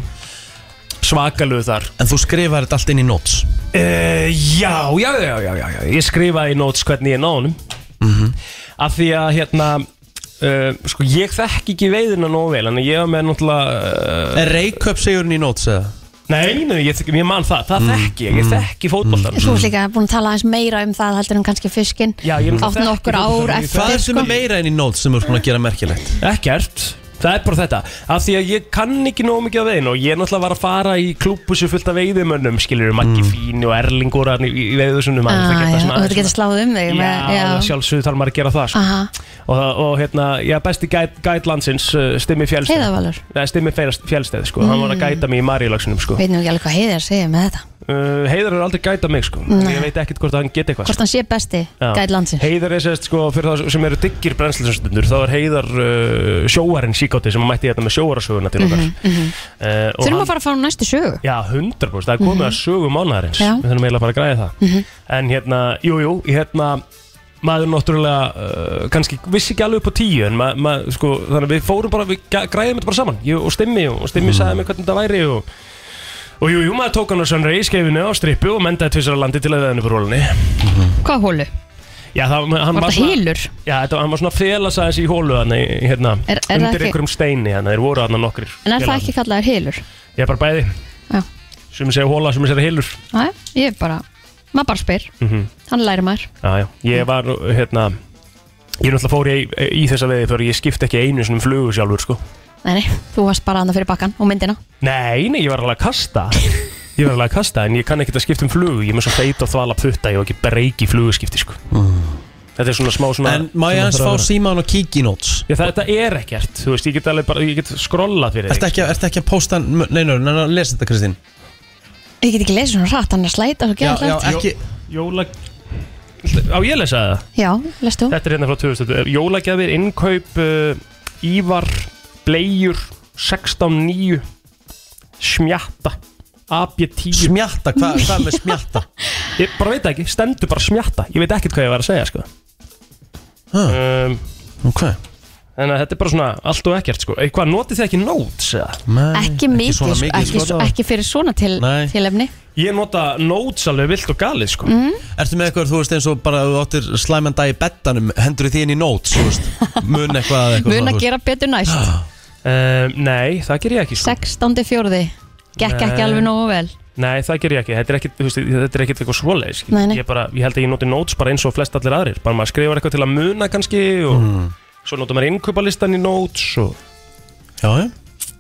[SPEAKER 4] Svakalöðu þar
[SPEAKER 2] En þú skrifar þetta allt inn í notes
[SPEAKER 4] uh, já, já, já, já, já, já Ég skrifaði í notes hvernig ég náðunum mm -hmm.
[SPEAKER 2] Mhm.
[SPEAKER 4] Af því að hérna Uh, sko ég þekk ekki veiðina nógu vel en ég var með náttúrulega uh,
[SPEAKER 2] Er Reykjöp sigurinn í notes eða? Mhm.
[SPEAKER 4] Nei, nei, ég, ég man það, það þekki ég, ég þekki fótboltan
[SPEAKER 3] Þú ert líka búin að tala aðeins meira um það heldur en kannski fiskinn
[SPEAKER 4] Já, ég er náttúrulega
[SPEAKER 3] Átt nokkur
[SPEAKER 4] þekki
[SPEAKER 3] ár
[SPEAKER 4] fótboltann, ég
[SPEAKER 2] Hvað
[SPEAKER 3] eftir sko.
[SPEAKER 2] er sem er meira enn í nót sem þú ert búin að gera merkilegt?
[SPEAKER 4] Ekkert Það er bara þetta, af því að ég kann ekki nóg mikið af veiðin og ég náttúrulega var að fara í klúbu sem fullt af veiðimönnum,
[SPEAKER 2] Mm.
[SPEAKER 4] skilur Maggi Fín og Erlingur hann í, í veiðusunum
[SPEAKER 3] Ah,
[SPEAKER 4] maður, það
[SPEAKER 3] já,
[SPEAKER 4] geta
[SPEAKER 3] Og
[SPEAKER 4] svona
[SPEAKER 3] þú getur
[SPEAKER 4] aðeins-
[SPEAKER 3] sláð um þig með-
[SPEAKER 4] Já, já. sjálfsögðu þarf maður að gera það sko.
[SPEAKER 3] Aha.
[SPEAKER 4] og, og hérna, já, besti gæt, gæt landsins uh, Stimmi Fjellsteð
[SPEAKER 3] Heiðarvalur.
[SPEAKER 4] Nei, Stimmi Fjellsteð, Fjellsteð sko. hann var að gæta mig í Maríulagsunum sko.
[SPEAKER 3] Mm. Veit nú ekki alveg hvað heiðar segja með þetta
[SPEAKER 4] uh, Heiðar er aldrei gæta mig sko.
[SPEAKER 3] Nei.
[SPEAKER 4] ég veit ekkert hvort hann geti eitthvað sko.
[SPEAKER 3] Hvort hann sé besti
[SPEAKER 4] Já.
[SPEAKER 3] gæt landsins
[SPEAKER 4] Heiðar er sérst sko fyrir það sem eru diggir brennslustundur þá er Heiðar uh, sjóarinn síkátti sem mætti hérna með sjóarasöguna til okkar mm
[SPEAKER 3] Mhm, mhm.
[SPEAKER 4] uh,
[SPEAKER 3] Þurfum að fara að fá næstu sögu
[SPEAKER 4] Já, 100% það er komið að sögu mánaðarins
[SPEAKER 3] Já.
[SPEAKER 4] við þurfum eiginlega bara að græða það
[SPEAKER 3] Mhm.
[SPEAKER 4] en hérna, jú, jú, hérna maður náttúrulega uh, kannski vissi ekki alveg upp á tíu en ma, ma, sko, þannig að við fórum bara, við gæ- græðum þetta bara saman ég, og stimmi og stimmi sagði
[SPEAKER 3] Mhm.
[SPEAKER 4] mér hvernig þetta væri og Og jú, jú, maður tók hann á sönra í skeifinu á strippu og mendaði tvisar á landi til að veða henni fyrir rólunni.
[SPEAKER 3] Hvað hólu?
[SPEAKER 4] Já, það, hann
[SPEAKER 3] Mhm. Var
[SPEAKER 4] var
[SPEAKER 3] þetta
[SPEAKER 4] svona-
[SPEAKER 3] hýlur?
[SPEAKER 4] Já, þetta, hann var svona að félast aðeins í hólu hann, hérna,
[SPEAKER 3] Er- er það
[SPEAKER 4] undir
[SPEAKER 3] ekki-
[SPEAKER 4] einhverjum steini hann, þeir voru hann nokkrir.
[SPEAKER 3] En er það
[SPEAKER 4] félagar.
[SPEAKER 3] ekki kallaður hýlur?
[SPEAKER 4] Ég er bara bæði.
[SPEAKER 3] Já.
[SPEAKER 4] Sumi segja hóla, sumi segja hilur.
[SPEAKER 3] Næ, ég er bara Maður bara spyr,
[SPEAKER 4] Mm
[SPEAKER 3] hann læri maður
[SPEAKER 4] Já, já. Ég var, hérna, ég náttúrulega fór í, í þessa veði fyrir ég skipti ekki einu svona um flugu sjálfur, sko.
[SPEAKER 3] Nei, nei, þú varst bara annað fyrir bakkan og myndina
[SPEAKER 4] Nei, nei, ég var alveg að
[SPEAKER 3] [LAUGHS]
[SPEAKER 4] kasta. Ég var alveg að kasta, en ég kann ekki að skipta um flugu. Ég er með svo feit og þvala putta, ég á ekki breyki fluguskipti, sko. Þetta er svona smá svona...
[SPEAKER 2] Mm. En má ég
[SPEAKER 4] svona
[SPEAKER 2] hans
[SPEAKER 4] þarf að
[SPEAKER 2] fá
[SPEAKER 4] vera.
[SPEAKER 2] síman og kíkja í nóts?
[SPEAKER 4] Já, þetta er ekkert, þú veist, ég get alveg bara, ég get skrollað fyrir
[SPEAKER 2] Ertu ekki, að- ertu ekki að posta, nei, nei, nei, nei, lesa þetta Kristín
[SPEAKER 3] Ég get ekki lesið svona rætt, hann er slæta og
[SPEAKER 2] Já,
[SPEAKER 3] gera
[SPEAKER 2] já,
[SPEAKER 3] allt eftir.
[SPEAKER 2] ekki
[SPEAKER 4] Jóla Á ég að lesa það?
[SPEAKER 3] Já, lest þú?
[SPEAKER 4] Þetta er hérna frá 2000 Jólagjafir, innkaup, uh, Ívar, Bleiur, 16.9 Smjatta AB10
[SPEAKER 2] Smjatta, hvað hva með smjatta?
[SPEAKER 4] [LAUGHS] Ég bara veit það ekki, stendur bara smjatta Ég veit ekkert hvað ég var að segja sko
[SPEAKER 2] Huh,
[SPEAKER 4] um,
[SPEAKER 2] ok
[SPEAKER 4] En þetta er bara svona allt og ekkert sko Eitthvað, notið þið ekki notes eða?
[SPEAKER 2] Nei,
[SPEAKER 3] Ekki mikið,
[SPEAKER 2] svona
[SPEAKER 3] sko, ekki,
[SPEAKER 2] sko.
[SPEAKER 3] svo- ekki fyrir svona til,
[SPEAKER 2] Nei.
[SPEAKER 3] tilefni
[SPEAKER 4] Ég nota notes alveg vilt og galið sko
[SPEAKER 2] Ertu með eitthvað, þú veist eins og bara ef þú áttir slæmanda í bettanum, hendur því inn í nóts þú veist, mun eitthvað, eitthvað
[SPEAKER 3] Mun
[SPEAKER 2] svona,
[SPEAKER 3] að
[SPEAKER 2] þú veist.
[SPEAKER 3] gera betur næst
[SPEAKER 4] um, Nei, það ger ég ekki sko
[SPEAKER 3] 16. fjórði Gekk ekki
[SPEAKER 4] Nei.
[SPEAKER 3] alveg nógu vel
[SPEAKER 4] Nei, það ger ég ekki, þetta er ekkit, þú veist, þetta er ekkit eitthvað svoleiðis skilur.
[SPEAKER 3] Nei, nei.
[SPEAKER 4] ég, bara, ég held að ég noti notes bara eins og flest allir aðrir bara maður skrifar eitthvað til að muna kannski og
[SPEAKER 2] Mm.
[SPEAKER 4] svo notar maður innkaupalistan í notes og,
[SPEAKER 2] Já, já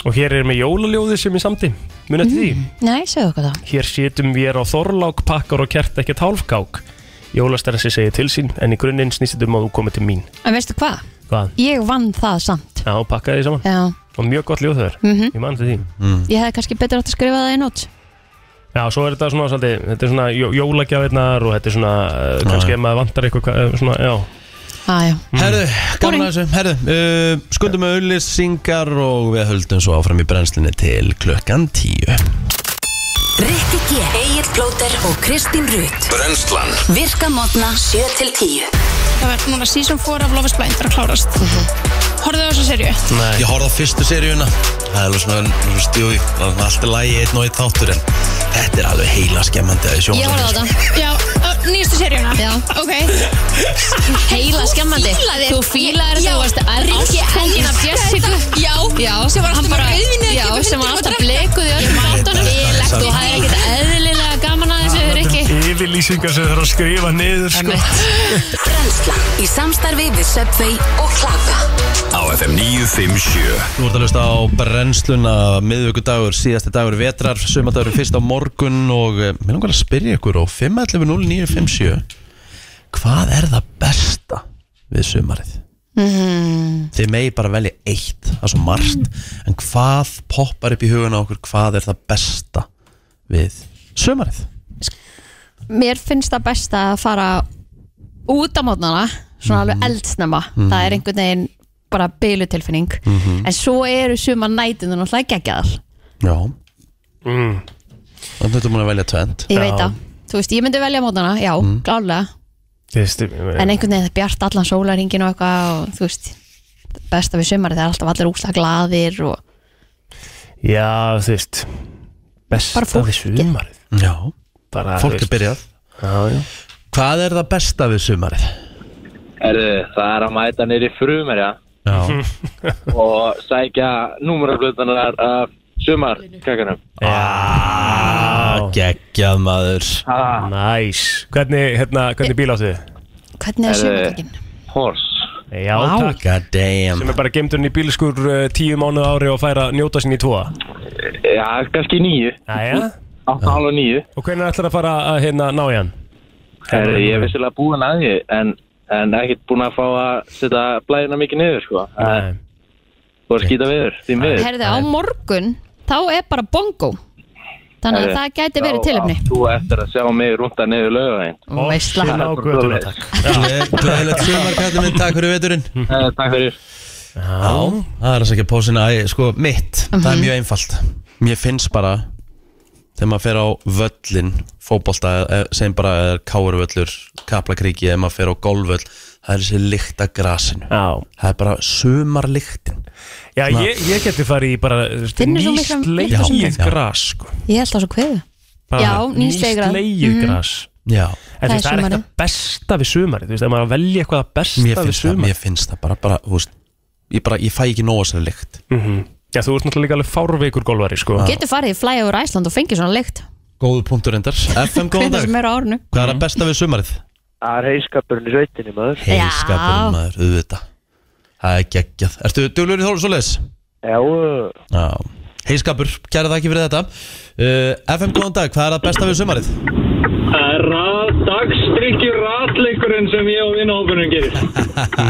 [SPEAKER 4] og hér er með jólaljóði sem ég samti muna til því,
[SPEAKER 3] Mhm. Nei, segðu okkur það
[SPEAKER 4] hér situm við á þorlák, pakkar og kert ekkert hálfkák Jólastersi segir til sín en í grunninn snýst þetta um að þú komið til mín
[SPEAKER 3] En veistu hvað?
[SPEAKER 4] Hvað?
[SPEAKER 3] Ég vann það samt
[SPEAKER 4] Já, pakkaði því saman
[SPEAKER 3] Já,
[SPEAKER 4] og mjög gott ljóð þau
[SPEAKER 3] mhm
[SPEAKER 4] ég man til því
[SPEAKER 2] Mm.
[SPEAKER 3] Ég hefði kannski betur átt að skrifa það í nót
[SPEAKER 4] Já, svo er þetta svona, svolítið, þetta er svona jó, jólagjafinnar og þetta er svona, uh, kannski ef maður vantar eitthvað, hva- eh, svona, já,
[SPEAKER 3] Æja,
[SPEAKER 2] Herðu,
[SPEAKER 3] Mm.
[SPEAKER 2] gaman að þessu, herðu, uh, skundum með auðlýsingar og við höldum svo áfram í brennslinni til klukkan tíu.
[SPEAKER 11] Rikki G, Egil Blóter og Kristín Rutt
[SPEAKER 1] Brennslan
[SPEAKER 11] Virka mótna 7 til 10
[SPEAKER 12] Það verður núna season 4 af Love is Blind að klárast mm
[SPEAKER 11] Mhm.
[SPEAKER 12] Horfðu á þessu serju
[SPEAKER 4] nei
[SPEAKER 13] Ég horfði á fyrstu seríuna Það er alveg svona, svona stjóði Það er alltaf lægi einn og einn þáttur En þetta er alveg heila skemmandi að
[SPEAKER 12] Ég horfði á
[SPEAKER 13] sjónvarpinu,
[SPEAKER 12] þetta Já, ö, nýjastu seríuna Já Ok
[SPEAKER 14] Heila skemmandi. Þú fílaðir þetta, þú varst erfstungin af Jessica.
[SPEAKER 12] Já,
[SPEAKER 14] Já,
[SPEAKER 12] sem var
[SPEAKER 14] hann
[SPEAKER 12] alltaf
[SPEAKER 14] bara-
[SPEAKER 12] bara auðvinni
[SPEAKER 14] já, sem var alltaf blekuð í öllum þáttunum.
[SPEAKER 12] Ílegt
[SPEAKER 14] Þú hafði ekkert eðlilega gaman að þessu, Rikki.
[SPEAKER 4] Yfirlýsingar sem þarf að skrifa niður sko.
[SPEAKER 11] [LAUGHS] Brennslan í samstarfi við Subway og Klaka
[SPEAKER 2] Á FM 957. Þú ert að hlusta á brennsluna miðvöggudagur, síðasti dagur vetrar, sömadagur fyrst á morgun og uh, mér langar að spyrja ykkur á 511-0957 Hvað er það besta við sömarið?
[SPEAKER 3] mm.
[SPEAKER 2] Þið megi bara velja eitt, það er svo margt En hvað poppar upp í huguna á okkur, hvað er það besta við sömarið?
[SPEAKER 3] Mér finnst það best að fara út á mótnana Svona alveg eldsnemma
[SPEAKER 2] Mhm.
[SPEAKER 3] Það er einhvern veginn bara bylutilfinning En svo eru suma nætunum náttúrulega geggjaðar
[SPEAKER 2] Já
[SPEAKER 4] mm.
[SPEAKER 2] Þannig þetta múin að velja tvend
[SPEAKER 3] Ég veit það Þú veist, ég myndi velja mótana, já, mm. En einhvern veginn það er bjart allan sólaringin og eitthvað og þú veist besta við sumari það er alltaf allir úsla glaðir og
[SPEAKER 4] Já, þú veist Besta
[SPEAKER 3] Bara fólkið.
[SPEAKER 4] við sumarið
[SPEAKER 2] Já,
[SPEAKER 4] bara,
[SPEAKER 2] fólk er byrjað
[SPEAKER 4] já, já.
[SPEAKER 2] Hvað er það besta við sumarið?
[SPEAKER 15] Erðu, það er að mæta
[SPEAKER 8] [LAUGHS]
[SPEAKER 15] nýri frumir, já.
[SPEAKER 2] Já
[SPEAKER 15] Og sækja númuraflutanar af sumar kakkanum
[SPEAKER 2] Ah, geggjað maður
[SPEAKER 15] ah.
[SPEAKER 4] Næs Hvernig, hérna, hvernig bíl áttu þið?
[SPEAKER 3] Hvernig er sjöfningin?
[SPEAKER 15] Hors
[SPEAKER 4] Já,
[SPEAKER 2] Vá.
[SPEAKER 4] takk
[SPEAKER 2] God damn
[SPEAKER 4] Sem er bara gemdurinn í bílskur uh, tíu mánuð ári og fær að njóta sín í tvoa
[SPEAKER 15] Já, kannski nýju
[SPEAKER 4] Jæja
[SPEAKER 15] 8,5 og nýju
[SPEAKER 4] Og hvernig ætlar að fara að hérna ná í hann? Hérna,
[SPEAKER 15] Herri, ég er vissilega búinn að því en, en ekkert búinn að fá að setja blæðina mikið niður sko Eh, Nei Og skýta viður, því miður
[SPEAKER 3] Herðu, á morgun, þá er bara bongo Þannig að
[SPEAKER 15] Herri,
[SPEAKER 3] það gæti verið
[SPEAKER 15] Eh, þá
[SPEAKER 3] tilöfni
[SPEAKER 15] átt Þú eftir að sjá mig rúnda niður lögavegin
[SPEAKER 3] Veisla.
[SPEAKER 2] Sinna á götuna,
[SPEAKER 15] [LAUGHS]
[SPEAKER 2] takk. Gleðilegt sumar, kallið minn, takk fyrir veturinn
[SPEAKER 4] Eh,
[SPEAKER 15] Takk fyrir
[SPEAKER 2] Já, það er að sækja pósina Æ, Sko, mitt, það
[SPEAKER 3] Mhm.
[SPEAKER 2] er mjög einfalt Mér finnst bara Þegar maður fer á völlin Fótbolta, eh, segjum bara er káruvöllur Kaplakríki, ef maður fer á golvöll Það er þessi lykt af grasinu
[SPEAKER 4] Já.
[SPEAKER 2] Það er bara sumarlyktin
[SPEAKER 4] Já,
[SPEAKER 2] Svona-
[SPEAKER 4] ég, ég geti farið í bara þú veist,
[SPEAKER 3] Finnur svo mikla- mikla svo
[SPEAKER 4] nýslegið
[SPEAKER 3] mikla-
[SPEAKER 4] gras sko.
[SPEAKER 3] Ég held það svo kveðu
[SPEAKER 4] Bara
[SPEAKER 3] Já, nýslegið gras.
[SPEAKER 4] nýslegið
[SPEAKER 3] Mhm.
[SPEAKER 4] gras
[SPEAKER 2] Já
[SPEAKER 4] En
[SPEAKER 3] Það er
[SPEAKER 4] þú veist, það er ekkert
[SPEAKER 3] sumarið.
[SPEAKER 4] að besta við sumari Þú veist, það er maður að velja eitthvað
[SPEAKER 2] Mér
[SPEAKER 4] að besta við
[SPEAKER 2] finnst það,
[SPEAKER 4] sumari
[SPEAKER 2] mér finnst það bara, bara, þú veist Ég bara, ég fæ ekki nóg að sér lykt
[SPEAKER 4] -hmm. Já, þú ert náttúrulega líka alveg
[SPEAKER 2] [LAUGHS]
[SPEAKER 4] fárveikur golvari sko.
[SPEAKER 3] Getur farið í flæja úr Æsland og fengið svona lykt
[SPEAKER 2] Góðu punktur
[SPEAKER 3] [LAUGHS]
[SPEAKER 2] endar FM, góðan
[SPEAKER 3] Hvernig
[SPEAKER 2] dag
[SPEAKER 3] sem er á árnu
[SPEAKER 2] Hvað er að besta við sumarið?
[SPEAKER 15] Það er heiskapurinn í sveitinni maður
[SPEAKER 2] Heiskapurinn maður, auðvitað Það er geggjað Ertu duglur í þólu svo leis?
[SPEAKER 15] Já
[SPEAKER 2] Já Heiskapur, kæra þakki fyrir þetta uh, FM, góðan dag, hvað er að besta við sumarið?
[SPEAKER 16] Dagstrykju ratleikurinn sem ég og vinnahókunum gerir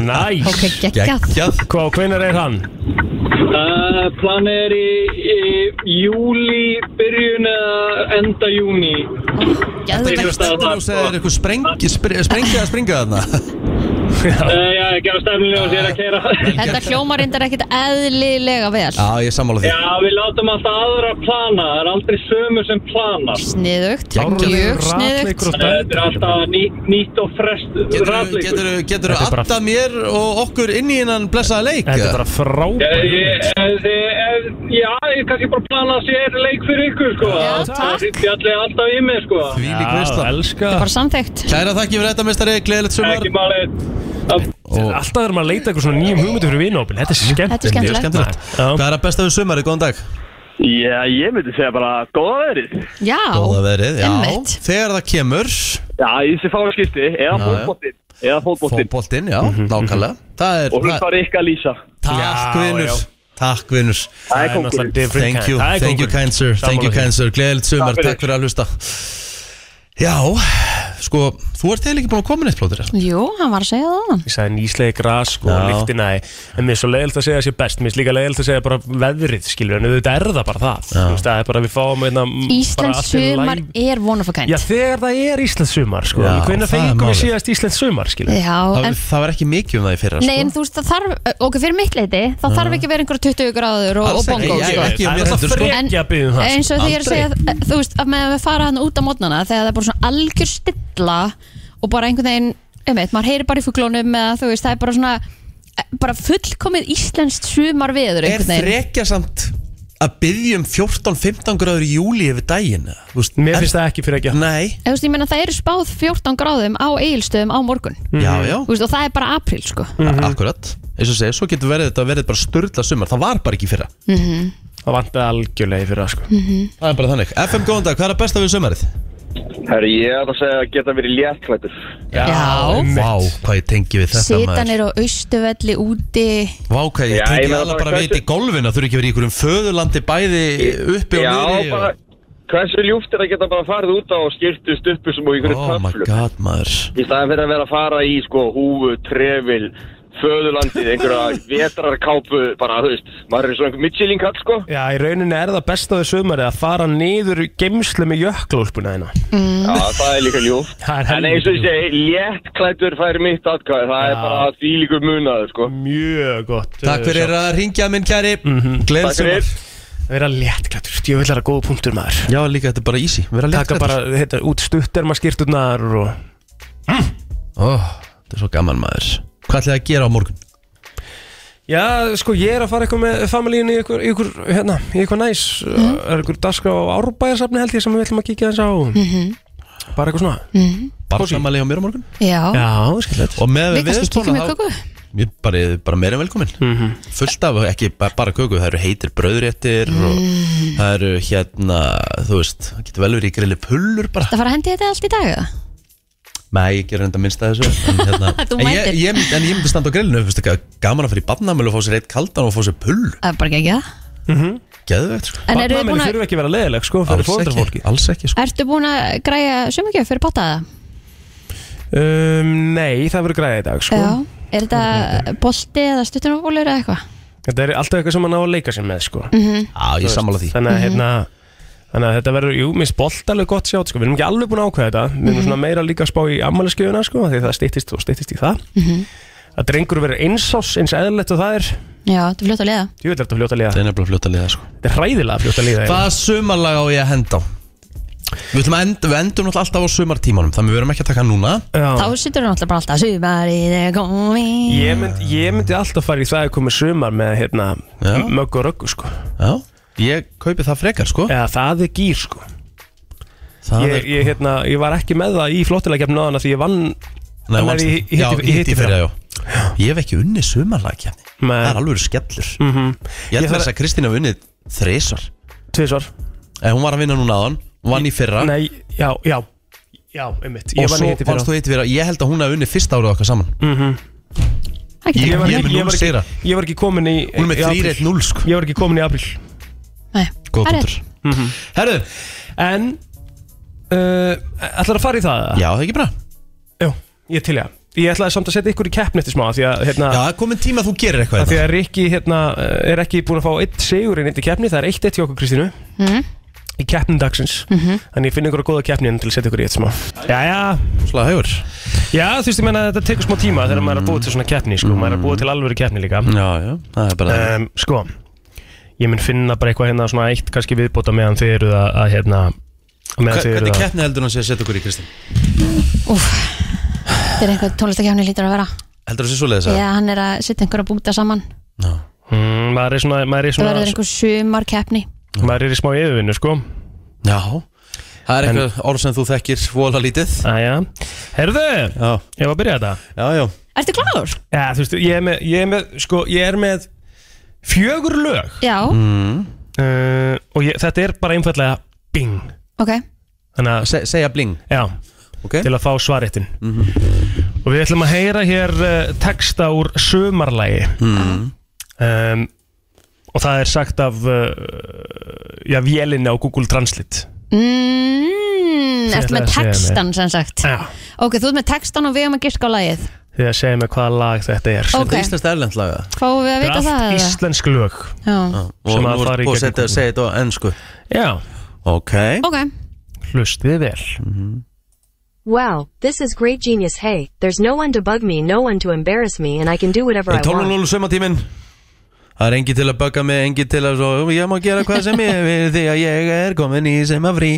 [SPEAKER 4] Næs
[SPEAKER 16] Ok, geggjað.
[SPEAKER 4] Hvað, hvenar er hann?
[SPEAKER 16] uh, Planið er í, í júli, byrjun eða enda júni
[SPEAKER 2] Þetta er ekki stendur og
[SPEAKER 16] [LAUGHS]
[SPEAKER 2] segir eitthvað sprengi, sprengi, sprengi að springa þarna
[SPEAKER 16] Eh, Já, ég gef stefnilega og sér að keira
[SPEAKER 3] Þetta hljómar reyndar ekkit eðlilega vel
[SPEAKER 2] Já, ég er sammála því
[SPEAKER 16] [LAUGHS] Já, við látum alltaf aðra plana Það er aldrei sömu sem plana
[SPEAKER 3] Sniðugt,
[SPEAKER 2] Geggjað.
[SPEAKER 3] mjög sniðugt
[SPEAKER 16] Þannig að Eh, Þetta er alltaf ný, nýtt og frest ratleikur
[SPEAKER 2] Geturðu getur
[SPEAKER 4] Þetta er bara-
[SPEAKER 2] aftað mér og okkur inn í innan blessaða leik?
[SPEAKER 4] Þetta er bara
[SPEAKER 16] Já,
[SPEAKER 4] frábæð
[SPEAKER 16] ég- ef þið- ef- Já, ég kannski bara plana að sér leik fyrir ykkur, sko. Já, takk. Það fjalli alltaf í mig, sko.
[SPEAKER 2] Því lík veistla
[SPEAKER 4] elska
[SPEAKER 3] Bara samþygt
[SPEAKER 2] Kæra þakki fyrir þetta, mistari, gleðilegt sumar
[SPEAKER 16] Ekki málið
[SPEAKER 4] Alltaf erum að leita eitthvað svona nýjum hugmyndu fyrir vinópin Þetta er skemmtilegt
[SPEAKER 3] Þetta er skemmtilegt.
[SPEAKER 2] Hvað er að besta við sumarið, góðan dag?
[SPEAKER 15] Já, ég myndi segja bara góða verið
[SPEAKER 3] Já,
[SPEAKER 2] Góða verið, já
[SPEAKER 3] einmitt.
[SPEAKER 2] Þegar það kemur
[SPEAKER 15] Já, í þessi fáskipti, eða
[SPEAKER 2] Já, já.
[SPEAKER 15] fótboltinn Eða fótboltinn
[SPEAKER 2] Fótboltinn, já,
[SPEAKER 4] Mhm,
[SPEAKER 2] nákvæmlega Það er,
[SPEAKER 15] Og hlusta á Rikka Lísa
[SPEAKER 2] takk vinnur Takk vinnur
[SPEAKER 15] Það er kóngurinn.
[SPEAKER 4] náttúrulega different
[SPEAKER 2] Thank
[SPEAKER 4] kind.
[SPEAKER 2] you,
[SPEAKER 4] Það er
[SPEAKER 2] thank you
[SPEAKER 4] kóngurinn.
[SPEAKER 2] kind sir Thank you
[SPEAKER 4] Sammála því.
[SPEAKER 2] kind sir, gleðilegt sumar,
[SPEAKER 4] Takk fyrir.
[SPEAKER 2] takk fyrir að hlusta Já, sko Þú ert eða ekki búin að koma neitt plótur
[SPEAKER 3] Jú, hann var að segja það áðan.
[SPEAKER 4] Ég sagði nýslegi gras sko,
[SPEAKER 2] Já.
[SPEAKER 4] líktina En mér er svo leiðilt að segja sér best Mér er líka leiðilt að segja bara veðrið skilur En auðvitað er það bara það Þú veist, Það er bara að við fáum einna
[SPEAKER 3] Íslands sumar er vonafakænt
[SPEAKER 4] Já, þegar það er Íslands sumar sko.
[SPEAKER 2] Já,
[SPEAKER 4] Hvernig
[SPEAKER 2] það er
[SPEAKER 4] fengum við
[SPEAKER 2] málið.
[SPEAKER 4] síðast Íslands sumar skilur
[SPEAKER 3] Já,
[SPEAKER 2] það,
[SPEAKER 3] en-
[SPEAKER 2] það var ekki mikið um það í fyrra
[SPEAKER 3] Nei, en þú veist, það þarf, ok, fyrir mitt leiti þá þarf ekki að vera einhverja 20 gráður og, og
[SPEAKER 2] Alls ekki,
[SPEAKER 3] bongo,
[SPEAKER 2] ég-
[SPEAKER 3] sko
[SPEAKER 2] ekki á mér
[SPEAKER 4] Það er
[SPEAKER 2] heldur,
[SPEAKER 4] alltaf
[SPEAKER 2] sko.
[SPEAKER 4] frekja að byggja um það
[SPEAKER 3] eins og því ég er að segja, að, þú veist, að með að fara hann út á mótnana þegar það er bara svona algjör stilla og bara einhvern veginn, um veit, maður heyri bara í fuglónum eða þú veist, það er bara svona eh, bara fullkomið íslenskt sumar viður
[SPEAKER 2] Er
[SPEAKER 3] einhvern veginn.
[SPEAKER 2] þrekja samt að byggja um 14-15 gráður í júli yfir daginn eða? Þú veist,
[SPEAKER 4] Mér
[SPEAKER 2] er-
[SPEAKER 4] finnst það ekki frekja
[SPEAKER 2] Nei,
[SPEAKER 3] Eða, Þú veist, ég meina það eru spáð 14 gráðum á eigilstöðum á morgun
[SPEAKER 4] Mhm.
[SPEAKER 2] já, já
[SPEAKER 3] Þú veist, og það er bara april, sko
[SPEAKER 2] Akkurat, eins og segja, svo getur verið þetta verið bara störla sumar, það var bara ekki í fyrra
[SPEAKER 3] Mhm.
[SPEAKER 4] Það vantaði algjörlega í fyrra sko.
[SPEAKER 2] Það er bara þannig, FM góðan dag, hvað er að besta við sumarið?
[SPEAKER 15] Herri, ég ætla að segja að geta verið léttklættur
[SPEAKER 2] Já, Vá, hvað ég tengi við þetta maður
[SPEAKER 3] Sitanir á austuvelli úti
[SPEAKER 2] Vá, hvað
[SPEAKER 15] Já,
[SPEAKER 2] ég
[SPEAKER 15] ég
[SPEAKER 2] tengi
[SPEAKER 15] meina
[SPEAKER 2] alveg
[SPEAKER 15] bara
[SPEAKER 2] bara við þetta í golfin Það þurfi ekki verið í einhverjum föðurlandi bæði uppi og
[SPEAKER 15] Já,
[SPEAKER 2] niðri
[SPEAKER 15] bara
[SPEAKER 2] og...
[SPEAKER 15] Hversu ljúft er að geta bara farið út á skýrtu stuppu sem og ykkur
[SPEAKER 2] Oh my
[SPEAKER 15] töflum
[SPEAKER 2] god, maður
[SPEAKER 15] Í staðan fyrir að vera að fara í sko húfu, trefil, föðulandið, einhverja [LAUGHS] vetrarkápu, bara þú veist, maður er svona einhver mitchillingkall sko
[SPEAKER 4] Já, í rauninni er það besta við sumarið að fara niður geimslu með jökklúlpuna þína
[SPEAKER 15] Já, það er líka ljúft
[SPEAKER 4] Mm. [LAUGHS] Það er
[SPEAKER 15] En eins og ég segi, léttklættur fær mitt atkvæði, það er bara því líkur munaður sko
[SPEAKER 4] Mjög gott
[SPEAKER 2] Takk fyrir að ringja minn kæri mm
[SPEAKER 4] Mhm.
[SPEAKER 2] -hmm.
[SPEAKER 15] Takk fyrir.
[SPEAKER 2] sumar
[SPEAKER 4] Verða léttklættur, ég vil vera góða punktur maður
[SPEAKER 2] Já, líka þetta er bara easy, vera
[SPEAKER 4] Taka bara,
[SPEAKER 2] léttklæddur.
[SPEAKER 4] heita, út stutterma skýrturnar og
[SPEAKER 2] Ó, Mm. Oh, Þetta er svo gaman maður Hvað ætlaði að gera á morgun?
[SPEAKER 4] Já, sko, ég er að fara eitthvað með familíinu í eitthvað, í eitthvað, hérna, í eitthvað næs mm. er eitthvað dagskrá á árbæðarsafni held ég sem við ætlum að kíkja þess á bara eitthvað svona
[SPEAKER 2] Mhm. Barsamæli á mér á morgun?
[SPEAKER 3] Já,
[SPEAKER 4] Já, skilvægt
[SPEAKER 2] Og með
[SPEAKER 3] við kannski kíkjum í köku
[SPEAKER 2] ég bara, ég er bara meira en velkomin
[SPEAKER 4] Mhm.
[SPEAKER 2] fullt af, ekki bara, bara köku það eru heitir brauðréttir og
[SPEAKER 3] Mm.
[SPEAKER 2] það eru hérna, þú veist það getur vel verið í grilli pullur bara
[SPEAKER 3] Það fara að hendi þetta allt í dag eða?
[SPEAKER 2] nei, ég gerur enda minnst að þessu en, hérna,
[SPEAKER 3] [LAUGHS] Þú
[SPEAKER 2] en, ég,
[SPEAKER 3] mætir.
[SPEAKER 2] ég, myndi- en ég myndi standa á grillinu þú veist ekki, gaman að fara í badnamölu og fá sér eitt kaldan og fá sér pull
[SPEAKER 3] Það er bara ekki ekki það
[SPEAKER 2] geðvegt sko.
[SPEAKER 3] En eru þið búin að-
[SPEAKER 4] þurfa ekki að vera leðileg sko fyrir
[SPEAKER 2] Alls ekki,
[SPEAKER 4] fólki
[SPEAKER 2] alls ekki
[SPEAKER 3] Ertu búin að græja sumugjöf fyrir bótaða?
[SPEAKER 4] um, nei það verður græðið í dag sko
[SPEAKER 3] Já Er þetta bolti eða stuttunumúlur eða eitthvað?
[SPEAKER 4] þetta er alltaf eitthvað sem hann á að leika sér með sko
[SPEAKER 3] Mhm.
[SPEAKER 2] Já, ég sammála því.
[SPEAKER 4] Þannig að,
[SPEAKER 2] Mhm.
[SPEAKER 4] hérna, þannig að þetta verður, jú, minnst bolt alveg gott sjátt sko. Við erum ekki alveg búin að ákveða þetta Við erum
[SPEAKER 13] Mhm.
[SPEAKER 4] svona meira líka að spá í ammæliskefuna sko, af Því það styttist og styttist í það
[SPEAKER 3] Mhm.
[SPEAKER 4] Að drengur verður einsás, eins eðlilegt og það er
[SPEAKER 3] Já, þetta er fljótt að liða
[SPEAKER 4] Jú, þetta er fljóta liða
[SPEAKER 2] Það er nefnilega fljóta liða sko.
[SPEAKER 4] Þetta er hræðilega fljóta liða eiginlega.
[SPEAKER 2] Hvaða sumarlag á ég að henda á? Við, ætlum að enda, við endum náttúrulega alltaf á sumartímanum Þannig við verum ekki að taka hann núna
[SPEAKER 3] Þá sittur þú náttúrulega bara alltaf Sumarið er komið
[SPEAKER 4] Ég, mynd, ég myndi alltaf fara í það að koma sumar með hérna, möggu og röggu sko.
[SPEAKER 2] Já, ég kaupi það frekar sko.
[SPEAKER 4] Já, það er gýr sko.
[SPEAKER 2] Það
[SPEAKER 4] ég,
[SPEAKER 2] er-
[SPEAKER 4] ég, hérna, ég var ekki með það í flottilega kemna áðan af því ég vann
[SPEAKER 2] Nei,
[SPEAKER 4] Þannig að
[SPEAKER 2] vannst
[SPEAKER 4] ég
[SPEAKER 2] þetta.
[SPEAKER 4] hitti-
[SPEAKER 2] Já,
[SPEAKER 4] ég
[SPEAKER 2] ég hitti
[SPEAKER 4] hitti
[SPEAKER 2] fyrir
[SPEAKER 4] fyrra.
[SPEAKER 2] já Ég hef ekki unnið sumarlag kefni Það er alveg skellur Ég held
[SPEAKER 4] Mhm. Ég
[SPEAKER 2] með
[SPEAKER 4] þarf-
[SPEAKER 2] þess að Kristín hef unnið þrisvar
[SPEAKER 4] Tvisvar
[SPEAKER 2] En hún var að vinna núna á hann Hún vann í fyrra
[SPEAKER 4] Nei, já, já Já, einmitt Ég
[SPEAKER 2] Og
[SPEAKER 4] vann
[SPEAKER 2] svo
[SPEAKER 4] í hitti fyrra.
[SPEAKER 2] varst þú hitti fyrra Ég held að hún hef unnið fyrsta árið okkar saman
[SPEAKER 4] Mhm.
[SPEAKER 2] Ég
[SPEAKER 4] Ég var
[SPEAKER 2] ég er með
[SPEAKER 4] ekki- ég
[SPEAKER 2] núl
[SPEAKER 4] var ekki-
[SPEAKER 2] sigra
[SPEAKER 4] Ég var ekki komin í
[SPEAKER 2] Hún er með
[SPEAKER 4] í apríl.
[SPEAKER 2] 3-1-0,
[SPEAKER 4] Ég var ekki komin í april
[SPEAKER 3] Nei,
[SPEAKER 2] Góð
[SPEAKER 4] Það er
[SPEAKER 2] punktur Herðu
[SPEAKER 4] En uh, Ætlar að fara í það?
[SPEAKER 2] Já, það er ekki bra
[SPEAKER 4] Jú, ég til ég Ég ætlaði samt að setja ykkur í keppni eftir smá af Því að hérna
[SPEAKER 2] Já, komin tíma að þú gerir eitthvað
[SPEAKER 4] Því að Rikki hérna eh, er ekki búin að fá eitt sigur inn í keppni Það er eitt eitt hjá okkur Kristínu
[SPEAKER 3] Mhm.
[SPEAKER 4] Í keppnin dagsins
[SPEAKER 3] Mhm.
[SPEAKER 4] Þannig ég finn ykkur að góða keppni hérna til að setja ykkur í eitt smá Jæja
[SPEAKER 2] Slaða haugur
[SPEAKER 4] Já, þú veist, ég menna þetta tekur smá tíma Þegar maður er að búa til svona keppni, sko Maður er að búa til alvöru keppni líka
[SPEAKER 2] Mm. Já, já, það er bara
[SPEAKER 4] um, Sko, ég mun finna bara eitthvað hérna Svona eitt kannski viðbóta meðan þið eruð að, að hérna meðan þið eruð
[SPEAKER 2] Hvernig
[SPEAKER 4] að-
[SPEAKER 2] keppni heldur hann sé að setja okkur í Kristín?
[SPEAKER 3] Úf Þetta er einhver tónlistakefni lítur að vera
[SPEAKER 2] Heldur hann sé svo leiðis að
[SPEAKER 3] Já, hann er að setja einhver að búta saman
[SPEAKER 4] Mm, maður er svona, maður er
[SPEAKER 3] Það
[SPEAKER 4] svona
[SPEAKER 3] verður einhver sumarkeppni
[SPEAKER 4] maður er í smá yfirvinnu sko
[SPEAKER 2] Já, það er eitthvað orð sem þú þekkir vola lítið
[SPEAKER 4] Æja, herðu,
[SPEAKER 2] já.
[SPEAKER 4] ég var að byrja þetta
[SPEAKER 2] Já, já
[SPEAKER 3] Ertu kláður?
[SPEAKER 4] Já, þú veist, ég er með, ég er með, sko, ég er með fjögur lög
[SPEAKER 3] Já,
[SPEAKER 4] mm. uh, Og ég, þetta er bara einfallega bing
[SPEAKER 3] ok
[SPEAKER 4] Þannig að
[SPEAKER 2] Se, Segja bling Mhm.
[SPEAKER 4] Já,
[SPEAKER 2] okay.
[SPEAKER 4] til að fá svaréttin Og við ætlum að heyra hér uh, texta úr sumarlægi
[SPEAKER 2] mm.
[SPEAKER 4] um, Og það er sagt af, uh, já, vélinni á Google Translate
[SPEAKER 3] mm,
[SPEAKER 4] Ég
[SPEAKER 3] Ertu
[SPEAKER 4] ætlaði
[SPEAKER 3] með
[SPEAKER 4] að segja
[SPEAKER 3] textan sem sagt
[SPEAKER 4] Já.
[SPEAKER 3] Ok, þú ert með textan og við erum að giska á lagið
[SPEAKER 4] Því að segja mig hvaða lag þetta er
[SPEAKER 3] Ok. Þetta er íslenskt
[SPEAKER 2] erlend laga
[SPEAKER 3] Fáum við að vita
[SPEAKER 4] Allt
[SPEAKER 3] það eða?
[SPEAKER 4] íslensk lög
[SPEAKER 3] Já.
[SPEAKER 2] Ah, Og
[SPEAKER 4] Sem
[SPEAKER 2] nú
[SPEAKER 4] að
[SPEAKER 2] er
[SPEAKER 4] fara í
[SPEAKER 2] búið að
[SPEAKER 4] gegnum.
[SPEAKER 2] setja að segja þetta á ennsku
[SPEAKER 4] Já
[SPEAKER 2] Ok Mhm.
[SPEAKER 3] Ok
[SPEAKER 4] Hlustið vel
[SPEAKER 17] Wow, this is great genius. Hey, there's no one to bug me, no one to embarrass me, and I can do whatever I want.
[SPEAKER 2] 12.00 sömatíminn Það er engi til að bögga mig, engi til að svo, ég má gera hvað sem ég vil því að ég er komin í sem að frí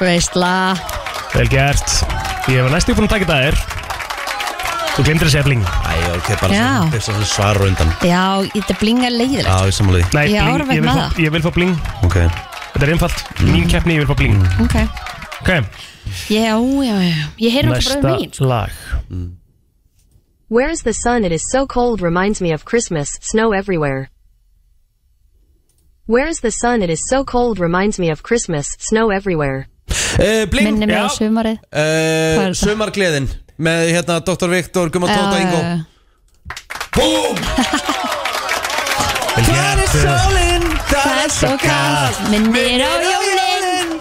[SPEAKER 3] Veistla
[SPEAKER 4] Vel gert Ég var næstu búin að taka þetta þér Þú glemdir að segja bling
[SPEAKER 2] Æ, ok, bara
[SPEAKER 3] Já.
[SPEAKER 2] svona- þetta er svona svar og undan
[SPEAKER 3] Já, þetta er blinga
[SPEAKER 2] Já,
[SPEAKER 3] leiðilegt
[SPEAKER 2] ég sammála því
[SPEAKER 4] Nei,
[SPEAKER 3] Ég
[SPEAKER 4] bling,
[SPEAKER 3] árvek
[SPEAKER 4] ég, vil
[SPEAKER 3] með
[SPEAKER 4] fá,
[SPEAKER 3] það.
[SPEAKER 4] ég vil fá bling
[SPEAKER 2] Ok Mm.
[SPEAKER 4] Þetta er einfalt, mín keppni, ég vil fá bling
[SPEAKER 3] Ok,
[SPEAKER 4] Ok,
[SPEAKER 3] já, já, já Ég heyrum þetta bara
[SPEAKER 4] næsta
[SPEAKER 3] um mín
[SPEAKER 4] lag
[SPEAKER 2] Mm.
[SPEAKER 17] Where's the sun? It is so cold, reminds me of Christmas, snow everywhere. Where's the sun? It is so cold, reminds me of Christmas, snow everywhere.
[SPEAKER 2] uh, Bling
[SPEAKER 3] Minni mig á sumarið Hvað
[SPEAKER 2] uh,
[SPEAKER 3] er Eh. þetta?
[SPEAKER 2] Sumargleðin með hérna Dr. Viktor, Guma Tóta
[SPEAKER 3] Já,
[SPEAKER 2] Ingo
[SPEAKER 3] já, já.
[SPEAKER 2] Búm
[SPEAKER 1] Það er sólinn, það er svo kallt
[SPEAKER 3] Minnir á
[SPEAKER 1] jólinn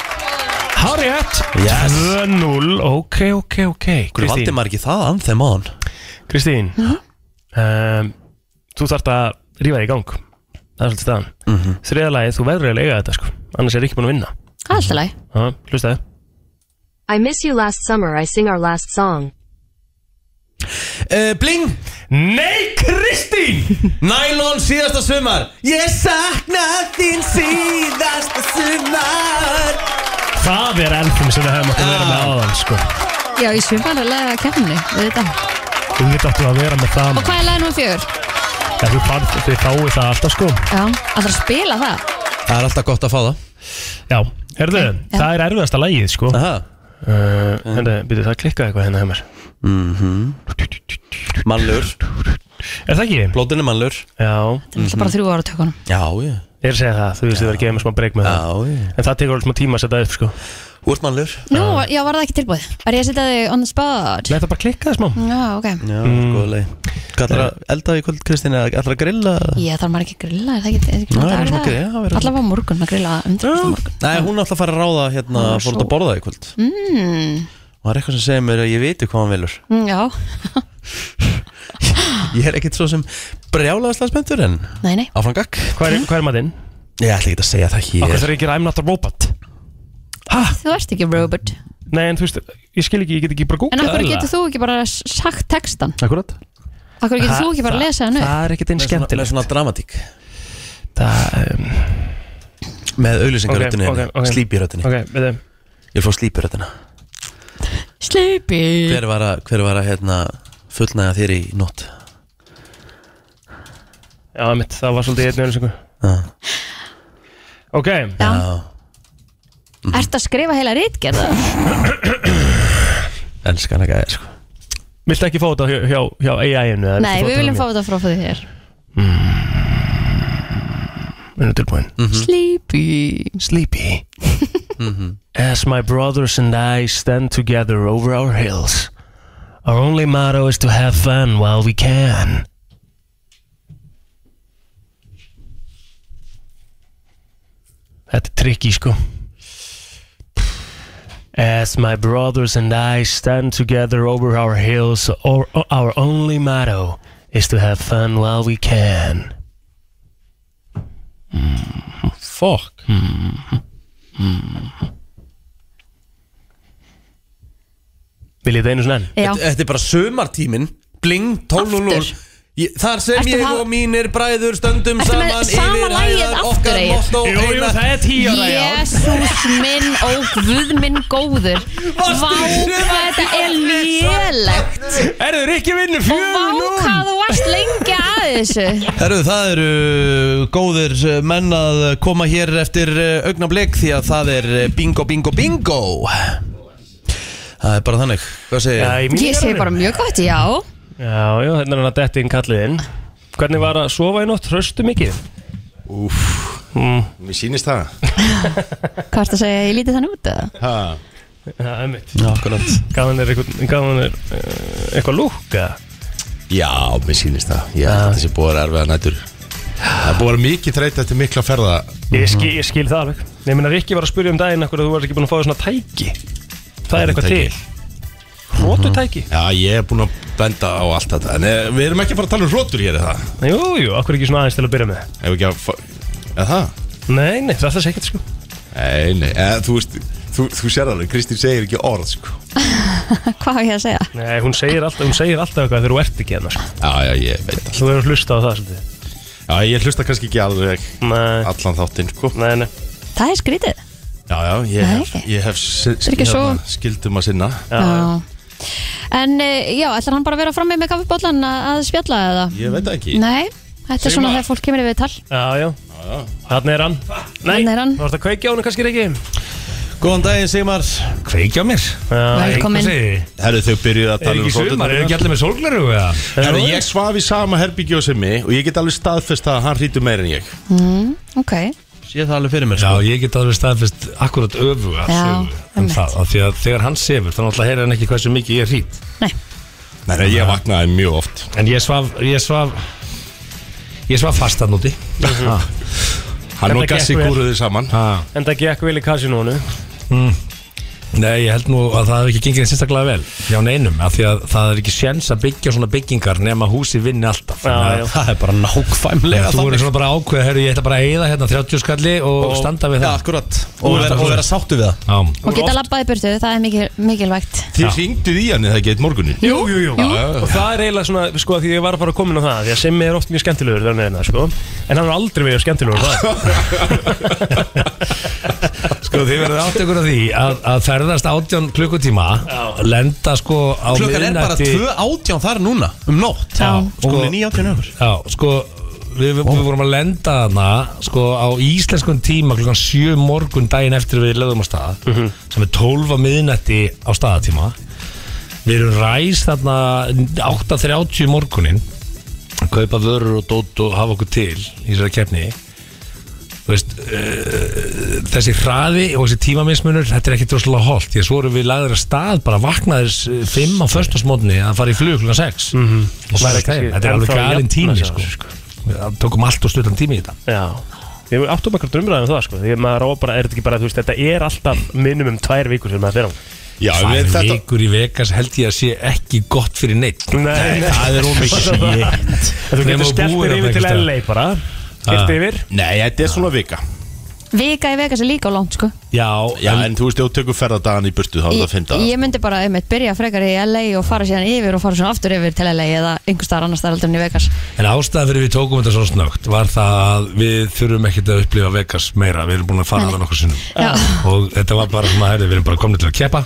[SPEAKER 4] Hárétt
[SPEAKER 2] Yes.
[SPEAKER 4] 2-0, ok, ok, ok
[SPEAKER 2] Hvernig valdi maður ekki það anþem á hann?
[SPEAKER 4] Kristín
[SPEAKER 3] Mhm.
[SPEAKER 4] um, Þú þarft að rífa þig í gang Það er svolítið staðan mm
[SPEAKER 2] Mhm.
[SPEAKER 4] -hmm. Þriða lagið, þú verður að lega þetta sko Annars er ekki búin að vinna
[SPEAKER 3] Það er Alltaf læg
[SPEAKER 4] Ha, Hlustaði
[SPEAKER 17] I miss you last summer, I sing our last song.
[SPEAKER 2] uh, Bling
[SPEAKER 4] Nei, Kristín
[SPEAKER 2] Nælon síðasta sumar
[SPEAKER 1] Ég sakna þín síðasta sumar
[SPEAKER 4] Það er elfum sem við hefum átt að vera
[SPEAKER 2] Ah.
[SPEAKER 4] með áðan sko
[SPEAKER 3] Já, í sumarið leiða kemni
[SPEAKER 4] Þú veit áttu að vera með það
[SPEAKER 3] Og hvað er lagið nú fjör?
[SPEAKER 4] Já, þú fann, þið fáið það alltaf sko
[SPEAKER 3] Já, alltaf að spila það
[SPEAKER 2] Það er alltaf gott að fá það
[SPEAKER 4] Já, herðu, það er erfiðasta lægið sko Aha uh, Herðu, byrju, það klikkaði eitthvað hérna hjá mér
[SPEAKER 2] Mhm. Mannlur
[SPEAKER 4] Er það ekki?
[SPEAKER 2] Plótin er mannlur
[SPEAKER 4] Já
[SPEAKER 3] Það er náttúrulega bara þrjú ára tökunum
[SPEAKER 2] Já, já
[SPEAKER 4] Ég er að segja það, þú veist þið verður að gefa mér smá breyk með það
[SPEAKER 2] Já, já
[SPEAKER 4] En það tekur alveg smá tíma að setja upp sko
[SPEAKER 2] Þú ert mannlur
[SPEAKER 3] Nú, já, var það ekki tilbúið? Var ég að setja þig on the spot?
[SPEAKER 4] Nei, það bara klikkaði smá
[SPEAKER 3] Já, ok
[SPEAKER 2] Já, mm. góða leið Hvað ætlar að elda í kvöld, Kristín? Eða Ætlar að grilla?
[SPEAKER 3] Ég þarf maður ekki að grilla, er það ekki, er ekki
[SPEAKER 2] Nei,
[SPEAKER 3] dagur
[SPEAKER 2] það er svona
[SPEAKER 3] í dag?
[SPEAKER 2] grilla, það verður-
[SPEAKER 3] Allavega á morgun, maður grilla undir morgun
[SPEAKER 2] Nei, hún ætlar að fara að ráða hérna
[SPEAKER 3] Ah,
[SPEAKER 2] Fór út
[SPEAKER 3] svo.
[SPEAKER 2] að borða í kvöld
[SPEAKER 3] mm,
[SPEAKER 2] Og það er eitthvað sem segir mér að ég viti hvað hann velur
[SPEAKER 3] mm, Já, [LAUGHS]
[SPEAKER 2] Ég er ekkit svo sem brjálaðislega spenntur en
[SPEAKER 3] nei, nei
[SPEAKER 2] Áfram gakk
[SPEAKER 4] Hvað er, hvað er matinn?
[SPEAKER 2] Ég ætla ekki að segja það hér
[SPEAKER 4] Okkur þarf ekki að I'm not a robot
[SPEAKER 3] Þú ert ekki robot
[SPEAKER 4] Nei, en þú veist, ég skil ekki, ég get ekki bara
[SPEAKER 3] En
[SPEAKER 4] googlað
[SPEAKER 3] af hverju getur þú ekki bara s- sagt textan?
[SPEAKER 4] Akkurat
[SPEAKER 3] Af hverju getur
[SPEAKER 4] Það-
[SPEAKER 3] þú ekki bara að lesa hann upp?
[SPEAKER 4] það er ekkert eins
[SPEAKER 2] skemmtilegt Með svona dramatík
[SPEAKER 4] Það um...
[SPEAKER 2] Með auðlýsingaröttinni okay, okay, okay. Slípiröttinni
[SPEAKER 4] Ok, við þeim
[SPEAKER 2] Ég vil fá slípiröttina
[SPEAKER 3] Sleepy
[SPEAKER 2] Hver var að, hver var að hérna, fullnæga þér í nótt?
[SPEAKER 4] Já, mitt, það var svolítið í einni öðru
[SPEAKER 2] Já.
[SPEAKER 4] Ok
[SPEAKER 3] Já Ertu að skrifa heila rítgerða?
[SPEAKER 2] Elskan ekki aðeins sko
[SPEAKER 4] Viltu ekki fá þetta hjá, hjá, hjá AI-inu? eða viltu
[SPEAKER 3] Nei, við
[SPEAKER 4] hjá
[SPEAKER 3] viljum
[SPEAKER 4] mér?
[SPEAKER 3] fá þetta frá því hér
[SPEAKER 4] Við erum tilbúin
[SPEAKER 3] Sleepy
[SPEAKER 4] Sleepy [LAUGHS] As my brothers and I stand together over our hills Our only motto is to have fun while we can Þetta er tricky sko As my brothers and I stand together over our hills or, Our only motto is to have fun while we can Fuck Viljið það einu svona enn?
[SPEAKER 3] Já.
[SPEAKER 2] þetta, þetta er bara sömartímin Bling, 12.00 Ég- Þar sem
[SPEAKER 3] Ertu
[SPEAKER 2] ég
[SPEAKER 3] haf-
[SPEAKER 2] og mínir bræður stöndum
[SPEAKER 3] Ertu með
[SPEAKER 2] saman
[SPEAKER 3] sama
[SPEAKER 2] yfir
[SPEAKER 3] lagið
[SPEAKER 2] hæðar
[SPEAKER 3] aftur,
[SPEAKER 2] okkar
[SPEAKER 3] Egill?
[SPEAKER 2] mottó
[SPEAKER 4] Jú, jú,
[SPEAKER 2] eina-
[SPEAKER 4] það er tíu ára, já.
[SPEAKER 3] Jésús minn og Guð minn góður Vá hvað þetta er lélegt
[SPEAKER 4] Erðu Rikki vinnur
[SPEAKER 3] Og vá hvað þú varst lengi að þessu
[SPEAKER 2] Herru, það eru uh, góðir menn að koma hér eftir uh, augnablik því að það er uh, bingo, bingo, bingo Það er bara þannig, hvað segir
[SPEAKER 4] Já, í mínu
[SPEAKER 3] Ég segi bara mjög gott, já
[SPEAKER 4] Já, já, hérna er hann að detti inn kallið inn Hvernig var að sofa í nótt, hröstu mikið?
[SPEAKER 13] Úf,
[SPEAKER 4] mm.
[SPEAKER 13] mér sýnist
[SPEAKER 4] [LAUGHS]
[SPEAKER 13] það
[SPEAKER 3] Hvað ertu að segja, ég lítið þannig út eða? [LAUGHS]
[SPEAKER 13] Ha,
[SPEAKER 4] Já, einmitt
[SPEAKER 2] Já, akkurat
[SPEAKER 4] Gaf hann er eitthvað, gaf hann er uh, eitthvað lúka
[SPEAKER 13] Já, mér sýnist það Ég held að þessi búið að erfiða nættur Það er búið að vera mikið þreytt eftir mikla ferða
[SPEAKER 4] Ég skil, ég skil það alveg Nei, ég meina Rikki var að spyrja um daginn Akkur að þú varst ekki búin að fá þér svona tæki Það er eitthvað
[SPEAKER 13] Tæki.
[SPEAKER 4] til Rótutæki?
[SPEAKER 13] Mm-hmm. Já, ég er búin að benda á allt þetta En eh, við erum ekki að fara að tala um hrótur hér, er það?
[SPEAKER 4] Jú, jú, akkur ekki svona aðeins til að byrja með
[SPEAKER 13] Ef ekki að fa- Er það?
[SPEAKER 4] Nei, nei, það er það ekkert sko
[SPEAKER 13] Nei, nei, eða, þú veist Þú, þú sér alveg, Kristín segir ekki orð, sko
[SPEAKER 3] Hvað á ég að segja?
[SPEAKER 4] Nei, hún segir alltaf, hún segir alltaf eitthvað þegar þú ert ekki hérna sko.
[SPEAKER 13] Já, já, ég veit það
[SPEAKER 4] Þú hefur hlusta á það svolítið
[SPEAKER 13] Já, ég hlusta kannski ekki alveg
[SPEAKER 4] Nei.
[SPEAKER 13] Allan þáttinn, sko
[SPEAKER 4] Nei, nei
[SPEAKER 3] Það er skrítið
[SPEAKER 13] Já, já, ég
[SPEAKER 3] Nei,
[SPEAKER 13] hef,
[SPEAKER 3] ekki.
[SPEAKER 13] ég hef s-
[SPEAKER 3] Það er ekki
[SPEAKER 13] hérna,
[SPEAKER 3] svo-
[SPEAKER 13] skildum að sinna
[SPEAKER 3] Já En eh, já, ætlar hann bara að vera frammi með kaffibóllan að spjalla eða?
[SPEAKER 13] Ég veit það ekki
[SPEAKER 3] Nei, þetta er svona þegar fólk kemur í viðtal
[SPEAKER 4] Já, já, Þannig er hann Nei,
[SPEAKER 3] Þarna er hann.
[SPEAKER 4] þú ert að kveikja á hann kannski Rikki
[SPEAKER 2] Góðan daginn, Sigmar
[SPEAKER 18] Kveikja á mér
[SPEAKER 3] Velkomin.
[SPEAKER 13] Herru, þau byrjuðu að
[SPEAKER 18] Er
[SPEAKER 13] tala
[SPEAKER 18] ekki sumar, er ekki allir með sólgleru eða?
[SPEAKER 13] Herru, ég svaf í sama herbyggjóð sem mig Og ég get alveg staðfest að hann hrýtur meir en ég
[SPEAKER 3] mm, Ok,
[SPEAKER 2] Sé það alveg fyrir mér
[SPEAKER 18] Já, ég get alveg staðfest akkurat öfuga
[SPEAKER 3] Já,
[SPEAKER 18] sögu um
[SPEAKER 3] einmitt.
[SPEAKER 18] það, af því að þegar hann sefur þá náttúrulega heyrir hann ekki hversu mikið ég rít
[SPEAKER 3] Nei.
[SPEAKER 13] Nei, nei, ég vaknaði mjög oft
[SPEAKER 18] En ég svaf ég svaf ég svaf fast að núti
[SPEAKER 13] Hann Mhm. og Gassi kúruðu saman
[SPEAKER 4] En það gekk vel í kasinónu
[SPEAKER 18] mm. Nei, ég held nú að það hef ekki gengið sérstaklega vel hjá neinum, af því að það er ekki sjens að byggja svona byggingar nema húsi vinni alltaf Þannig að-
[SPEAKER 2] Það er bara nákvæmlega
[SPEAKER 18] Þú
[SPEAKER 2] þannig.
[SPEAKER 18] voru svona bara ákveð, herru, ég ætla bara að eyða hérna 30 skalli og,
[SPEAKER 2] Og-
[SPEAKER 18] standa við það
[SPEAKER 2] Já, akkurat Og vera- og vera sáttu við
[SPEAKER 18] það Já,
[SPEAKER 3] og geta labbað í burtu, það er mikil, mikilvægt
[SPEAKER 13] Þið hringduð í hann eða ekki eitt morgunin
[SPEAKER 4] Jú, jú, jú,
[SPEAKER 13] Já, já, já.
[SPEAKER 4] Og það er eiginlega svona, sko, því ég var að fara að koma inn á það Því að Simmi er oft mjög skemmtilegur þegar hann er hérna, sko En hann er aldrei mjög skemmtilegur það
[SPEAKER 18] Sko þið verður átt ykkur að því að, að ferðast átján klukkutíma Lenda sko á
[SPEAKER 2] Klukkan er bara 2.18 þar núna Um nótt
[SPEAKER 18] Já. sko,
[SPEAKER 4] sko-
[SPEAKER 2] Og hún er 9.18 öfur
[SPEAKER 18] Já, sko við, við vorum að lenda þarna sko á íslenskun tíma klukkan 7 morgun daginn eftir við lögum á stað sem er 12 að miðnætti á staðatíma Við erum ræs þarna 8.30 morgunin að kaupa vörur og dót og hafa okkur til í þessari keppni Þú veist, uh, þessi hraði og þessi tímamismunur, þetta er ekki droslega holdt því að svo erum við lagður að stað bara vaknaðir 5 á förstasmótni að fara í flug klukkan 6 mm -hmm. og svo er þetta heim. Þetta er alveg galinn tími sko. Við tókum allt og stuttan tími í þetta
[SPEAKER 4] Já Ég áttum ekkert umræðum það sko Því að maður á bara, er þetta ekki bara, þú veist, þetta er alltaf minnum um tvær vikur sem maður fer á
[SPEAKER 18] Já, Tvær vikur í Vegas held ég að sé ekki gott fyrir neitt
[SPEAKER 4] Nei.
[SPEAKER 18] það
[SPEAKER 4] [LAUGHS]
[SPEAKER 18] er ómikið
[SPEAKER 4] Þú getur steltir yfir til LA bara Kert yfir
[SPEAKER 13] Ah. Nei, þetta er svona vika
[SPEAKER 3] Vika í Vegas er líka langt sko
[SPEAKER 18] Já,
[SPEAKER 13] já en, þú veist, ef þú tekur ferðadagan í burtu þá er það að finna
[SPEAKER 3] Ég myndi bara einmitt byrja frekar í LA og fara síðan yfir og fara svona aftur yfir til LA eða einhver staðar annar staðar heldur en í Vegas
[SPEAKER 18] En ástæðan fyrir við tókum þetta svona snögt var það að við þurfum ekkert að upplifa Vegas meira, við erum búin að fara það nokkur sinnum
[SPEAKER 3] Já.
[SPEAKER 18] og þetta var bara svona, herri, við erum bara komin til að keppa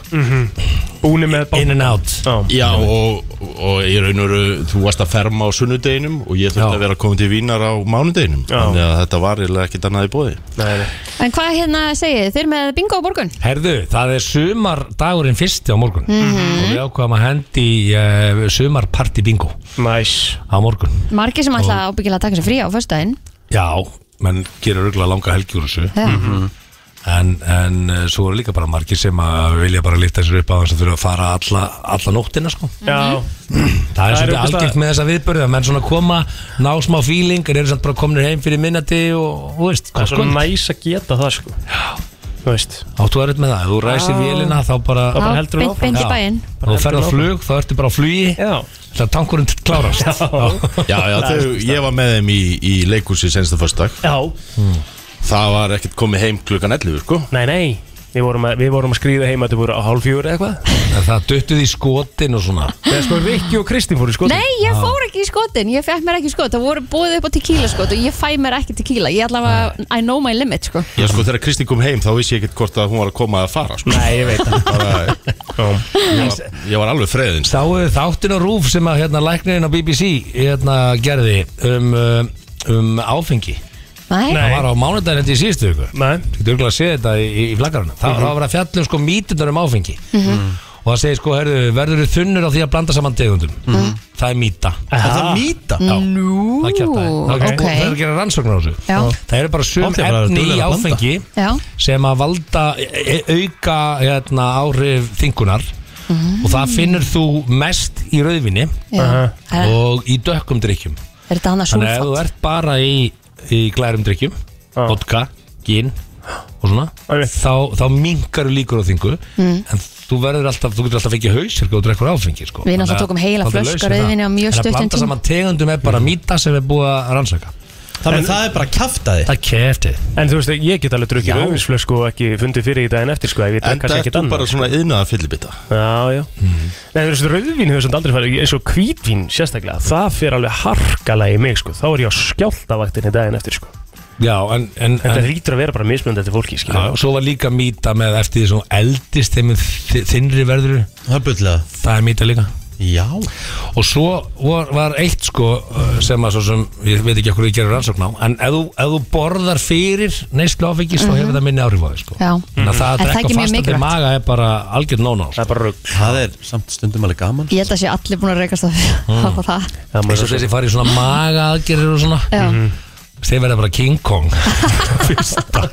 [SPEAKER 4] Búni Mhm. með
[SPEAKER 18] bá In and out
[SPEAKER 13] Já, og, og ég raun og veru, þú varst að ferma á sunnudeginum og ég þurfti að vera komin til Vínar á mánudeginum Þannig að þetta var eiginlega ekkert annað í bóði
[SPEAKER 4] Nei, nei
[SPEAKER 3] En hvað hérna segið, þið? þið er með bingo á morgun?
[SPEAKER 18] Herðu, það er sumardagurinn fyrsti á morgun
[SPEAKER 3] Mhm.
[SPEAKER 18] og við ákvaðum að hendi uh, sumarparty bingo
[SPEAKER 4] nice.
[SPEAKER 18] á morgun
[SPEAKER 3] Margir sem ætla ábyggilega að taka sér frí á föstudaginn
[SPEAKER 18] Já, menn gerir örgulega langa helgi úr þessu
[SPEAKER 3] Já.
[SPEAKER 18] En, en eh, svo eru líka bara margir sem að vilja bara lifta sér upp á þess að þurfa að fara alla, alla nóttina sko.
[SPEAKER 4] Já
[SPEAKER 18] Það er
[SPEAKER 4] Það er
[SPEAKER 18] svolítið
[SPEAKER 4] einhvers
[SPEAKER 18] algengt
[SPEAKER 4] staðar-
[SPEAKER 18] með þessa viðbörðu að menn svona koma, ná smá fíling en eru samt bara komnir heim fyrir minnati og, og veist,
[SPEAKER 4] Það er svo næs að geta það sko Þú veist
[SPEAKER 18] Áttu aðrið með það, ef þú ræsir
[SPEAKER 4] Já.
[SPEAKER 18] vélina þá bara
[SPEAKER 4] Þá bara Já, heldur hún beint- áfram. beint í
[SPEAKER 18] Já.
[SPEAKER 4] bæinn.
[SPEAKER 18] Ef Þú ferð á flug, þá ertu bara á flugi Það tankurinn klárast Já,
[SPEAKER 13] Já, já, þau, ég var með þeim í, í leikhúsi senstu fyrstak
[SPEAKER 4] Já
[SPEAKER 13] Hmm. Það var ekkert komið heim klukkan 11, sko
[SPEAKER 4] Nei, nei Við vorum að, við vorum að skrýða heima til voru á hálf fjúri eða eitthvað
[SPEAKER 18] Það duttuð í skotin og svona
[SPEAKER 4] Þegar sko Rikki og Kristín fóru í skotin
[SPEAKER 3] Nei, ég fór ekki í skotin, ég fekk mér ekki skot Það voru búið upp á tequila skot og ég fæ mér ekki tequila Ég ætla að, I know my limit sko
[SPEAKER 13] Já, sko, þegar Kristi kom heim þá vissi ég ekkert hvort að hún var að koma að fara, sko
[SPEAKER 4] Nei, ég veit
[SPEAKER 13] það ég, var, ég var alveg freðin
[SPEAKER 18] Sáu þáttin og rúf sem að hérna læknirinn á BBC hérna gerði um, um, um áfengi
[SPEAKER 3] Nei.
[SPEAKER 18] Það var á mánudaginn þetta í síðustu viku
[SPEAKER 4] Nei
[SPEAKER 18] Þú getur örgulega að segja þetta í, í- í flaggarunum Það
[SPEAKER 13] Mhm.
[SPEAKER 18] var að vera að fjalla um sko mítundar um áfengi
[SPEAKER 2] Mm.
[SPEAKER 1] Mhm.
[SPEAKER 18] Og það segir sko, herðu, verður þú þunnur á því að blanda saman degundum
[SPEAKER 3] Mhm.
[SPEAKER 18] Það er mýta
[SPEAKER 1] Er það
[SPEAKER 13] mýta?
[SPEAKER 18] Já,
[SPEAKER 3] Nú,
[SPEAKER 18] það er kjartaði Það er
[SPEAKER 3] Mm. ok.
[SPEAKER 18] okay. að gera rannsóknar á þessu
[SPEAKER 3] Já.
[SPEAKER 18] Það eru bara sum
[SPEAKER 13] Átti að vera
[SPEAKER 18] efni í
[SPEAKER 13] duglegur að blanda.
[SPEAKER 18] áfengi
[SPEAKER 3] Já,
[SPEAKER 18] sem að valda e- e- auka hérna, áhrif þingunar og það finnur þú mest í rauðvinni
[SPEAKER 3] Mhm. Já.
[SPEAKER 18] og í dökkum drikkjum
[SPEAKER 3] er þetta annað
[SPEAKER 18] þannig að ef þú
[SPEAKER 3] súlfatt?
[SPEAKER 18] ert bara í, í glærum drikkjum vodka, gin og svona þá, þá mingar líkur á þingu
[SPEAKER 3] Mm.
[SPEAKER 18] en þú verður alltaf, þú getur alltaf fengið hausirka og drekkur áfengi sko.
[SPEAKER 3] Við náttúrulega
[SPEAKER 18] Þannig að-
[SPEAKER 3] tókum heila
[SPEAKER 18] þá ertu
[SPEAKER 3] flösku
[SPEAKER 18] laus við
[SPEAKER 3] af
[SPEAKER 18] það.
[SPEAKER 3] rauðvíni á mjög
[SPEAKER 18] Þannig að
[SPEAKER 3] stuttum
[SPEAKER 18] blanda
[SPEAKER 3] tíma.
[SPEAKER 18] saman tegundum er bara mýta sem er búið að rannsaka
[SPEAKER 4] Þannig að
[SPEAKER 18] það
[SPEAKER 13] er bara kæftæði
[SPEAKER 18] Það kæfti
[SPEAKER 4] En þú veist, ég get alveg drukkið
[SPEAKER 18] Já.
[SPEAKER 4] auðvinsflösku og ekki fundið fyrir í daginn eftir sko Ég veit
[SPEAKER 13] En
[SPEAKER 4] kannski ekkert
[SPEAKER 13] þetta er
[SPEAKER 4] annað
[SPEAKER 13] bara svona yðnaða fyllibita
[SPEAKER 4] Já, já
[SPEAKER 18] Mhm.
[SPEAKER 4] Nei, þú veist, rauðvín hefur samt aldrei farið eins og hvítvín sérstaklega, það fyrir alveg harkalega í mig sko, þá er ég á skjáltavaktinni daginn eftir sko
[SPEAKER 18] Já, en, en,
[SPEAKER 4] Þetta hlýtur að vera bara mismunandi eftir fólki skilur.
[SPEAKER 18] Já, og svo var líka mýta með eftir því sem þú eldist þeim þinnri verður
[SPEAKER 13] Það er byrjlega
[SPEAKER 18] Það er mýta líka
[SPEAKER 13] Já
[SPEAKER 18] Og svo var, var eitt sko uh, sem að svo sem, ég veit ekki okkur ég gerir rannsókn á En ef þú, ef þú borðar fyrir neyslu áfengis þá
[SPEAKER 3] Mhm.
[SPEAKER 18] hefur það minni áhrif á því sko
[SPEAKER 3] Já,
[SPEAKER 18] Þannig að það
[SPEAKER 3] Er ekki
[SPEAKER 18] að drekka
[SPEAKER 3] mjög
[SPEAKER 18] fastandi
[SPEAKER 3] mikilvægt?
[SPEAKER 18] maga er bara sko. algjörn nóná Það
[SPEAKER 4] er bara rugg
[SPEAKER 13] Það er samt stundum alveg gaman
[SPEAKER 3] Ég held að sé allir búin að reykast á
[SPEAKER 18] Mm.
[SPEAKER 3] á það
[SPEAKER 18] Eins og þessi farið í svona maga aðgerir og svona
[SPEAKER 3] Já. Mhm.
[SPEAKER 18] Þeir verða bara King
[SPEAKER 3] [LAUGHS]
[SPEAKER 18] Kong Fyrsta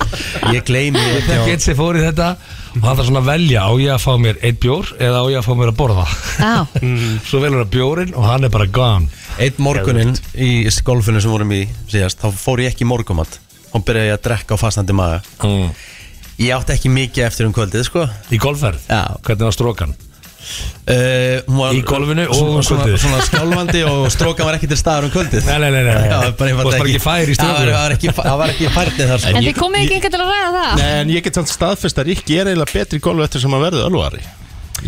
[SPEAKER 13] Ég gleymi
[SPEAKER 18] Ég veit ekki eitt sem fór í þetta Og það er svona að velja á ég að fá mér eitt bjór Eða á ég að fá mér að borða
[SPEAKER 3] Já,
[SPEAKER 18] [LAUGHS] Svo velur það bjórin og hann er bara gone
[SPEAKER 2] Eitt morguninn í golfinu sem vorum í síðast Þá fór ég ekki í morgumat Hún byrjaði ég að drekka á fastandi maga
[SPEAKER 18] mm.
[SPEAKER 2] Ég átti ekki mikið eftir um kvöldið sko
[SPEAKER 18] Í golfverð?
[SPEAKER 2] Já Eh,
[SPEAKER 18] Hvernig
[SPEAKER 2] var,
[SPEAKER 18] var strókan? Í golfinu og
[SPEAKER 2] svona,
[SPEAKER 18] um kvöldið?
[SPEAKER 2] svona, svona skjálfandi og strókan var ekki til staðar um kvöldið
[SPEAKER 18] Nei, nei, nei, nei.
[SPEAKER 2] Já, bara,
[SPEAKER 18] Varst bara ekki fær í stroku?
[SPEAKER 2] Já, Það var ekki, það var ekki færni þar sko.
[SPEAKER 3] en þið komið ekki einhvern til að ræða það
[SPEAKER 13] Nei, en ég get samt staðfest að Rikki er eiginlega betri í golfu eftir sem að verði ölluari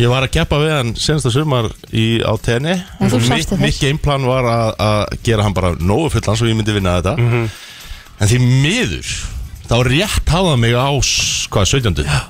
[SPEAKER 13] Ég var að keppa við hann senasta sumar í, á tenni
[SPEAKER 3] En þú sást þér.
[SPEAKER 13] Mitt geimplan var að, að gera hann bara nógu fullan svo ég myndi vinna þetta En því miður þá rétt hafa mig á s- hvað, 17. Já.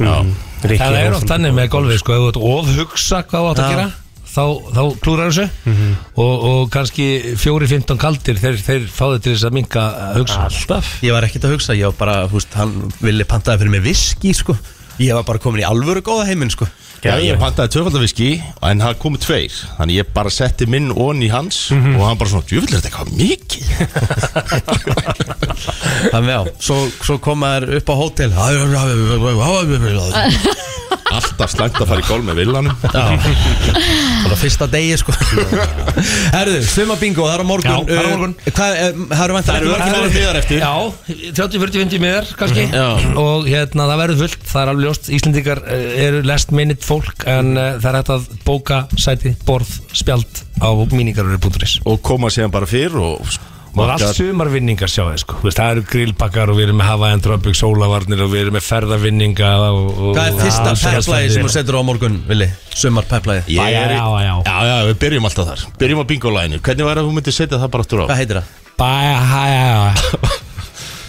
[SPEAKER 13] Mm.
[SPEAKER 4] Rikki
[SPEAKER 18] Það er
[SPEAKER 13] er
[SPEAKER 18] oft
[SPEAKER 13] svona-
[SPEAKER 18] þannig með golfið sko Ef þú ert ofhugsa hvað þú átt að
[SPEAKER 13] Já.
[SPEAKER 18] gera Þá, þá klúrar þessu
[SPEAKER 2] Mhm.
[SPEAKER 18] og, og kannski 4-15 kaldir Þeir, þeir fá þau til þess að minka hugsa
[SPEAKER 4] Alltaf
[SPEAKER 2] Ég var ekkert að hugsa, ég var bara, þú veist, hann villi pantaði fyrir mig viski, sko Ég var bara komin í alvöru góða heiminn, sko
[SPEAKER 13] Já, ég pantaði tvöfaldaviski en það komu tveir Þannig ég bara setti minn onni í hans og hann bara svona, djúvill er þetta eitthvað mikið
[SPEAKER 2] Þannig já, svo, svo koma þær upp á hótel
[SPEAKER 13] Alltaf slæmt að fara í gól með villanum
[SPEAKER 2] Svona fyrsta degi sko Herðu, svima bingo, það er á morgun
[SPEAKER 18] Já, það er á
[SPEAKER 2] morgun Hvað, eh, það eru vantar
[SPEAKER 18] Það
[SPEAKER 2] ekki
[SPEAKER 18] eru örgir
[SPEAKER 2] mörgum miðar eftir
[SPEAKER 18] Já, 30-40-50 miðar kannski
[SPEAKER 2] Mhm.
[SPEAKER 18] Og hérna, það verður fullt, það er alveg ljóst Íslendingar eh, eru last minute fólk En uh, það er hægt að bóka sæti, borð, spjald Á míningarur.is
[SPEAKER 13] Og koma síðan bara fyrr og sko,
[SPEAKER 18] Og það er allt sumarvinningar sjá þið sko Þú veist, Það eru grillpakkar og við erum með hafa en drömbug sólavarnir Og við erum með ferðavinninga og, og,
[SPEAKER 2] Hvað er fyrsta peplæði sem þú setur á morgun, Vili? Sumar peplæði
[SPEAKER 13] Ég er-
[SPEAKER 18] já
[SPEAKER 13] Já, já, við byrjum alltaf þar Byrjum á bingolæðinu Hvernig væri að þú myndir setja það bara aftur á?
[SPEAKER 2] Hvað heitir það? [LAUGHS]
[SPEAKER 18] Bæja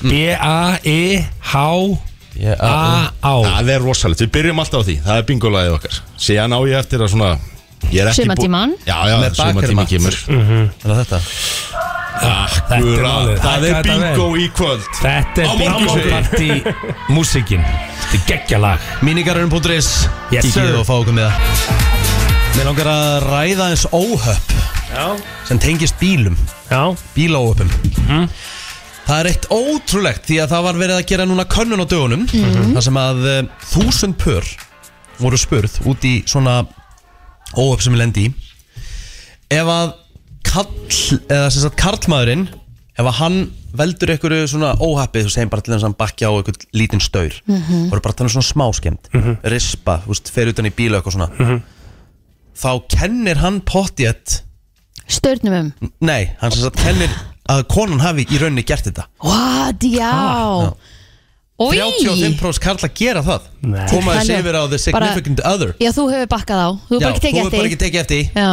[SPEAKER 18] E B-A-E-H-A-A
[SPEAKER 13] um, Það er rosalegt, við byrjum alltaf á því Það er bingolæðið okkar Síðan á ég eftir að svona ég er ekki bú-
[SPEAKER 14] Sumartímann?
[SPEAKER 13] Já, já,
[SPEAKER 2] Með
[SPEAKER 13] sumatíman
[SPEAKER 2] bakermat.
[SPEAKER 13] kemur
[SPEAKER 2] Er það þetta?
[SPEAKER 13] Guðra,
[SPEAKER 18] Mhm. málið.
[SPEAKER 13] Það
[SPEAKER 18] Þetta
[SPEAKER 13] er
[SPEAKER 18] er
[SPEAKER 13] bingo
[SPEAKER 18] vel.
[SPEAKER 13] í kvöld
[SPEAKER 18] Þetta
[SPEAKER 13] Á
[SPEAKER 18] er
[SPEAKER 13] morgun,
[SPEAKER 18] bingo
[SPEAKER 13] segi ég.
[SPEAKER 18] party Músikin Þetta er geggja lag
[SPEAKER 2] Míningarurinn.is
[SPEAKER 18] Yes, sir.
[SPEAKER 2] Kíkið og fá okkur með það Mér langar að ræða eins óhöpp
[SPEAKER 4] Já.
[SPEAKER 2] sem tengist bílum
[SPEAKER 4] Já.
[SPEAKER 2] Bílaóhöppum
[SPEAKER 18] Mhm.
[SPEAKER 2] Það er eitt ótrúlegt því að það var verið að gera núna könnun á dögunum
[SPEAKER 18] Mhm.
[SPEAKER 2] þar sem að eh, þúsund pör voru spurð út í svona óhöpp sem ég lendi í ef að kall, eða sem sagt karlmaðurinn ef að hann veldur einhverju svona óhappið þú segir bara til þess að hann bakja á einhvern lítinn staur
[SPEAKER 1] Mhm.
[SPEAKER 2] voru bara þannig svona smáskemmt rispa, þú veist, fer utan í bíla eitthvað svona þá kennir hann pottjett
[SPEAKER 3] Störnum um
[SPEAKER 2] nei, hann sem sagt kennir að konan hafi í rauninni gert þetta Ah.
[SPEAKER 3] What, já Oj.
[SPEAKER 2] 35% karla gera það
[SPEAKER 4] Nei.
[SPEAKER 2] koma
[SPEAKER 3] Þannig
[SPEAKER 2] þessi
[SPEAKER 3] að
[SPEAKER 2] yfir á the
[SPEAKER 3] bara-
[SPEAKER 2] significant other
[SPEAKER 3] Já, þú hefur bakkað á Þú
[SPEAKER 2] Já,
[SPEAKER 3] hefur bara
[SPEAKER 2] þú
[SPEAKER 3] ekki tekið
[SPEAKER 2] hefur bara ekki
[SPEAKER 3] eftir
[SPEAKER 2] tekið eftir því.
[SPEAKER 3] Já,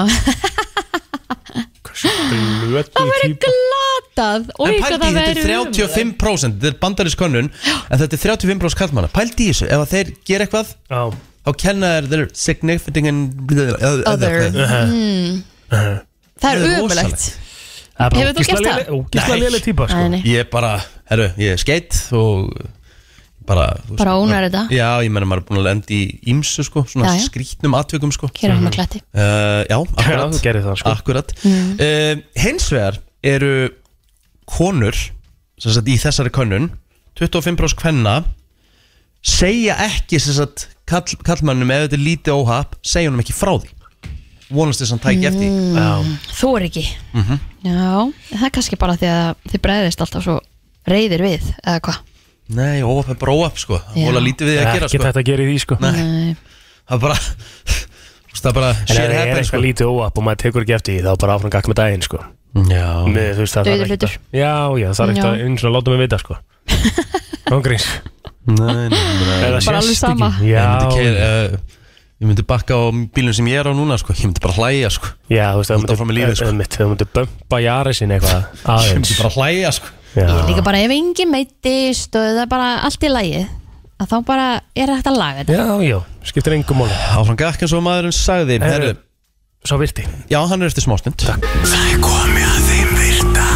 [SPEAKER 3] [LAUGHS]
[SPEAKER 4] Það
[SPEAKER 3] verður glatað Oj,
[SPEAKER 2] En pældi,
[SPEAKER 3] hvað
[SPEAKER 2] í,
[SPEAKER 3] það
[SPEAKER 2] þetta er
[SPEAKER 3] verður um.
[SPEAKER 2] 35% Þetta er bandarískönnun En þetta er 35% kallmanna Pældi í þessu, ef að þeir gera eitthvað
[SPEAKER 4] Já.
[SPEAKER 2] Þá kenna þeir þeir significant and-
[SPEAKER 3] Other
[SPEAKER 2] Uh-huh.
[SPEAKER 1] Hmm.
[SPEAKER 3] Mm. Það er
[SPEAKER 2] Það er
[SPEAKER 3] ömulegt
[SPEAKER 2] rosalegt.
[SPEAKER 4] Það
[SPEAKER 3] Hefur þú gert það?
[SPEAKER 2] Nei.
[SPEAKER 4] sko.
[SPEAKER 3] Nei, nei.
[SPEAKER 2] Ég bara, herru, ég er skeitt Og bara þú veist,
[SPEAKER 3] Bara ónar þetta
[SPEAKER 2] Já, ég menna maður er búin að lenda í ímsu sko Svona
[SPEAKER 3] Já, já.
[SPEAKER 2] skrítnum atvikum sko
[SPEAKER 3] Kera hann að klatti
[SPEAKER 2] Uh, já, akkurat,
[SPEAKER 4] þú gerir það, sko.
[SPEAKER 2] akkurat.
[SPEAKER 3] Mm.
[SPEAKER 2] Uh, Hins vegar eru konur sem sagt, í þessari könnun 25% kvenna segja ekki sem sagt, kall, kallmannum ef þetta er lítið óhap segja honum ekki frá því vonast þess að hann
[SPEAKER 3] Mm.
[SPEAKER 2] tæki eftir því.
[SPEAKER 3] Þú er ekki
[SPEAKER 2] Mhm.
[SPEAKER 3] Já, það er kannski bara því að þið bregðist alltaf svo reyðir við eða hvað
[SPEAKER 2] Nei, óhap er bara óhap sko
[SPEAKER 3] Já.
[SPEAKER 2] Vola lítið við því
[SPEAKER 4] Það
[SPEAKER 2] að
[SPEAKER 4] er
[SPEAKER 2] gera
[SPEAKER 4] ekkert
[SPEAKER 2] sko
[SPEAKER 4] hægt að gera í því sko
[SPEAKER 2] Nei. Það er bara [LAUGHS] þú veist, Það er bara
[SPEAKER 4] En ef
[SPEAKER 2] shit
[SPEAKER 4] það er
[SPEAKER 2] happens
[SPEAKER 4] eitthvað
[SPEAKER 2] sko
[SPEAKER 4] lítið óapp og maður tekur ekki eftir því þá bara áfram gakk með daginn sko
[SPEAKER 2] Já
[SPEAKER 4] með, þú veist, það þarf
[SPEAKER 3] Dauður
[SPEAKER 4] ekkert að-
[SPEAKER 3] hlutur.
[SPEAKER 4] Já, já, það er ekkert að
[SPEAKER 3] Já.
[SPEAKER 4] einu svona láta mig vita sko Ángríns
[SPEAKER 2] Nei, nei, nei
[SPEAKER 4] Eða
[SPEAKER 3] Bara alveg
[SPEAKER 4] sést
[SPEAKER 3] sama.
[SPEAKER 4] ekki.
[SPEAKER 2] Ég myndi,
[SPEAKER 4] Mhm. Já,
[SPEAKER 2] keir, uh, ég myndi bakka á bílum sem ég er á núna sko Ég myndi bara hlæja sko
[SPEAKER 4] já, þú veist, það
[SPEAKER 2] Halda áfram í lífið, sko.
[SPEAKER 4] myndi Það myndi bömpa jarisin eitthvað
[SPEAKER 2] Ég
[SPEAKER 4] aðeins
[SPEAKER 2] myndi bara hlæja sko
[SPEAKER 3] Ég
[SPEAKER 4] Já,
[SPEAKER 3] líka bara ef engin meittist og það er bara allt í lagi að þá bara er þetta að laga þetta
[SPEAKER 4] já, já, skiptir engum máli
[SPEAKER 2] Áfram gakk eins og maðurinn sagði
[SPEAKER 4] Herru,
[SPEAKER 2] Herru,
[SPEAKER 4] Svo virti
[SPEAKER 2] já, hann er eftir smástund Takk
[SPEAKER 1] Það er komið að þeim virta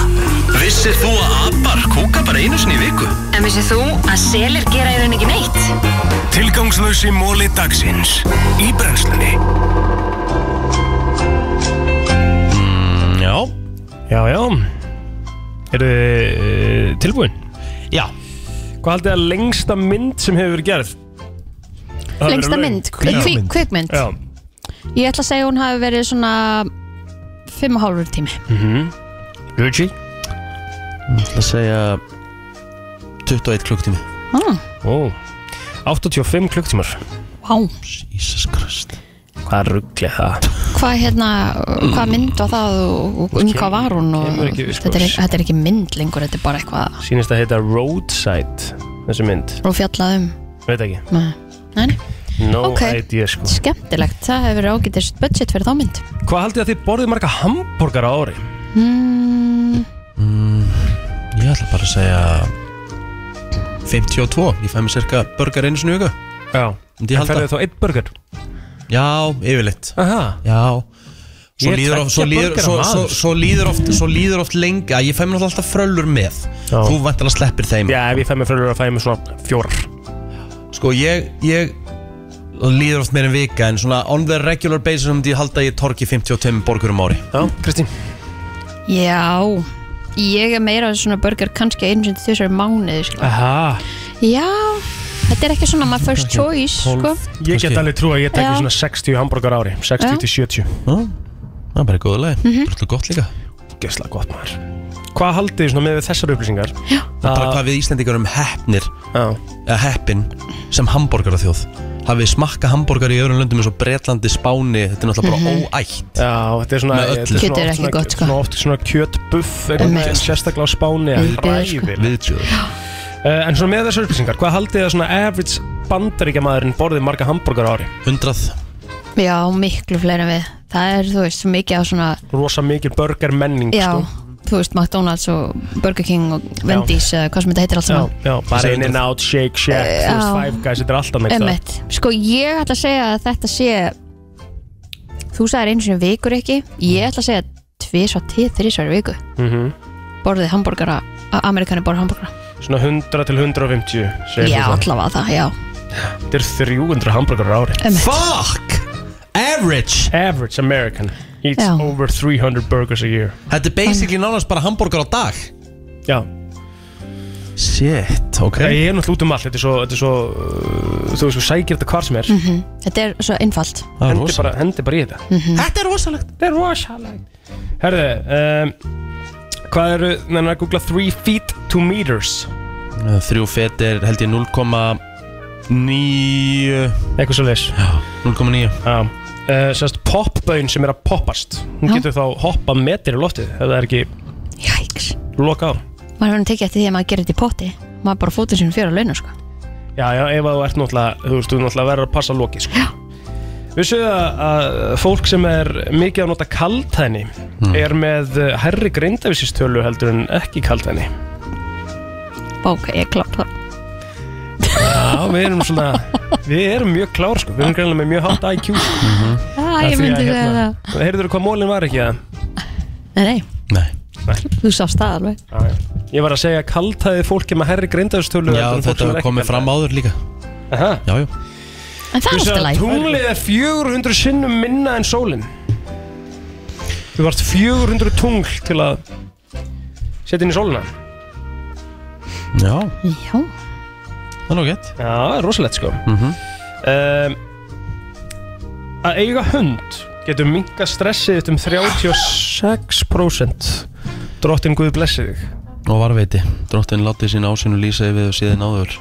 [SPEAKER 1] Vissir þú að abar kúka bara einu sinni í viku?
[SPEAKER 11] En vissið þú að selir gera í raun ekki neitt?
[SPEAKER 19] Tilgangslösi móli dagsins Í brennslunni
[SPEAKER 2] Mm, Já
[SPEAKER 4] Já, já Eru þið eh, tilbúin?
[SPEAKER 2] Já
[SPEAKER 4] Hvað haldið að lengsta mynd sem hefur verið gerð? Það hefur
[SPEAKER 3] Lengsta
[SPEAKER 4] verið löng.
[SPEAKER 3] mynd, kvikmynd, kvikmynd.
[SPEAKER 4] Já
[SPEAKER 3] Ég ætla að segja að hún hafi verið svona 5,5 tími
[SPEAKER 4] Mhm. Gucci
[SPEAKER 2] Ég ætla að segja 21 klukktími
[SPEAKER 3] ah,
[SPEAKER 4] Ó, 85 klukktímar
[SPEAKER 3] Vá,
[SPEAKER 2] Jesus Christ
[SPEAKER 4] Hvað ruggli það?
[SPEAKER 3] hvað hérna, hvað mynd var það og og um hvað var hún og
[SPEAKER 4] kemur ekki við, sko.
[SPEAKER 3] þetta, er, þetta er ekki mynd lengur, þetta er bara eitthvað
[SPEAKER 4] Sýnist að heita Roadside Þessi mynd,
[SPEAKER 3] og fjallað um
[SPEAKER 4] veit ekki
[SPEAKER 3] Nei, nei, nei.
[SPEAKER 4] No
[SPEAKER 3] Ok.
[SPEAKER 4] idea sko
[SPEAKER 3] skemmtilegt, það hefur verið ágætist budget fyrir þá mynd
[SPEAKER 4] Hvað haldið að þið borðið marga hambúrgar á ári?
[SPEAKER 1] Hmm.
[SPEAKER 3] mm,
[SPEAKER 2] Ég ætla bara að segja 52 Ég fæ mér cirka burger einu sinni í viku
[SPEAKER 4] Já
[SPEAKER 2] Myndi ég
[SPEAKER 4] En
[SPEAKER 2] halda
[SPEAKER 4] ferðið þá einn burger?
[SPEAKER 2] Já, yfirleitt
[SPEAKER 4] Aha.
[SPEAKER 2] Já Svo
[SPEAKER 4] Ég er
[SPEAKER 2] líður, of, svo,
[SPEAKER 4] tveggja
[SPEAKER 2] líður,
[SPEAKER 4] burgera
[SPEAKER 2] svo, svo,
[SPEAKER 4] maður, sko.
[SPEAKER 2] svo, líður oft, svo líður oft lengi að Ég fæ mér náttúrulega alltaf fröllur með Þú vantilega sleppir þeim
[SPEAKER 4] Já, ef ég fæ mér fyrir að fæ mér svona fjórar
[SPEAKER 2] Sko ég, ég og líður oft meira en vika en svona on the regular basis um því halda ég torki 55 borgur um ári
[SPEAKER 4] Já, Kristín
[SPEAKER 3] Já, ég er meira svona burger kannski einu sinni þessar mánuði sko.
[SPEAKER 4] Aha,
[SPEAKER 3] Já, þetta er ekki svona my first choice sko.
[SPEAKER 4] Ég get alveg trú að ég
[SPEAKER 3] Já.
[SPEAKER 4] tekja svona 60 hambúrgar ári 60
[SPEAKER 3] Já. Mhm.
[SPEAKER 4] til 70
[SPEAKER 2] Það er bara góðu lagi, mm -hmm. gott líka
[SPEAKER 4] Gesslega gott maður Hvað haldið þið svona með við þessar upplýsingar? Já
[SPEAKER 2] Bara hvað við Íslendingar um hefnir eða heppin sem hambúrgar hafið smakka hambúrgar í öðrum löndum eins og Bretlandi, Spáni, þetta er náttúrulega bara
[SPEAKER 4] Mhm.
[SPEAKER 2] óætt
[SPEAKER 4] Já, þetta er svona
[SPEAKER 2] Með öllu.
[SPEAKER 4] þetta
[SPEAKER 3] Kjöt er ekki
[SPEAKER 4] oft svona-
[SPEAKER 3] gott, sko.
[SPEAKER 4] Svona oft svona kjötbuff
[SPEAKER 3] Einmitt.
[SPEAKER 4] einhvern- Sérstaklega á Spáni
[SPEAKER 3] Viðbjóður, sko.
[SPEAKER 2] Viðbjöður
[SPEAKER 4] Eh, En svona með þessar upplýsingar Hvað haldið þið að svona average bandaríkjamaðurinn borðið marga hambúrgar ári?
[SPEAKER 2] 100
[SPEAKER 3] Já, miklu fleiri en við Það er, þú veist, svo mikið á svona
[SPEAKER 4] Rosa mikil burger menning
[SPEAKER 3] Já,
[SPEAKER 4] sko.
[SPEAKER 3] þú veist, McDonalds og Burger King og Wendy's eða hvað sem þetta heitir allt
[SPEAKER 4] Já,
[SPEAKER 3] saman
[SPEAKER 4] já, bara in and out, shake, shack,
[SPEAKER 3] Eh,
[SPEAKER 4] þú veist,
[SPEAKER 3] já.
[SPEAKER 4] five guys, þetta er alltaf neitt
[SPEAKER 3] Emmett, sko ég ætla að segja að þetta sé Þú sagðir einu sinni vikur ekki Ég ætla að segja tvisvar til þrísvar í viku
[SPEAKER 4] Mhm.
[SPEAKER 3] Borðið hambúrgara, Amerikani borðið hambúrgara
[SPEAKER 4] Svona 100 til 150 segir
[SPEAKER 3] Já,
[SPEAKER 4] þú það.
[SPEAKER 3] allavega það, já Eh,
[SPEAKER 4] Þetta er 300 hambúrgar ári
[SPEAKER 3] Emmett.
[SPEAKER 2] Fuck! Average
[SPEAKER 4] Average American eats
[SPEAKER 2] Já.
[SPEAKER 4] over 300 burgers a year
[SPEAKER 2] Þetta er basically nánast bara hambúrgar á dag
[SPEAKER 4] Já
[SPEAKER 2] Shit, ok
[SPEAKER 4] Ég er náttúrulega út um allt, þetta er svo, þetta er svo uh, þú veist, þú sækir þetta hvar sem er
[SPEAKER 3] Mhm. Þetta er svo einfalt Mhm.
[SPEAKER 2] Það er
[SPEAKER 4] hendi, bara, hendi bara í þetta
[SPEAKER 2] Þetta er rosalegt
[SPEAKER 4] Þetta er rosalegt Herðu, um, hvað eru, næna að googla 3 feet 2 meters
[SPEAKER 2] Eh, Þrjú fet er held ég 0,9
[SPEAKER 4] Eitthvað svo leis
[SPEAKER 2] Já, 0,9
[SPEAKER 4] Já uh, Sérst popbögin sem er að poppast Hún
[SPEAKER 3] Já.
[SPEAKER 4] getur þá hoppað metir í loftið Ef það er ekki
[SPEAKER 3] Jæks
[SPEAKER 4] loka á
[SPEAKER 3] Maður hefur tekið eftir því að maður gerir þetta í potti Maður bara fótið sinni fjöra launum sko
[SPEAKER 4] Já, já, ef að þú ert náttúrulega Þú veist, þú náttúrulega verður að passa lokið sko. Vissu þið að, að fólk sem er mikið að nota kaldhæðni
[SPEAKER 2] Hmm.
[SPEAKER 4] er með eh, hærri greindavísistölu heldur en ekki kaldhæðni
[SPEAKER 3] Ok, ég klátt það
[SPEAKER 4] Já, við erum svona við erum mjög klár sko, við erum greinlega með mjög hátt IQ mm -hmm.
[SPEAKER 3] Mhm. Æ, ég myndi segja
[SPEAKER 4] það Heyrður þú hvað mólinn var ekki það?
[SPEAKER 3] Nei, nei,
[SPEAKER 4] Nei
[SPEAKER 3] þú sást það alveg
[SPEAKER 4] Já, já. Ég var að segja kaldhæði fólki með herri greindaðustölu
[SPEAKER 2] Já, þetta hefur komið fram áður líka
[SPEAKER 4] Aha.
[SPEAKER 2] Já, já
[SPEAKER 3] En það er alltaf læg
[SPEAKER 4] Tunglið er 400 sinnum minna en sólin Þú varst 400 tungl til að setja inn í sólina
[SPEAKER 2] Já
[SPEAKER 3] Já
[SPEAKER 2] Það er nú gett
[SPEAKER 4] Já, það er rosalegt sko
[SPEAKER 2] Mhm.
[SPEAKER 4] um, Að eiga hund getur minka stressið þitt um 36% Drottin Guð blessi þig
[SPEAKER 2] Og varveiti, drottin látið sín ásinu lýsa yfir og síðan áður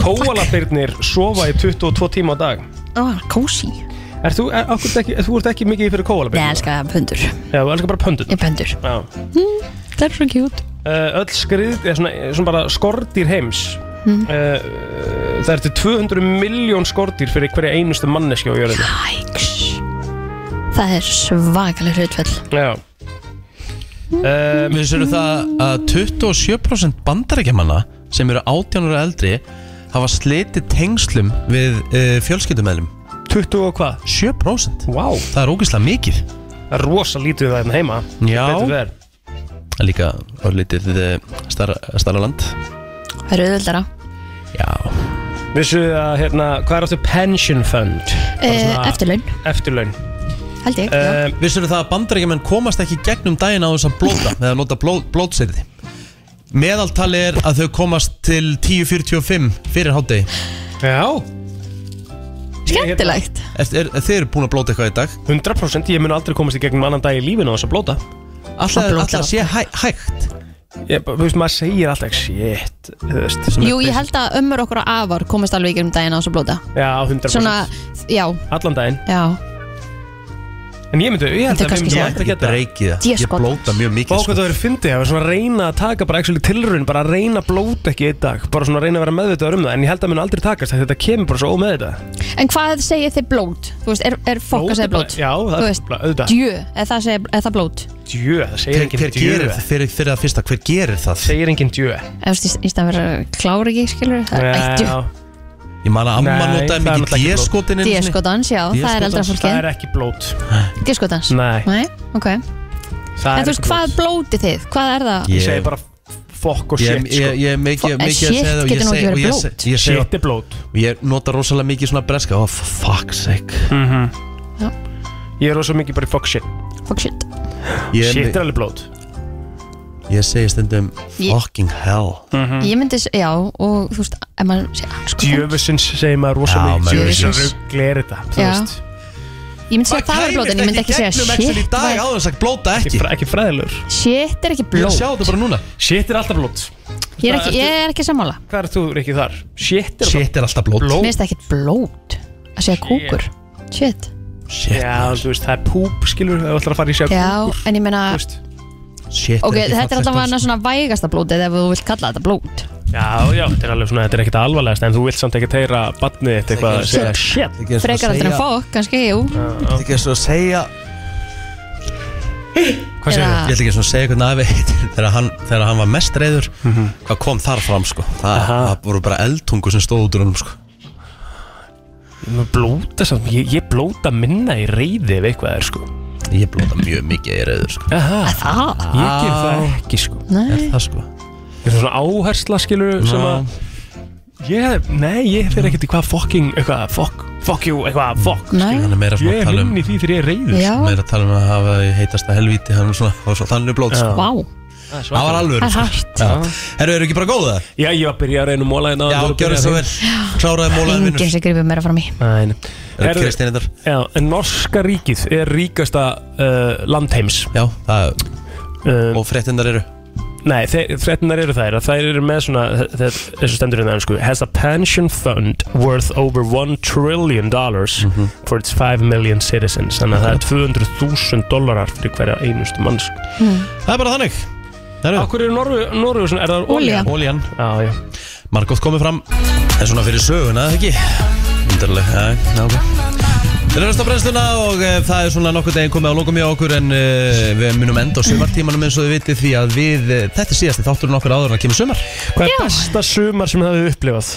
[SPEAKER 4] Kóalabirnir sofa í 22 tíma á dag
[SPEAKER 3] Ó, kósi
[SPEAKER 4] Er þú, er, akkur, ekki, þú ert ekki mikið fyrir
[SPEAKER 3] Nei,
[SPEAKER 4] kóalabirnir?
[SPEAKER 3] ég elska pöndur
[SPEAKER 4] Já, þú elskar bara pöndur
[SPEAKER 3] Ég er pöndur
[SPEAKER 4] Já
[SPEAKER 3] Það er svo kjút
[SPEAKER 4] uh, öll skrið eða svona, eh, svona bara skordýr heims
[SPEAKER 3] Mhm.
[SPEAKER 4] uh, það er til 200 miljón skordýr fyrir hverja einustu manneski á jörðinu
[SPEAKER 3] Það er svakaleg hlutfell
[SPEAKER 4] já Um,
[SPEAKER 2] Við sérum Eh, það að 27% bandarækjamanna sem eru 18 ára eldri hafa slitið tengslum við uh, fjölskyldumeðlum
[SPEAKER 4] 20 og hvað?
[SPEAKER 2] 7%
[SPEAKER 4] wow.
[SPEAKER 2] Það er ógeðslega mikið
[SPEAKER 4] Það er rosa lítið það hérna heima
[SPEAKER 2] Já.
[SPEAKER 4] Betur fer.
[SPEAKER 2] Það er Líka örlítið eh, stærra stærra land
[SPEAKER 3] Það er auðvöldara
[SPEAKER 2] Já
[SPEAKER 4] Vissu þið að hérna, hvað er aftur pension fund? Bara
[SPEAKER 3] Eh,
[SPEAKER 4] svona-
[SPEAKER 3] eftirlaun.
[SPEAKER 4] Eftirlaun
[SPEAKER 3] Held ég já.
[SPEAKER 4] Eh,
[SPEAKER 2] um, Vissur það að bandarækjumenn komast ekki gegnum daginn á þess að blóta með að nota blóð, blótsirði Meðaltali er að þau komast til 10.45 fyrir hátdegi
[SPEAKER 4] Já
[SPEAKER 3] Skemmtilegt
[SPEAKER 2] er, er, Þið eru búin að blóta eitthvað í dag
[SPEAKER 4] 100% ég mun aldrei komast í gegnum annan dag í lífinu á þess að blóta
[SPEAKER 2] Alltaf, alltaf sé hæ, hægt
[SPEAKER 4] ég, bara, Þú veist, maður segir alltaf shit þú veist.
[SPEAKER 3] Jú, ég held að ömmur okkur og afar komist alveg ekki um daginn á þessu blóta
[SPEAKER 4] Já, 100%
[SPEAKER 3] Svona, já,
[SPEAKER 4] Allan daginn
[SPEAKER 3] já
[SPEAKER 4] En ég myndi, ég
[SPEAKER 3] Þetta er
[SPEAKER 4] held að við
[SPEAKER 3] kannski
[SPEAKER 4] myndum
[SPEAKER 3] svona-
[SPEAKER 4] alltaf geta
[SPEAKER 2] breykið
[SPEAKER 3] það. Ég Déskot. blóta
[SPEAKER 2] mjög mikið, sko.
[SPEAKER 4] Bá hvað það verið fyndið, það verið svona að reyna að taka bara actually tilraun, bara að reyna að blóta ekki einn dag Bara svona að reyna að vera meðvitaður um það, en ég held að mun aldrei takast Þetta kemur bara svo ómeð þetta
[SPEAKER 3] En hvað segir þið blót? Þú veist, er, er fokk að segja blót?
[SPEAKER 4] Já, það
[SPEAKER 3] Þú
[SPEAKER 4] er
[SPEAKER 3] veist,
[SPEAKER 4] bara auðvitað
[SPEAKER 3] Djö, er það, segja, er það blót?
[SPEAKER 4] Djö, það segir
[SPEAKER 2] Hver-
[SPEAKER 4] enginn
[SPEAKER 2] hver gerir það? fyrir, fyrir að fyrsta, hver gerir það?
[SPEAKER 4] Segir enginn djö
[SPEAKER 3] Eða þú veist, í stað að vera klár ekki, skilur Það er eitt djö
[SPEAKER 2] Ég man að amma
[SPEAKER 4] Nei,
[SPEAKER 2] notaði
[SPEAKER 4] það er
[SPEAKER 2] mikið
[SPEAKER 4] náttúrulega ekki
[SPEAKER 2] D-skotin einu sinni.
[SPEAKER 3] Díaskotans, já, það er eldra
[SPEAKER 4] Déskotans, Það
[SPEAKER 3] fólkið
[SPEAKER 4] er ekki blót
[SPEAKER 3] Díaskotans?
[SPEAKER 4] Nei,
[SPEAKER 3] Nei, ok En
[SPEAKER 4] það er
[SPEAKER 3] þú veist,
[SPEAKER 4] ekki blót
[SPEAKER 3] hvað blótið þið? Hvað er það?
[SPEAKER 4] Ég segi bara fokk og
[SPEAKER 2] Ég-
[SPEAKER 4] shit sko.
[SPEAKER 2] ég- ég er mikið- Fuck, mikið að shit segja það og ég getur nú seg- ekki verið og ég blót. seg- ég seg-
[SPEAKER 4] Shit er blót
[SPEAKER 2] Og Ég nota rosalega mikið svona breska oh, for Fuck's sake
[SPEAKER 3] Já.
[SPEAKER 4] Mhm. Ég er rosa mikið bara í fuck shit
[SPEAKER 3] Fuck shit
[SPEAKER 2] Ég er
[SPEAKER 4] Shit
[SPEAKER 2] mi-
[SPEAKER 4] er alveg blót
[SPEAKER 2] Ég segi stundum
[SPEAKER 3] Ég-
[SPEAKER 2] Fucking hell
[SPEAKER 4] Mhm.
[SPEAKER 3] Ég myndi, s- já, og þú veist ef maður segja, sko,
[SPEAKER 4] Djöfusins segir maður rosa
[SPEAKER 2] Já,
[SPEAKER 4] mikið
[SPEAKER 2] maður-
[SPEAKER 4] Djöfusins rugli er þetta þú
[SPEAKER 3] Já.
[SPEAKER 4] veist.
[SPEAKER 3] Ég myndi segja að það er blót en ég myndi ekki segja
[SPEAKER 2] Í
[SPEAKER 3] shit
[SPEAKER 2] dag
[SPEAKER 3] væri-
[SPEAKER 2] áður sagt blóta ekki
[SPEAKER 4] Ekki, fræ- ekki fræðilegur
[SPEAKER 3] Shit er ekki
[SPEAKER 2] Ég er að
[SPEAKER 3] blót
[SPEAKER 2] sjá þetta bara núna
[SPEAKER 4] Shit er alltaf blót
[SPEAKER 3] Ég er ekki, ég er ekki sammála
[SPEAKER 4] Hvað er þú ekki þar? Shit er,
[SPEAKER 2] Shit er alltaf blót
[SPEAKER 3] Mér finnst það ekkert blót að segja kúkur Shit
[SPEAKER 2] Shit
[SPEAKER 4] Já, þú veist, það er púp, skilur Ef þú ætlar að fara í sjá
[SPEAKER 3] Já, en ég meina
[SPEAKER 2] Shit
[SPEAKER 3] Ok, þetta er alltaf hana svona vægasta blótið ef þú vilt kalla þetta blót
[SPEAKER 4] Já, já, þetta er alveg svona, þetta er ekkert alvarlegast En þú vilt samt ekkert heyra badnið þitt eitthvað að segja Shit
[SPEAKER 3] Frekar aldrei en fokk, kannski, jú
[SPEAKER 2] Þetta er ekki eins og að segja
[SPEAKER 3] Hvað segirðu? Eða-
[SPEAKER 2] Ég ætla ekki svona að segja hvernig afi heitir [LAUGHS] þegar hann, þegar hann var mest reyður
[SPEAKER 4] Mhm.
[SPEAKER 2] Hvað kom þar fram sko Það, það voru bara eldtungu sem stóð út úr honum sko
[SPEAKER 4] Ég blóta samt, ég, ég blóta minna í reyði ef eitthvað er sko
[SPEAKER 2] Ég blóta mjög mikið í reyður sko
[SPEAKER 4] Aha,
[SPEAKER 3] Það?
[SPEAKER 4] Ég ger það ekki sko
[SPEAKER 3] Nei.
[SPEAKER 2] Er það sko
[SPEAKER 4] Þetta er svona áhersla skilur sem að Ég, nei, ég fer ekkert í hvað fucking, eitthvað, fuck, fuck you, eitthvað, fuck
[SPEAKER 3] Nei.
[SPEAKER 2] Hann er meira svona
[SPEAKER 4] Ég
[SPEAKER 2] að
[SPEAKER 4] er
[SPEAKER 2] tala um
[SPEAKER 4] hinn í því þegar ég er reyður
[SPEAKER 3] Já.
[SPEAKER 2] Meira að tala um að hafa í heitasta helvíti Hann er svona, hann er svona þannig blót sko
[SPEAKER 3] Vá
[SPEAKER 2] Það var sko. alveg
[SPEAKER 3] Það er hart.
[SPEAKER 2] Herru, eru ekki bara góða?
[SPEAKER 4] Já, ég var að byrja að reyna um móla hérna
[SPEAKER 2] Já, gjörðu svo vel Kláraði mólaðin vinnur
[SPEAKER 3] Engin sem grifur meira fram í
[SPEAKER 4] Nein.
[SPEAKER 2] Er það Kristinn þetta?
[SPEAKER 4] Já, en norska ríkið er ríkasta uh, landheims Um,
[SPEAKER 2] Já, það Og fréttindar eru?
[SPEAKER 4] Nei, fréttinar eru þær að Þær eru með svona, þe- þe- þessu stendur hérna sko, Has a pension fund worth over 1 trillion dollars
[SPEAKER 2] Mhm.
[SPEAKER 4] for its 5 million citizens Þannig að það er 200.000 dólarar fyrir hverja einustu manns
[SPEAKER 1] Hmm.
[SPEAKER 2] Það er bara þannig
[SPEAKER 4] Akkur eru Norrjóðsson, er það
[SPEAKER 3] Olía.
[SPEAKER 2] Ólían
[SPEAKER 4] Já, já
[SPEAKER 2] Margot komið fram En svona fyrir söguna, eða ekki? Undarleg, já, já, ok Þeir eru að brennsluna og e, það er svona nokkuð deginn komið á lokum hjá okkur en e, við munum enda á sumartímanum eins og þið vitið því að við, e, þetta er síðasti þátturinn okkur áður en að kemur sumar
[SPEAKER 4] Hvað er besta sumar sem það hefur upplifað?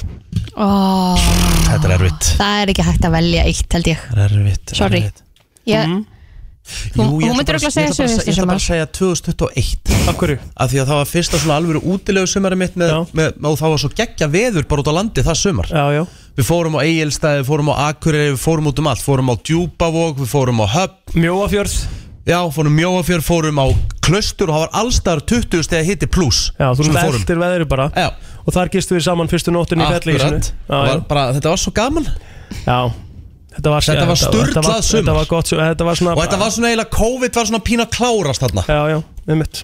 [SPEAKER 3] Ó,
[SPEAKER 2] Þetta er erfitt
[SPEAKER 3] Það er ekki hægt að velja eitt, held ég
[SPEAKER 2] Það er erfitt
[SPEAKER 3] Sorry Ég, Þú-
[SPEAKER 2] Jú, ég
[SPEAKER 3] þú
[SPEAKER 2] ætla
[SPEAKER 3] myndir
[SPEAKER 2] bara-
[SPEAKER 3] örugglega segja
[SPEAKER 2] ég ætla bara
[SPEAKER 3] síðasta
[SPEAKER 2] Ég ætla bara að
[SPEAKER 3] sumar.
[SPEAKER 2] segja 2021
[SPEAKER 4] Af hverju?
[SPEAKER 2] Af því að það var fyrsta svona alvöru útilegu sumari mitt með, með, og það var svo geggja veður bara út á landi það sumar
[SPEAKER 4] Já, já
[SPEAKER 2] Við fórum á Egilstaði, við fórum á Akureyri, við fórum út um allt Fórum á Djúpavog, við fórum á Höpp
[SPEAKER 4] Mjóafjörð
[SPEAKER 2] Já, fórum Mjóafjörð, fórum á Klaustur og það var allstar 20 stegi hitti pluss
[SPEAKER 4] Já, þú
[SPEAKER 2] sem við
[SPEAKER 4] svona
[SPEAKER 2] fórum.
[SPEAKER 4] eftir veðri bara
[SPEAKER 2] Já.
[SPEAKER 4] Og þar gistu við saman fyrstu nóttin í fellísinu
[SPEAKER 2] Akkurat, Það var bara, þetta var svo gaman
[SPEAKER 4] Já Þetta var,
[SPEAKER 2] Þetta var
[SPEAKER 4] þetta
[SPEAKER 2] sturlað sumar.
[SPEAKER 4] Þetta var gott sumar Þetta var svona
[SPEAKER 2] Og þetta var svona eiginlega, COVID var svona pína klárast þarna
[SPEAKER 4] Já, já, með mitt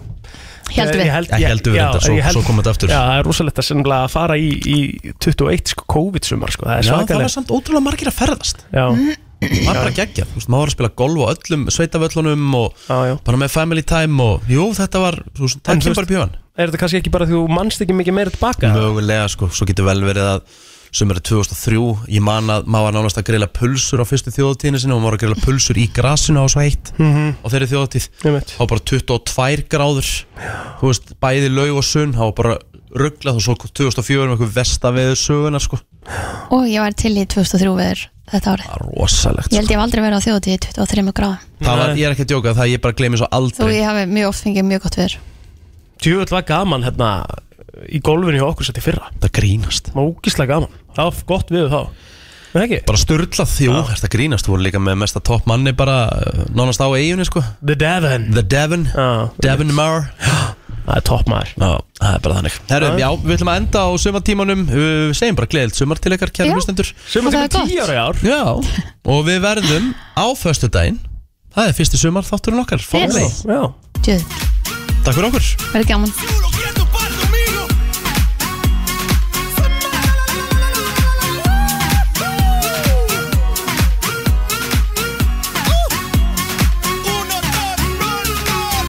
[SPEAKER 3] Héldum við.
[SPEAKER 4] Ég held-
[SPEAKER 2] Já, héldum við
[SPEAKER 4] já,
[SPEAKER 2] þetta, svo-
[SPEAKER 4] ég held-
[SPEAKER 2] svo kom þetta aftur.
[SPEAKER 4] Já, það er rosalegt að sennilega að fara í, í 21 sko, COVID-sumar sko. Það er
[SPEAKER 2] Já, það var
[SPEAKER 4] svakalegt
[SPEAKER 2] samt ótrúlega margir að ferðast
[SPEAKER 4] Já,
[SPEAKER 2] Það var bara geggja, þú veist, maður var að spila golf á öllum sveitavöllunum og
[SPEAKER 4] já, já.
[SPEAKER 2] bara með family time og jú, þetta var, þú veist,
[SPEAKER 4] En
[SPEAKER 2] það
[SPEAKER 4] þú
[SPEAKER 2] kemur bara
[SPEAKER 4] veist-
[SPEAKER 2] bjóðan
[SPEAKER 4] Er þetta kannski ekki bara því þú mannst ekki mikið meira tilbaka?
[SPEAKER 2] Mögulega, sko, svo getur vel verið að sem er 2003, ég man að maður var nánast að grilla pulsur á fyrstu þjóðatíðinu sinni og maður var að grilla pulsur í grasinu á svo heitt
[SPEAKER 4] Mhm.
[SPEAKER 2] á þeirri þjóðatíð,
[SPEAKER 4] Einmitt.
[SPEAKER 2] þá var bara 22 gráður þú veist, bæði laug og sunn þá var bara rugglað og svo 2004 með eitthvað vestaveður sögunar sko
[SPEAKER 3] og ég var til í 2003 veður þetta árið
[SPEAKER 2] rosalegt
[SPEAKER 3] Ég
[SPEAKER 4] sko.
[SPEAKER 3] held ég hef aldrei verið á þjóðatíð í 23 gráðum
[SPEAKER 2] það var, ég er ekki að djóka, það ég bara gleymi svo
[SPEAKER 3] Þó
[SPEAKER 2] aldrei
[SPEAKER 3] ég hafi mjög oft fengið mjög gott veður
[SPEAKER 4] Tjúvöld var gaman hérna í golfinu hjá okkur sætti fyrra
[SPEAKER 2] Það grínast
[SPEAKER 4] Mókislega gaman, það var gott við þá Nei ekki?
[SPEAKER 2] bara störtlað, jú, þetta grínast þú voru líka með mesta topp manni bara uh, nánast á eiginni sko
[SPEAKER 4] The Devon
[SPEAKER 2] The Devon,
[SPEAKER 4] ah,
[SPEAKER 2] Devon Mar
[SPEAKER 4] [GASPS] Það er topp maður
[SPEAKER 2] Já, það er bara þannig Herru,
[SPEAKER 4] Já.
[SPEAKER 2] já, við ætlum að enda á sumartímanum Við segjum bara gleðilt sumar til ykkar,
[SPEAKER 3] Já.
[SPEAKER 2] kæra hlustendur
[SPEAKER 4] Sumar Og það tekur er tíu gott. ára í ár.
[SPEAKER 2] Já, og við verðum á föstudaginn Það er fyrsti sumar þátturinn okkar, formlegi
[SPEAKER 4] Já,
[SPEAKER 3] Djöð,
[SPEAKER 2] Takk fyrir okkur
[SPEAKER 3] verið gaman